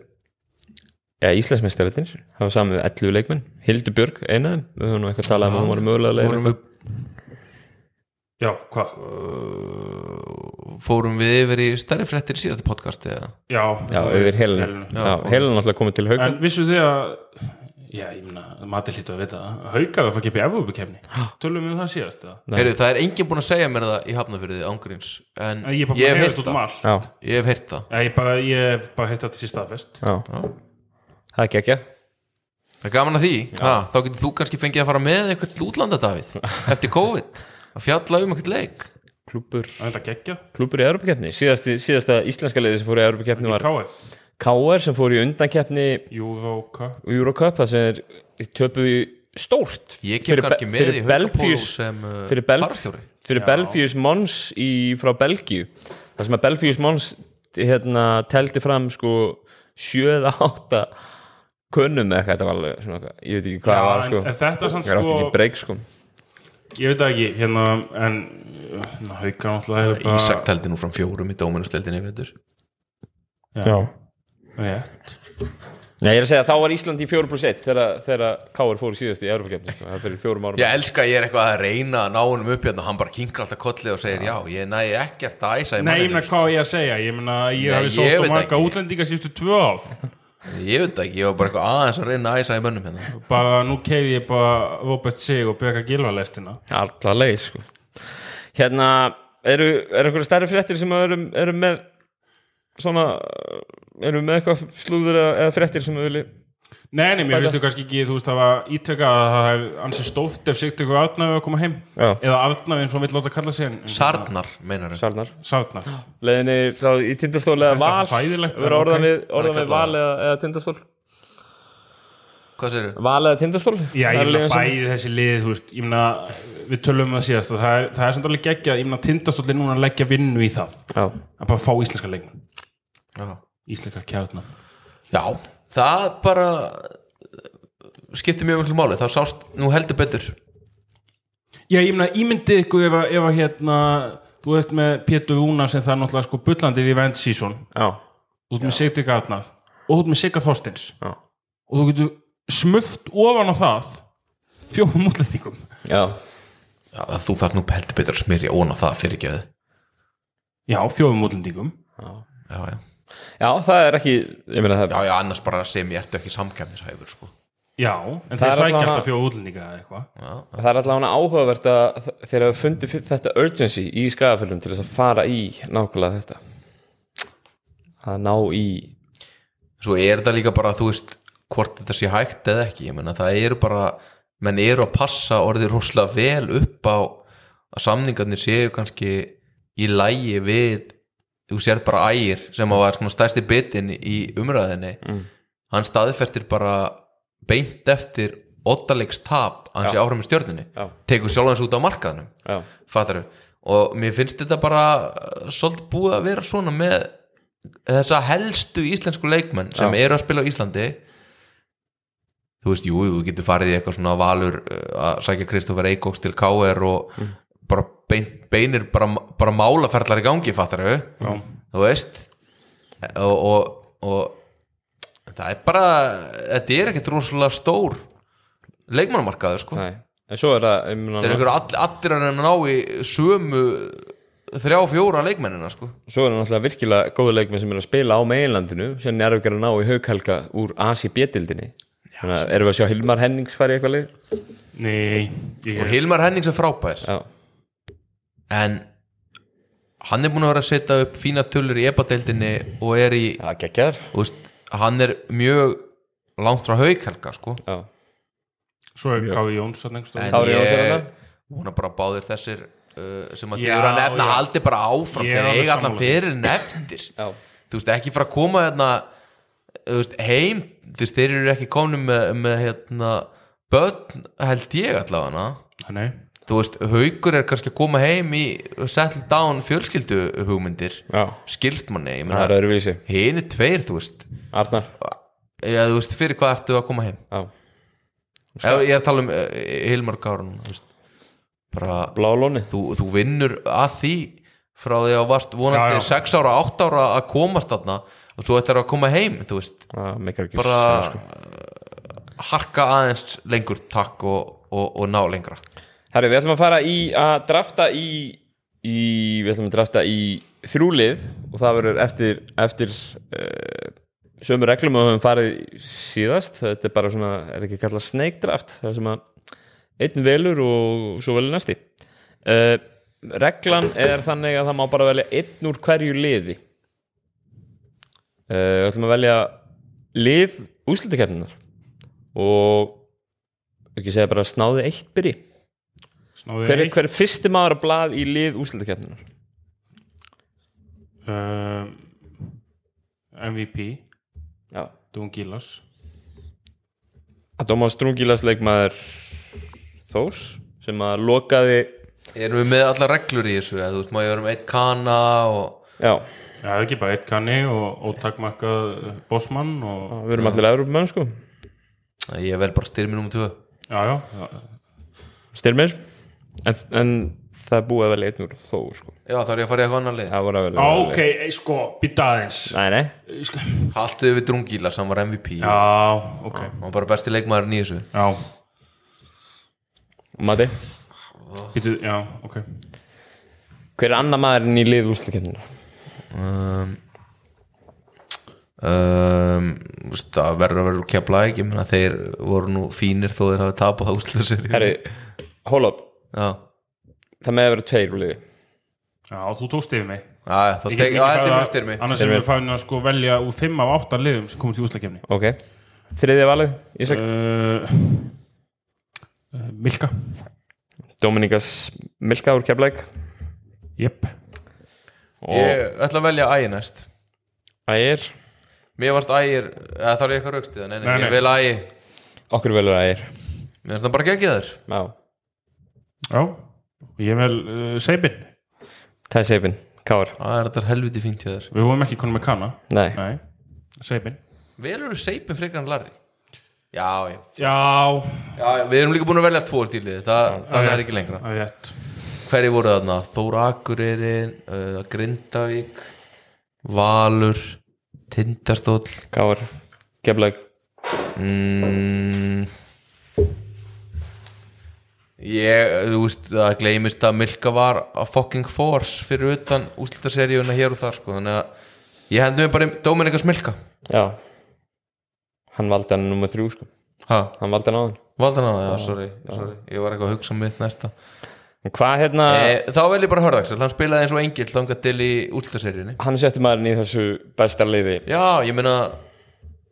Speaker 3: ja, Íslandsmeistarleitinir hafa samið við 11 leikmenn, Hildur Björg eina af þeim, við höfum nú eitthvað talað um að hún var mögulega leið
Speaker 5: Fórum við,
Speaker 4: Já, hvað?
Speaker 5: uh, fórum við yfir í stærri fréttir í síðasta podcast eða?
Speaker 4: Já,
Speaker 3: já, yfir helinu,
Speaker 4: Helenu.
Speaker 3: já, helinu náttúrulega komið til hauka
Speaker 4: En vissu þið að Já, ég meina, maður hlýttu að vita það Haukar að fá keppi Evrópukefni Tölum við um það síðast eða?
Speaker 5: Heyrðu, það er enginn búin að segja mér það í hafnafyrði ángríns en
Speaker 4: Ég er bara búin að
Speaker 5: Mm. ég hef
Speaker 4: heyrast
Speaker 5: heyrt
Speaker 4: út um
Speaker 5: það
Speaker 4: allt
Speaker 3: já,
Speaker 5: ég hef heyrt það
Speaker 4: Ég bara- ég hef bara heyrt þetta sér staðfest
Speaker 3: já, það er gekkja
Speaker 5: það er gaman að því, ha, þá getur þú kannski fengið að fara með eitthvað til útlanda Davíð eftir COVID að fjalla um eitthvað leik
Speaker 3: klúpur,
Speaker 4: Það er þetta geggja
Speaker 3: klúpur í Europakefni síðasta, síðasta íslenska liði sem fór í Europakefni var
Speaker 4: K.F.
Speaker 3: KR sem fór í undankeppni
Speaker 4: Euro Cup
Speaker 3: Eurocup það sem er töpu í stórt
Speaker 5: Ég kem kannski
Speaker 3: Be-
Speaker 5: með í haugapólu
Speaker 3: Belfíus-
Speaker 5: sem uh,
Speaker 3: fyrir, Bel
Speaker 5: farastjóri
Speaker 3: fyrir Belfius Mons í, frá Belgíu það sem að Belfius Mons hérna, teldi fram sko 7 átta kunnum eða eitthvað, þetta var alveg svona, eitthvað, ég veit ekki hvað
Speaker 4: Já,
Speaker 3: það var
Speaker 4: en-
Speaker 3: sko
Speaker 4: en þetta samt,
Speaker 3: ég átti
Speaker 4: sko-
Speaker 3: ekki breyk sko
Speaker 4: Ég veit það ekki, hérna en hérna, hauka náttúrulega hefur bara-
Speaker 5: Ísak tældi nú fram fjórum í dóminustöldinni veitur
Speaker 4: Já, rétt
Speaker 3: Nei, ég er að segja að þá var Ísland í 4 pluss 1 þegar, þegar KR fór síðast í Europakefni sko, það er fyrir fjórum árum
Speaker 5: Ég elska að ég er eitthvað að reyna að ná honum upp hérna hann bara kinkar alltaf kolli og segir já, ég næ ekkert að æsa
Speaker 4: Nei,
Speaker 5: í
Speaker 4: ég
Speaker 5: manninu
Speaker 4: meina hvað á ég að segja Ég meina, ég
Speaker 5: Nei,
Speaker 4: hafi
Speaker 5: ég
Speaker 4: sótt
Speaker 5: veit
Speaker 4: á marga
Speaker 5: ekki.
Speaker 4: útlendinga síðustu tvö áf
Speaker 5: Ég veit það ekki, ég var bara eitthvað aðeins að reyna að æsa í mönnum hérna
Speaker 4: bara nú keiði ég bara Robert Sig og Beka Gilva lestina
Speaker 3: Alla leið sko Hérna, eru, eru einhverja stærri fréttir sem eru, eru með svona, eru með eitthvað slúður eða eða fréttir sem við vilji
Speaker 4: Nei, nei,
Speaker 3: Bæta.
Speaker 4: mér finnst þú kannski ekki, þú veist, það var ítveika að það hef ansi stóft ef sikt ykkur Arnafi að koma heim
Speaker 3: Já.
Speaker 4: eða Arnafi eins og hann vill láta kalla sig en- en-
Speaker 5: Sarnar, meinar þau
Speaker 3: Sarnar
Speaker 4: Sarnar
Speaker 3: Leðinni frá í tindastóli eða
Speaker 4: Þetta er
Speaker 3: val
Speaker 4: hræðilegt,
Speaker 3: Vera
Speaker 4: en
Speaker 3: orðan
Speaker 4: ok.
Speaker 3: við, orðan
Speaker 5: Það er
Speaker 3: við
Speaker 5: kallað-
Speaker 3: val eða, eða tindastól
Speaker 5: Hvað segir þau?
Speaker 3: Val eða tindastól Það
Speaker 4: Já, ég
Speaker 3: er
Speaker 4: meina
Speaker 3: liðin sem-
Speaker 4: bæði þessi lið, þú veist, ég meina við tölum um það síðast og það er, það er samt alveg geggja, ég meina tindastóllin núna að leggja vinnu í það
Speaker 3: Já,
Speaker 4: að bara fá íslenska leikmenn,
Speaker 5: Já.
Speaker 4: íslenska kjátna
Speaker 5: já, það bara uh, skiptir mjög miklu máli, þá sást nú heldur betur
Speaker 4: Já, ég meina, ímyndið ykkur ef að, ef að hérna, þú veist með Pétur Rúna sem það er náttúrulega sko bullandi við vend sísón,
Speaker 3: já,
Speaker 4: þú veist með Sigti Gatnað og þú veist með Sigga Þorstins
Speaker 3: já,
Speaker 4: og þú getur smuft ofan á það fjórum útlendingum
Speaker 3: já.
Speaker 5: Já, þú þarf nú heldur betur að smyrja ón á það fyrir ekki
Speaker 4: Já, fjórum útlendingum
Speaker 5: Já, já,
Speaker 3: Já, það er ekki, ég meina það
Speaker 5: já, já, annars bara sem ég ertu ekki samkæmnishæfur sko.
Speaker 4: Já, en
Speaker 3: Það er
Speaker 4: þeir sækja
Speaker 3: allavega-
Speaker 4: alltaf fjórum útlendinga eða eitthvað
Speaker 5: já, já.
Speaker 3: Það er allavega áhugavert að þeir hafa fundið fyrir þetta urgency í skagafölum til þess að fara í nákvæmlega þetta að ná í
Speaker 5: Svo er þetta líka bara, þú veist hvort þetta sé hægt eða ekki, ég meina það eru bara, menn eru að passa orðið rosalega vel upp á að samningarnir séu kannski í lægi við þú sér bara ægir sem að var svona stærsti bitin í umræðinni
Speaker 3: Mm.
Speaker 5: hann staðfestir bara beint eftir ottalegs tap að hann sé áhrifum í stjörnunni
Speaker 3: Já.
Speaker 5: tekur sjálf hans út á markaðnum
Speaker 3: já,
Speaker 5: fattaru og mér finnst þetta bara uh, svolítið búið að vera svona með þessa helstu íslensku leikmenn sem
Speaker 3: Já.
Speaker 5: eru að spila á Íslandi þú veist, jú, þú getur farið í eitthvað svona valur uh, að sækja Kristoffer Eikóks til KR og bara bein, beinir bara, bara málaferðlar í gangi fattaru,
Speaker 4: Já.
Speaker 5: þú veist og, og, og það er bara þetta er ekkert rosalega stór leikmannamarkaður sko
Speaker 3: nei en svo er það, ég
Speaker 5: Það er
Speaker 3: meina
Speaker 5: einhver all, allir að reyna að ná í sömu þrjá fjóra leikmennina sko.
Speaker 3: svo er það náttúrulega virkilega góðu leikmenn sem er að spila á meginlandinu sem er ekki að ná í haughelga úr Asi B-dildinni þannig að erum við að sjá Hilmar Hennings fara í eitthvað lið
Speaker 4: Nei, ég
Speaker 5: og Hilmar Hennings er frábær
Speaker 3: já,
Speaker 5: en hann er búin að vera að setja upp fína tölur í ebadeildinni og er í
Speaker 3: já geggjar
Speaker 5: þú veist, hann er mjög langt frá haukhelga sko.
Speaker 3: já,
Speaker 4: Svo er Káði Jóns þarna einhvers
Speaker 5: en
Speaker 4: staðar.
Speaker 3: Kári Jóns er
Speaker 5: ég
Speaker 3: þarna.
Speaker 5: vona bara að báðir þessir uh, sem að
Speaker 4: Já,
Speaker 5: þið eru að nefna
Speaker 4: já.
Speaker 5: haldi bara
Speaker 4: Ég
Speaker 5: áfram
Speaker 4: er
Speaker 5: þeir
Speaker 4: alveg
Speaker 5: eiga allan
Speaker 4: sammála því.
Speaker 5: fyrir en eftir
Speaker 3: já,
Speaker 5: þú veist ekki fara að koma hérna, þú veist, heim þú veist, þeir eru ekki komin með, með hérna, börn held ég allavega
Speaker 4: Nei,
Speaker 5: þú veist, haukur er kannski að koma heim í settle down fjölskyldu hugmyndir
Speaker 3: já,
Speaker 5: skilst manni,
Speaker 3: það
Speaker 5: ég
Speaker 3: er
Speaker 5: meina
Speaker 3: öðruvísi
Speaker 5: hini tveir, þú veist
Speaker 3: Arnar,
Speaker 5: Já, þú veist, fyrir hvað ertu að koma heim
Speaker 3: já,
Speaker 5: ég, ég er að tala um eh, Hilmar Gárun þú veist, bara
Speaker 3: blálóni
Speaker 5: þú, þú vinnur að því frá því að þú varst
Speaker 4: Já,
Speaker 5: vonandi
Speaker 4: já.
Speaker 5: 6 ára, 8 ára að komast þarna og svo ætlar að koma heim, þú veist
Speaker 3: það meikar ekki
Speaker 5: bara
Speaker 3: sens, sko.
Speaker 5: uh, harka aðeins lengur takk og, og, og ná lengra
Speaker 3: Herru, við ætlum að fara í að drafta í, í við ætlum að drafta í þrjúlið og það verður eftir, eftir uh, sömu reglum og við höfum farið síðast þetta er bara svona, er ekki kallað snake draft það sem að einn velur og svo velur næsti uh, reglan er þannig að það má bara velja einn úr hverju liði uh, við ætlum að velja lið úslitakeppninar og ekki segja bara snáði eitt byrji
Speaker 4: Snáði
Speaker 3: Hver, er-
Speaker 4: eitt.
Speaker 3: hver er fyrsti maður að blað í lið úslitakefninar?
Speaker 4: Um, MVP
Speaker 3: Já
Speaker 4: Dún Gílas
Speaker 3: Að Dómas Drungilas leikmaður Þórs sem að lokaði
Speaker 5: Erum við með allar reglur í þessu eða þú veist, má ég vera með eitt kana og
Speaker 3: Já,
Speaker 4: Já, það er ekki bara eitt kanni og ótakmakkað eh, bossmann og
Speaker 3: við erum allir Evrópumenn sko
Speaker 5: Æ, ég vel bara styrmi nummer 2
Speaker 4: já, já, Ah, já,
Speaker 3: Styrmir en, en það er búið að velja einn úr Þór sko
Speaker 5: Já, þá er ég að fara í eitthvað annar lið
Speaker 3: Það var að velja
Speaker 4: Á, ok, e, sko, býta aðeins
Speaker 3: Nei, nei
Speaker 4: Ég skal-
Speaker 5: Haltið við drungíla, hann var MVP
Speaker 4: Já, ok
Speaker 5: Hann var bara besti leikmaðurinn í þessu
Speaker 4: Já,
Speaker 3: Mati
Speaker 4: býtu, já, ok
Speaker 3: Hver er annar maðurinn í lið úslitakefninar?
Speaker 5: um, um, þú veist, Það verður að verður kepla ekki menna, Þeir voru nú fínir þó þeir hafi tapað á úsliðsir
Speaker 3: Herri, hold up
Speaker 5: Já,
Speaker 3: Það með að vera tveir úr liði
Speaker 4: Já, þú tókst yfir mig
Speaker 5: Já, já, þá steg, já, heldur mér styrmi
Speaker 4: Annars erum við fæðin að sko velja úr 5 af 8 liðum sem komast í úslakefni
Speaker 3: Ok Þriðja valið, Ísak
Speaker 4: uh, eh, Milka
Speaker 3: Dominikas Milka úr Keflæk
Speaker 4: Jep
Speaker 3: Og
Speaker 5: Ég ætla að velja ægi næst
Speaker 3: Ægir
Speaker 5: Mér varst ægir, eða þarf ég eitthvað raukstið Nei, nei,
Speaker 4: Nei,
Speaker 5: ég
Speaker 4: nei.
Speaker 5: vel ægi
Speaker 3: Okkur velur Ægir
Speaker 5: Mér finnst það bara geggið þér
Speaker 3: Já
Speaker 4: Já, ég vel uh, Seibin
Speaker 3: Það er seipin Káar
Speaker 5: Það er þetta helviti fínt hjá þér
Speaker 4: Við vorum ekki konum með kanna
Speaker 3: Nei
Speaker 4: Nei, Seibin
Speaker 5: Velur þú seipin frekar en Larry? Já, já,
Speaker 4: Já,
Speaker 5: já, já Við erum líka búin að velja tvo úr tílið Þa, Þannig er ekki lengra
Speaker 4: Það er rétt
Speaker 5: Hverju voru þarna? Þóra Akureyrin uh, Grindavík Valur Tindastóll
Speaker 3: Káar Keflæk
Speaker 5: mm, Ég, þú veist, það gleymist að Milka var að fucking force fyrir utan úslitaseríuna hér og þar sko, þannig að ég hendur mig bara í Dominikas Milka
Speaker 3: Já Hann valdi hann nummer þrjú sko
Speaker 5: ha,
Speaker 3: Hann valdi hann á hann
Speaker 5: valdan á það, já, sorry, sorry ég var eitthvað að hugsa um mitt næsta
Speaker 3: En hvað hérna
Speaker 5: Eh, þá vel ég bara Hörðaksel, hann spilaði eins og engill þangað til í útlitaseríunni
Speaker 3: Hann setti maðurinn í þessu besta liði
Speaker 5: Já, ég meina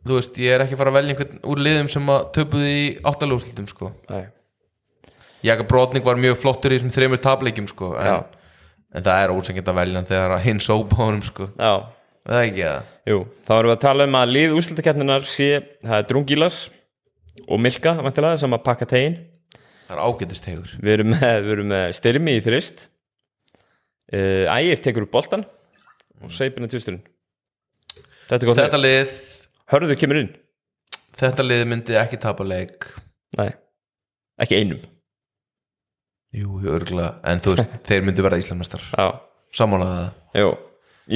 Speaker 5: þú veist, ég er ekki að fara að velja einhvern úr liðum sem að töpuði í áttalúslutum sko.
Speaker 3: Nei
Speaker 5: Jaka Brotning var mjög flottur í þessum þreymur tapleikjum sko,
Speaker 3: Já.
Speaker 5: en, en það er ósengjönd að velja hann þegar að hinn sópa honum sko.
Speaker 3: Já
Speaker 5: Er það ekki það
Speaker 3: Jú Þá erum við að tala um að lið úslitakeppninar sé Það er Drungilas Og Milka vantilega sem að pakka tegin
Speaker 5: það er ágætist hegur
Speaker 3: Við erum með, við erum með styrmi í þrist uh, Ægir tekur upp boltan Og seipin er tvisturinn Þetta er gott
Speaker 5: þetta
Speaker 3: lið.
Speaker 5: lið,
Speaker 3: Hörðu kemur inn
Speaker 5: þetta lið myndi ekki tapa leik
Speaker 3: Nei Ekki einum
Speaker 5: Jú, örgulega, en þú veist, þeir myndu verða Íslandmestar
Speaker 3: Já
Speaker 5: Sammálaðu það
Speaker 3: Jú,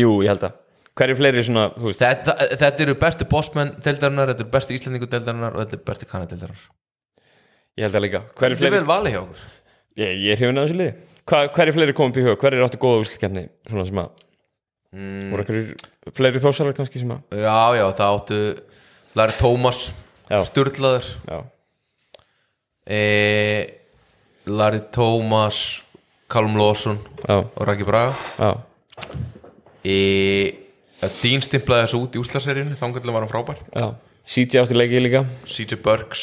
Speaker 3: jú ég held að Hverju fleiri svona, þú veist
Speaker 5: Þetta, þetta eru bestu bossmenn deildarinnar, þetta eru bestu íslendingu deildarinnar og þetta eru bestu kanadeildarinnar
Speaker 3: Ég held að líka Hverju
Speaker 5: Þið
Speaker 3: fleiri
Speaker 5: vel valið hjá okkur
Speaker 3: Ég, ég er hefinn að þessu liði Hva, Hverju fleiri komum upp í huga Hverju áttu góða úrslitkefni Svona sem að mm. Voru einhverjir fleiri þósarar kannski sem að
Speaker 5: Já, já, það áttu Larry Thomas,
Speaker 3: Já.
Speaker 5: Sturlaður
Speaker 3: Já,
Speaker 5: e, Larry Thomas Callum Lawson
Speaker 3: já,
Speaker 5: og Raki Braga
Speaker 3: já
Speaker 5: e, Dín stimplaði þessu út í úslaseríunni þangarlega var hann frábær
Speaker 3: Já CJ átti leiki líka
Speaker 5: CJ Burks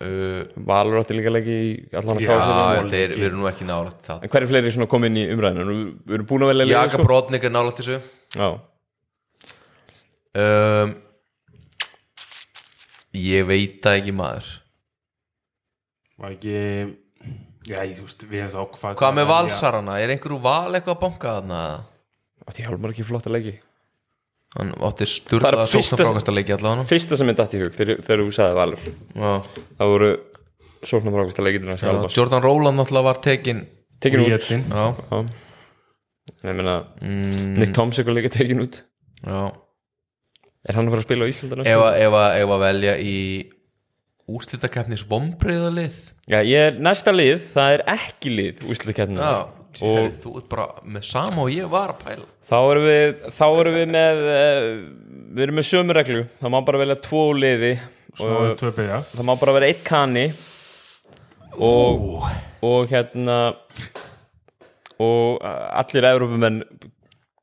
Speaker 5: uh,
Speaker 3: Valur átti líka leiki í allan að
Speaker 4: Já.
Speaker 3: káða
Speaker 5: Já,
Speaker 4: smá
Speaker 5: þeir við erum nú ekki nálægt það
Speaker 3: En hverju fleiri svona kom inn í umræðinu Nú, Við erum búin að velja liðið, sko.
Speaker 5: Jaka Brotnik er nálægt þessu
Speaker 3: Já,
Speaker 5: um, Ég veit það ekki maður
Speaker 4: Var ekki Já, ég, þú veist, við erum þá hvað
Speaker 5: Hvað með valsarana? Er einhverju val eitthvað að banka þarna?
Speaker 3: átti hjálmar ekki flotta leiki
Speaker 5: Hann átti
Speaker 3: Það
Speaker 5: sturlaða
Speaker 3: er fyrsta-
Speaker 5: sóknarfrákast að leikja allavega
Speaker 3: Fyrsta sem ég datt í hug þegar, þegar þú sagði Valur
Speaker 5: Já
Speaker 3: Það voru sóknarfrákasta leikindir hans
Speaker 5: Já,
Speaker 3: Albas
Speaker 5: Jordan Rowland náttúrulega var tekin
Speaker 3: Tekin út
Speaker 4: Bríetin
Speaker 5: Já, Mm,
Speaker 3: Já En Ég meina,
Speaker 5: Mhm.
Speaker 3: Nick Tomsik var líka tekin út
Speaker 5: já
Speaker 3: Er hann að fara að spila á Íslanda
Speaker 5: Ef að- ef að ef að velja í úslitakeppnis vombriðalið
Speaker 3: Já, ég er næsta lið, það er ekki lið úrslitakeppnina
Speaker 5: Já, og herri, þú ert bara með sama og ég var að pæla
Speaker 3: Þá erum við, þá erum við með uh, við erum með sömu reglu það má bara velja tvo úr liði
Speaker 4: Svo
Speaker 3: og
Speaker 4: er tvö byrja
Speaker 3: það má bara vera eitt kanni og, og hérna og uh, allir Evrópumenn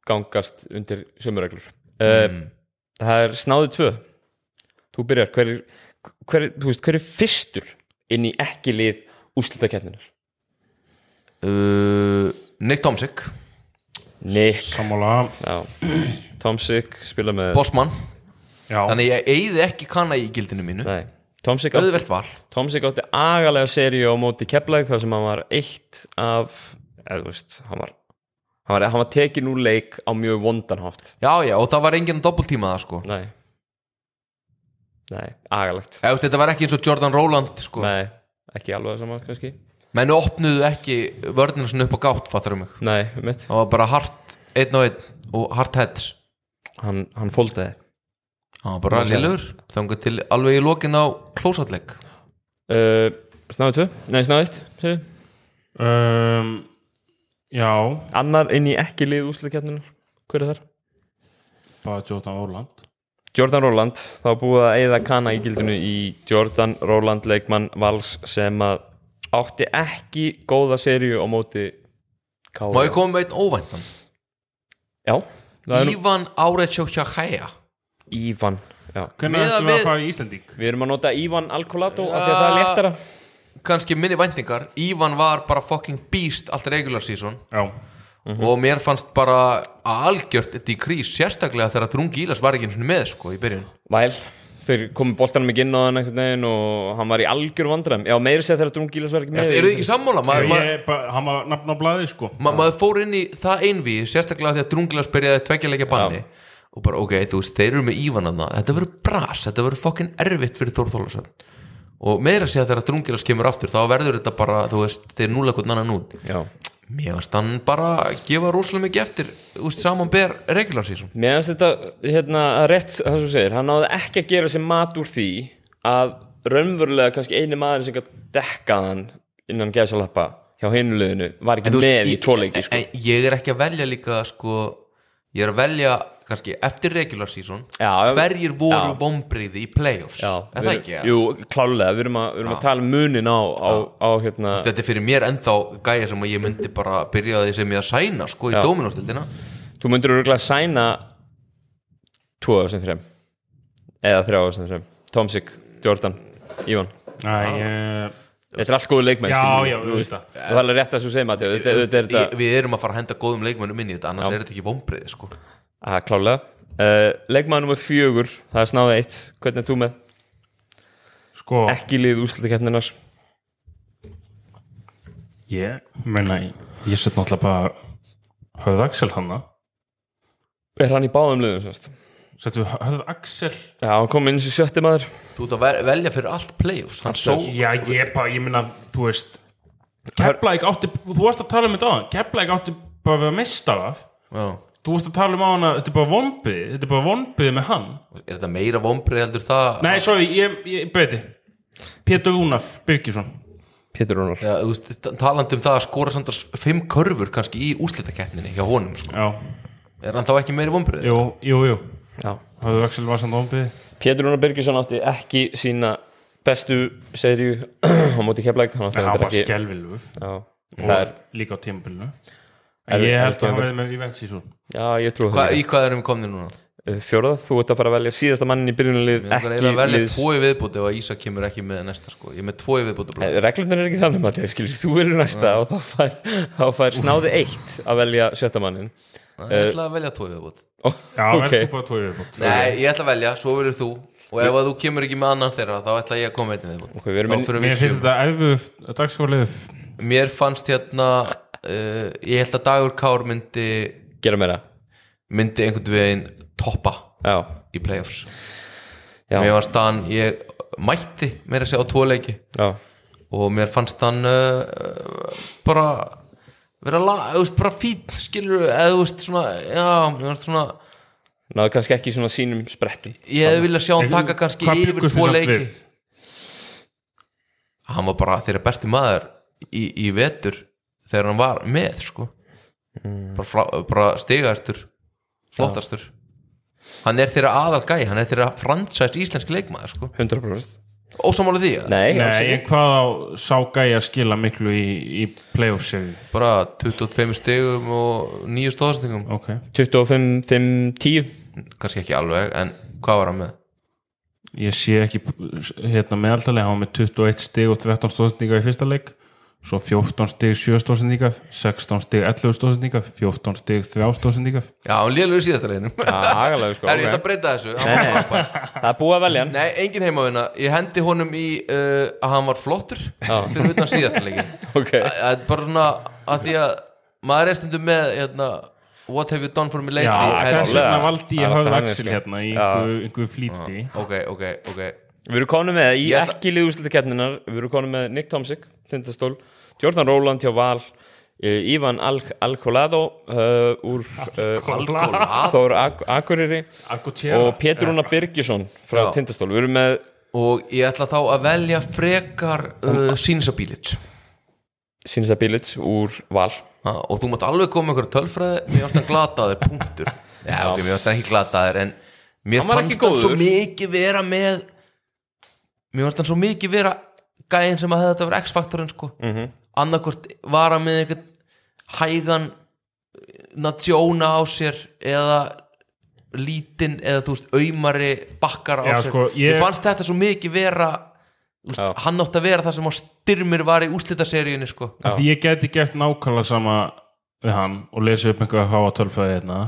Speaker 3: gangast undir sömu reglur uh, Það er snáðu tvö Þú byrjar, hver, er- hver, er- þú veist, hver er fyrstur inn í ekki lið úrslitakeppninar
Speaker 5: uh, Nick Tomsik
Speaker 3: Nick
Speaker 4: sammála
Speaker 3: Já. Tom Sick spila með
Speaker 5: Bosman,
Speaker 4: já,
Speaker 5: þannig ég eyði ekki kanna í gildinu mínu,
Speaker 3: Nei, Tom Sick, átti,
Speaker 5: auðvelt val
Speaker 3: Tom Sick átti agalega seríu á móti Keflæk þar sem hann var eitt af eða, þú veist, hann var hann var, hann var tekin úr leik á mjög vondanhátt
Speaker 5: Já, já, og það var enginn að doppeltíma það sko
Speaker 3: Nei Nei, agalegt
Speaker 5: Eða, þú veist, Þetta var ekki eins og Jordan Rowland sko.
Speaker 3: Nei, ekki alveg það sama kannski
Speaker 5: menn opnuðu ekki vörðina svona upp á gátt fattar um mig,
Speaker 3: Nei, mitt,
Speaker 5: það var bara hart einn og einn og hart heads
Speaker 3: hann, hann fóldaði
Speaker 5: það var bara
Speaker 3: Já,
Speaker 5: liður, þangar til alveg í lokin á klósatleik
Speaker 3: uh, Snáðu tvö, nei snáðu eitt segðu.
Speaker 4: um, já
Speaker 3: Annar inn í ekki lið úsliðkjarninar Hver er þar?
Speaker 4: bara Jordan Orland
Speaker 3: Jordan Róland, þá er búið að eyða kana í gildinu í Jordan Róland leikmann Vals sem að átti ekki góða seríu á móti Kára.
Speaker 5: má ég koma með einn óvæntan
Speaker 3: Já, það er nú
Speaker 5: Ívan Áretsjókjahæja
Speaker 3: Ívan. Já.
Speaker 4: hvernig
Speaker 5: Miðað
Speaker 4: ætlum við
Speaker 5: við-
Speaker 4: að fara í Íslandík
Speaker 3: Við erum að nota Ívan Alcolato af því að það er léttara.
Speaker 5: kannski minni væntingar, Ívan var bara fucking beast allt regular season
Speaker 4: já,
Speaker 3: Mhm.
Speaker 5: og mér fannst bara algjört dekrís, sérstaklega þegar Drungi Ílas var ekki einu sinni með sko í byrjun
Speaker 3: Væl, þeir komu boltanum ekki inn á hann einhvern veginn og hann var í algjör vandræðum. Já, meiri sér þegar Drún Gílas var ekki með.
Speaker 5: eru þið ekki sammála? Maður,
Speaker 4: ég,
Speaker 5: maður,
Speaker 4: ég, bara, hann var nafn á blaði sko
Speaker 5: ma maður fór inn í það einví sérstaklega því að drunglas byrjaði tveggjarleikja banni og bara ok, þú veist, þeir eru með Ívananna þetta verður bras, þetta verður fokkin erfitt fyrir Þór Þólasson og meira sé að þegar drunglas kemur aftur þá verður þetta bara, þú veist, þeir núla hvern annan út
Speaker 3: Já.
Speaker 5: mér varst hann bara að gefa rúslega mikið eftir þú veist, saman ber regular season
Speaker 3: Mér finnst þetta, hérna, rétt það sem þú segir, hann náði ekki að gera sér mat úr því að raunverulega kannski eini maður sem gætt dekkaðan innan gæðsalappa hjá hinuleginu var ekki
Speaker 5: En þú
Speaker 3: með í
Speaker 5: ég-
Speaker 3: tvoleiki sko.
Speaker 5: en, en ég er ekki að velja líka sko, ég er að velja kannski eftir regular season
Speaker 3: Já, já.
Speaker 5: hverjir voru
Speaker 3: Já.
Speaker 5: vombriði í playoffs
Speaker 3: Já, við-
Speaker 5: er það ekki?
Speaker 3: Jú, klálega, við erum að, við erum að tala um munin á, á, á hérna
Speaker 5: þetta er fyrir mér ennþá gæja sem að ég myndi bara byrja því sem ég að sæna sko í
Speaker 3: Já.
Speaker 5: dóminóstildina
Speaker 3: Þú myndir örgulega sæna 2003 eða 3003 Tomsik, Jordan, Ívan
Speaker 4: Æ, ég,
Speaker 3: Þetta er allt góðu leikmenn
Speaker 4: Já,
Speaker 3: skilur við,
Speaker 4: já,
Speaker 3: þú veist.
Speaker 4: auðvitað.
Speaker 3: Og Það er alveg rétt að svo segja Matti Þetta þetta er þetta
Speaker 5: Ég- við erum að fara að henda góðum leikmönnum inn í þetta annars er þetta ekki vombriði sko
Speaker 3: Aha, klálega uh, Leikmaður nummer fjögur, það er snáða eitt Hvernig er þú með?
Speaker 4: sko
Speaker 3: Ekki lið úrslutakeppninar
Speaker 4: ég, menna ég, ég set náttúrulega bara höfð Axel hanna
Speaker 3: Er hann í báðum liðum? Semst?
Speaker 4: settum við höfð Axel
Speaker 3: Já, hann kom inn sem sjötti maður
Speaker 5: þú ert að ver- velja fyrir allt playoffs hann só
Speaker 4: Já, ég er bara, ég minna, þú veist Keflæk átti, þú varst að tala um þetta áðan Keflæk átti bara að vera mista það
Speaker 5: Já.
Speaker 4: Þú varst að tala um á hana, þetta er bara vombið Þetta er bara vombið með hann
Speaker 5: er þetta meira vombriði heldur það
Speaker 4: Nei, sorry, ég, ég breyti Pétur Rúnaf Birgisson
Speaker 3: Pétur Rúnar
Speaker 5: Já, þú veist, t- talandi um það að skora samt að fimm körfur kannski í úslitakeppninni hjá honum sko.
Speaker 4: Já,
Speaker 5: er hann þá ekki meiri vombriði?
Speaker 4: jú, jú, jú
Speaker 3: Já.
Speaker 4: Hafðu Axel var samt vombið
Speaker 3: Pétur Rúnar Birgisson átti ekki sína bestu serju á móti keppleik Hann átti
Speaker 4: Það var
Speaker 3: þetta ekki
Speaker 4: skelvilug
Speaker 3: Já, það er,
Speaker 4: Og líka á tímabilinu
Speaker 3: Er-
Speaker 4: En ég
Speaker 3: er
Speaker 4: held að hann
Speaker 3: þetta-
Speaker 4: verði með Ívent Sísson
Speaker 3: já, ég trú
Speaker 5: Hva,
Speaker 3: það
Speaker 5: í hvað erum við komni núna?
Speaker 3: Uh, Fjórða, þú ert að fara að velja síðasta mannin í byrjunarlið
Speaker 5: Ég er að
Speaker 3: Ekki
Speaker 5: velja
Speaker 3: liðs
Speaker 5: tvo í viðbúti og Ísa kemur ekki með næsta sko. ég er með tvo í viðbúti
Speaker 3: Eh, Reglurnar er ekki þannig Matti, skilur, þú verður næsta og þá fær, þá fær snáði eitt að velja sjötta mannin
Speaker 5: ég ætla að velja tvo í viðbúti
Speaker 4: Já,
Speaker 3: Ok.
Speaker 4: verður þú bara tvo yfirbútt
Speaker 5: Nei, ég ætla að velja, svo verður þú og ef að þú kemur ekki með annan þeirra þá ætla ég að koma einnig viðbútt
Speaker 3: Ok, við erum inn-
Speaker 5: þá fyrir
Speaker 4: Mér finnst þetta erfið
Speaker 5: við sjöum
Speaker 4: dagskólið
Speaker 5: Mér fannst hérna uh, ég held að Dagur Kár myndi
Speaker 3: Gera meira
Speaker 5: myndi einhvern veginn toppa
Speaker 3: Já,
Speaker 5: í playoffs
Speaker 3: já,
Speaker 5: Mér fannst hann, ég mætti mér að segja á tvo leiki
Speaker 3: já.
Speaker 5: og mér fannst hann uh, uh, bara vera la, þú veist, bara fín skilur eða þú veist svona, já, mér fannst svona
Speaker 3: náðu kannski ekki svona sínum sprettum
Speaker 5: ég hefði viljað sjá hann taka kannski
Speaker 4: Hvað
Speaker 5: yfir
Speaker 4: bjuggust
Speaker 5: tvo
Speaker 4: þið samt
Speaker 5: leiki
Speaker 4: við?
Speaker 5: hann var bara þeirra besti maður í, í vetur þegar hann var með sko.
Speaker 3: Mm.
Speaker 5: bara, flá, bara stigastur flottastur hann er þeirra aðal gæ, hann er þeirra fransæst íslenski leikmaður sko.
Speaker 3: 100%
Speaker 5: ósamála því, eða?
Speaker 3: Nei, alls
Speaker 4: Nei,
Speaker 3: ekki.
Speaker 4: en hvað á sá gæja að skila miklu í, í playoff-seri?
Speaker 5: bara 22 stigum og nýju stóðsendingum
Speaker 4: Ok.
Speaker 3: 25, 5, 10
Speaker 5: kannski ekki alveg, en hvað var hann með?
Speaker 4: Ég sé ekki, hérna meðaldalega, hann var með 21 stig og 13 stóðsendinga í fyrsta leik svo 14 stig 7 stóðsendinga 16 stig 11 stóðsendinga 14 stig 3 stóðsendinga
Speaker 5: Já, hún lélur í síðasta leginum
Speaker 3: Já, agalega sko ok.
Speaker 5: Er ég ætla að breyta þessu
Speaker 3: Nei, nei, Það er búið að velja hann
Speaker 5: Nei, engin heimavinna Ég hendi honum í uh, að hann var flottur
Speaker 3: Já.
Speaker 5: fyrir utan síðasta leikin
Speaker 3: Ok
Speaker 5: Það er bara svona að því að maður er stundum með hérna, What have you done for me lately
Speaker 4: Já, þess
Speaker 5: Head-
Speaker 3: klálega.
Speaker 4: vegna valdi ég
Speaker 3: Það er alltaf þannig,
Speaker 4: höfðu Axel
Speaker 3: sko.
Speaker 4: hérna í
Speaker 3: Já.
Speaker 4: einhverju einhverju flýti
Speaker 5: Ok, ok, ok
Speaker 3: Við erum konum með, í
Speaker 5: Ég ætla-
Speaker 3: ekki liðúslitakeppninar Við erum konum með Nick Tomsik, Tindastól Jordan Róland hjá Val uh, Ivan Al Alcolado uh, úr uh,
Speaker 4: Alkola
Speaker 3: Þór Ak Akureyri og
Speaker 4: Alkola
Speaker 3: Pétur Rúna Birgisson frá
Speaker 5: Já.
Speaker 3: Tindastól Við erum með
Speaker 5: Og ég ætla þá að velja frekar uh, sínsabílit
Speaker 3: Sinsa Bilic úr Val
Speaker 5: Ha, og þú mátt alveg koma með einhverja tölfræði mér varst hann glataður, punktur já, ok, mér varst hann ekki glataður en mér
Speaker 3: Hann var
Speaker 5: fannst
Speaker 3: ekki
Speaker 5: hann svo
Speaker 3: góður.
Speaker 5: mikið vera með mér fannst hann svo mikið vera gæðin sem að þetta var X-faktorinn sko mm -hmm. annarkvort var hann með einhvern hægan natsjóna á sér eða lítinn eða þú veist, aumari bakkar á
Speaker 4: Já,
Speaker 5: sér
Speaker 4: sko, ég-
Speaker 5: mér fannst þetta svo mikið vera þú
Speaker 3: Já.
Speaker 5: veist, hann átti að vera það sem á styrmir var í úslitaseríunni sko
Speaker 3: Já.
Speaker 4: Því ég geti gert nákvæmlega sama við hann og lesi upp einhverja háa tölfræði hérna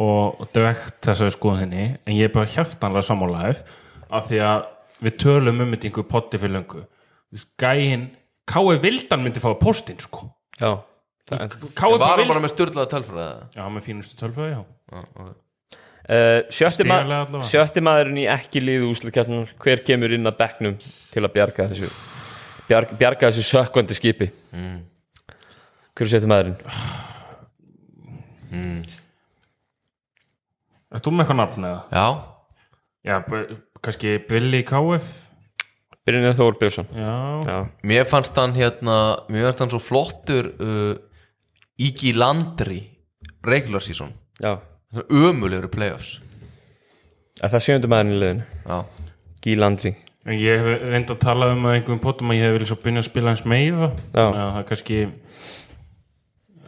Speaker 4: og dvegt þessari skoðinni en ég er bara hjartanlega sammálaðið af því að við tölum um þetta í einhverju potti fyrir löngu Þú veist, Gæinn, K.E. Vildan myndi fá postinn sko
Speaker 3: Já Það,
Speaker 4: K.E.
Speaker 5: var hann bara
Speaker 4: Vildan
Speaker 5: með styrlaða tölfræði
Speaker 4: Já, með fínustu tölfræði, já
Speaker 3: Uh, sjötti, ma
Speaker 4: Stigalega allavega.
Speaker 3: sjötti maðurinn í ekki liðu úslutkeppnum hver kemur inn að bekknum til að bjarga þessu bjarga, bjarga þessu sökkvandi skipi mm. hver er sjötti maðurinn
Speaker 4: Ert þú með eitthvað nafn eða?
Speaker 5: Já,
Speaker 4: Já, b- kannski Billy K.F.
Speaker 3: Brynjar Þór Björnsson
Speaker 4: Já,
Speaker 3: já,
Speaker 5: mér fannst hann hérna mér fannst hann svo flottur uh, Iggy Landry regular season,
Speaker 3: já.
Speaker 5: ömulegur í playoffs
Speaker 3: Er það sjöndi maðurinn í liðinu
Speaker 5: Já,
Speaker 3: Gíl Andri
Speaker 4: En ég hef reynd að tala um að einhverjum potum að ég hef vilja svo byrja að spila hans meira þannig að það er kannski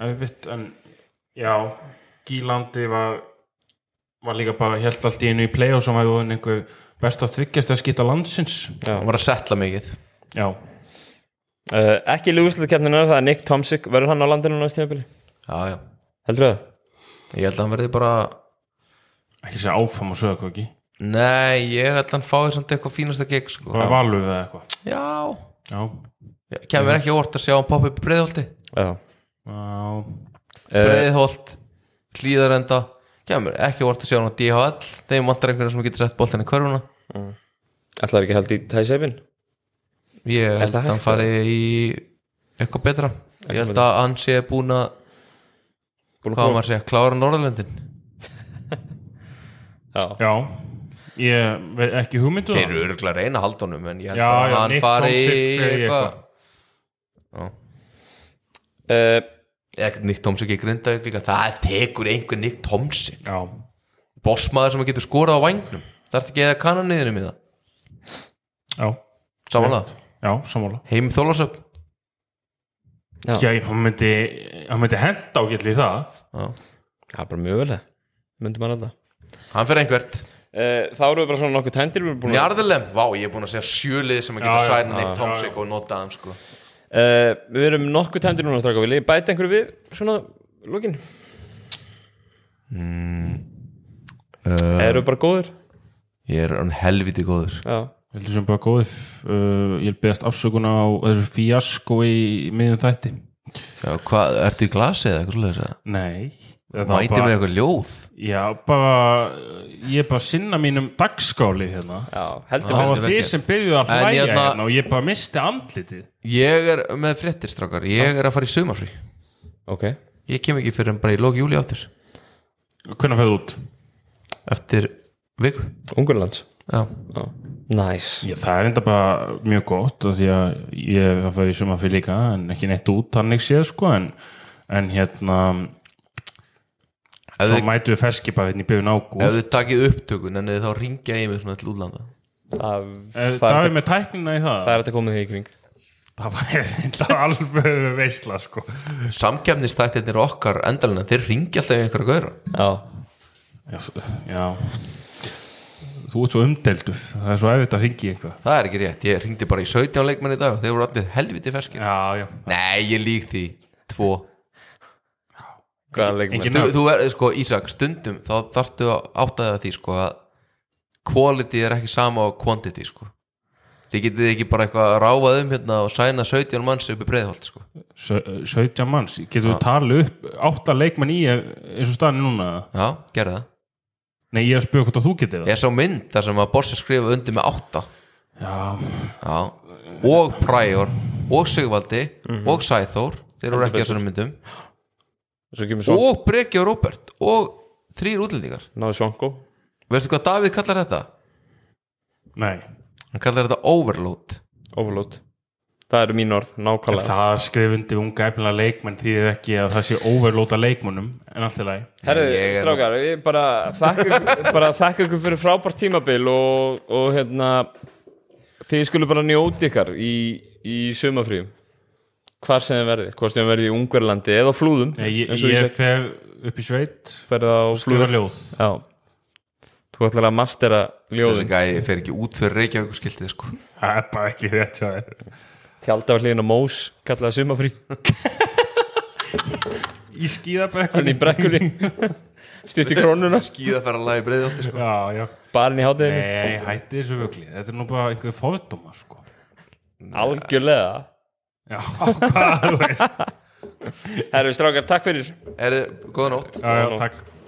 Speaker 4: erfitt en já, Gílandi var var líka bara held allt í einu í play og sem var orðin einhver best að þryggjast að skita landsins
Speaker 5: hann var að setla mikið
Speaker 4: já,
Speaker 3: uh, ekki liðu úslutkeppninu það er Nick Tomsik verður hann á landinu næst tímabili
Speaker 5: Já, já,
Speaker 3: heldur það?
Speaker 5: ég held að hann verði bara
Speaker 4: ekki segja áfram og sögða hvað ekki
Speaker 5: Nei, ég held að hann fái samt eitthvað fínasta gig sko.
Speaker 4: bara valur eða eitthvað
Speaker 5: Já,
Speaker 4: já,
Speaker 5: Ég- kemur ekki óvart að sjá hann poppa upp í breiðholti
Speaker 3: já
Speaker 4: já,
Speaker 5: Eh.
Speaker 3: uh,
Speaker 5: breiðholt, hlýðarenda kemur ekki óvart að sjá hann á DHL þeim vantar einhverjum sem getur sett boltan í körfuna
Speaker 3: ætlaður ekki held í tæsefin
Speaker 5: Ég held
Speaker 3: það
Speaker 5: að hann
Speaker 3: hægt,
Speaker 5: fari í eitthvað betra Ég held að hann sé búin að hvað á maður að segja, klára Norðurlöndin
Speaker 3: já,
Speaker 4: já ég veit ekki um hugmyndu
Speaker 5: Þeir eru örgulega að reyna að halda honum en ég held
Speaker 4: Já,
Speaker 5: að
Speaker 4: já,
Speaker 5: hann
Speaker 4: Nick
Speaker 5: fari í
Speaker 4: Tomsik fer í
Speaker 5: eitthvað
Speaker 4: eitthvað.
Speaker 5: Já.
Speaker 3: uh,
Speaker 5: Ekkert Nick Tomsik í Grindavík líka það tekur einhver Nick Tomsik
Speaker 4: já,
Speaker 5: bossmaður sem getur skorað á vangnum það ert ekki eða kannan niðurum í það
Speaker 4: já,
Speaker 5: samanlega,
Speaker 4: já, sammála
Speaker 5: heim þólasöp
Speaker 4: já, hann myndi, hann myndi henda ágætli í það
Speaker 3: það er bara mjög vel myndum hann alltaf
Speaker 5: hann fer einhvert,
Speaker 3: Uh, þá eru við bara svona nokkuð tæmdir við erum búin að
Speaker 5: Njarðalem, vá ég er búin að segja sjölið sem að
Speaker 4: Já,
Speaker 5: geta
Speaker 4: já,
Speaker 5: sæna
Speaker 4: já,
Speaker 5: Nick
Speaker 4: já,
Speaker 5: Tomsik
Speaker 4: já.
Speaker 5: og nota hann sko
Speaker 3: Uh, við erum nokkuð tæmdir núna stráka vil ég bæta einhverju við svona lókin mm, uh, eru bara góður
Speaker 5: ég er hann helviti góður
Speaker 3: já,
Speaker 4: Heldur sem bara góðið uh, Ég vil beðast afsökun á þessu fíasko í miðjum þætti
Speaker 5: Já, hvað, ertu í glasi eða eitthvað svoleiðis eða?
Speaker 4: Nei það var
Speaker 5: mæti
Speaker 4: bara,
Speaker 5: með eitthvað ljóð
Speaker 4: Já, bara uh, Ég er bara að sinna mínum dagskáli hérna
Speaker 3: já, heldur
Speaker 4: Það
Speaker 3: við
Speaker 5: heldur
Speaker 4: var þið
Speaker 5: vel
Speaker 4: sem byrjuð að
Speaker 5: En
Speaker 4: hlæja
Speaker 5: hérna-
Speaker 4: hérna og ég bara misti andlitið
Speaker 5: ég er með fréttir strákar, ég er að fara í sumarfrí
Speaker 3: ok,
Speaker 5: ég kem ekki fyrir en bara í lók júli áttur
Speaker 4: Hvernig fyrir út?
Speaker 5: eftir viku
Speaker 3: Ungurlands
Speaker 5: já,
Speaker 3: næs,
Speaker 4: Já, það er enda bara mjög gott af því að ég er að fara í suma fyrir líka en ekki neitt út þannig séð sko en, en hérna
Speaker 5: ef
Speaker 4: þá
Speaker 5: þið,
Speaker 4: mætu við ferski bara hérna í byrjun
Speaker 5: ef
Speaker 4: ágúst
Speaker 5: þið takið upptökun en þið þá ringja ég mig svona til útlanda
Speaker 3: það,
Speaker 4: Eh,
Speaker 3: það,
Speaker 4: Davíð
Speaker 3: er,
Speaker 4: með tæknina í það
Speaker 3: það er þetta komið því í kring
Speaker 4: Það var eitthvað alveg veisla sko.
Speaker 5: samkefnistættirnir okkar endalina þeir ringja alltaf í einhverja gauðra
Speaker 3: já,
Speaker 4: Já, s- Já þú ert svo umdelduð það er svo erfitt að fengi einhvað
Speaker 5: það er ekki rétt, ég ringdi bara í 17 leikmenn í dag og þeir voru allir helviti ferskir
Speaker 4: já, já,
Speaker 5: nei, ég lík því, tvo
Speaker 3: Hvaða leikmenn?
Speaker 4: engin
Speaker 5: þú,
Speaker 4: nöfn.
Speaker 5: þú er, sko, Ísak, stundum þá þarftu að áttaða því, sko að quality er ekki sama á quantity, sko þið getið ekki bara eitthvað að ráfað um hérna og sæna 17 manns upp í breiðholt, sko
Speaker 4: Sau- 17 manns, getur þú talið upp átta leikmann í eins og staðan er núna
Speaker 5: já, gerðu það,
Speaker 4: nei, ég er að spjóða hvort að þú getið það
Speaker 5: ég er sá mynd þar sem að Borsi skrifa undir með 8
Speaker 4: já,
Speaker 5: já, og Prior og Sigvaldi og Sæþór þeir eru ekki að svona myndum
Speaker 3: Svo kemur Svonko
Speaker 5: og Breki og Robert og þrýr útlendingar
Speaker 3: Náðu Svonko
Speaker 5: veistu hvað Davíð kallar þetta?
Speaker 4: nei
Speaker 5: hann kallar þetta overload
Speaker 3: Overload Það eru mín orð,
Speaker 4: En
Speaker 3: nákvæmlega
Speaker 4: það skrifundi unga efnilega leikmenn því þið ekki að það sé overlóta leikmennum en allt í lagi
Speaker 3: Herðu,
Speaker 5: Ég er-
Speaker 3: strákar, við bara þakka ykkur- bara þakka ykkur fyrir frábært tímabil og, og hérna þið skulle bara njóti ykkar í, í sumafríum hvar sem þið verði, hvort sem þið verði í Ungverlandi eða á flúðum,
Speaker 4: Nei, ég,
Speaker 3: eins
Speaker 4: ég,
Speaker 3: og ég,
Speaker 4: ég fer upp í sveit
Speaker 3: ég ferði á
Speaker 4: skrifa
Speaker 3: flúður
Speaker 4: ljóð
Speaker 3: Já, þú ætlar að mastera
Speaker 5: þessi
Speaker 3: ljóðin
Speaker 5: gæi fer ekki út fyrir Reykjavík skiltið, sko
Speaker 4: það er bara ekki rétt hjá þér
Speaker 3: Tjálda var hlýðin á Mós, kallaði sumafrí
Speaker 4: í skíðabökkunni
Speaker 3: hann í brekkunni stutt í krónuna,
Speaker 5: skíðaferðalagi breiðholti, sko
Speaker 4: já, já
Speaker 3: barinn í hátíðinni
Speaker 4: Nei, hætti þessu vögli, þetta er nú bara einhver fóðdóma sko.
Speaker 3: algjörlega
Speaker 4: Já, hvað þú veist
Speaker 3: Herru, strákar, takk fyrir
Speaker 5: er sko. góða nótt
Speaker 4: Já, já, takk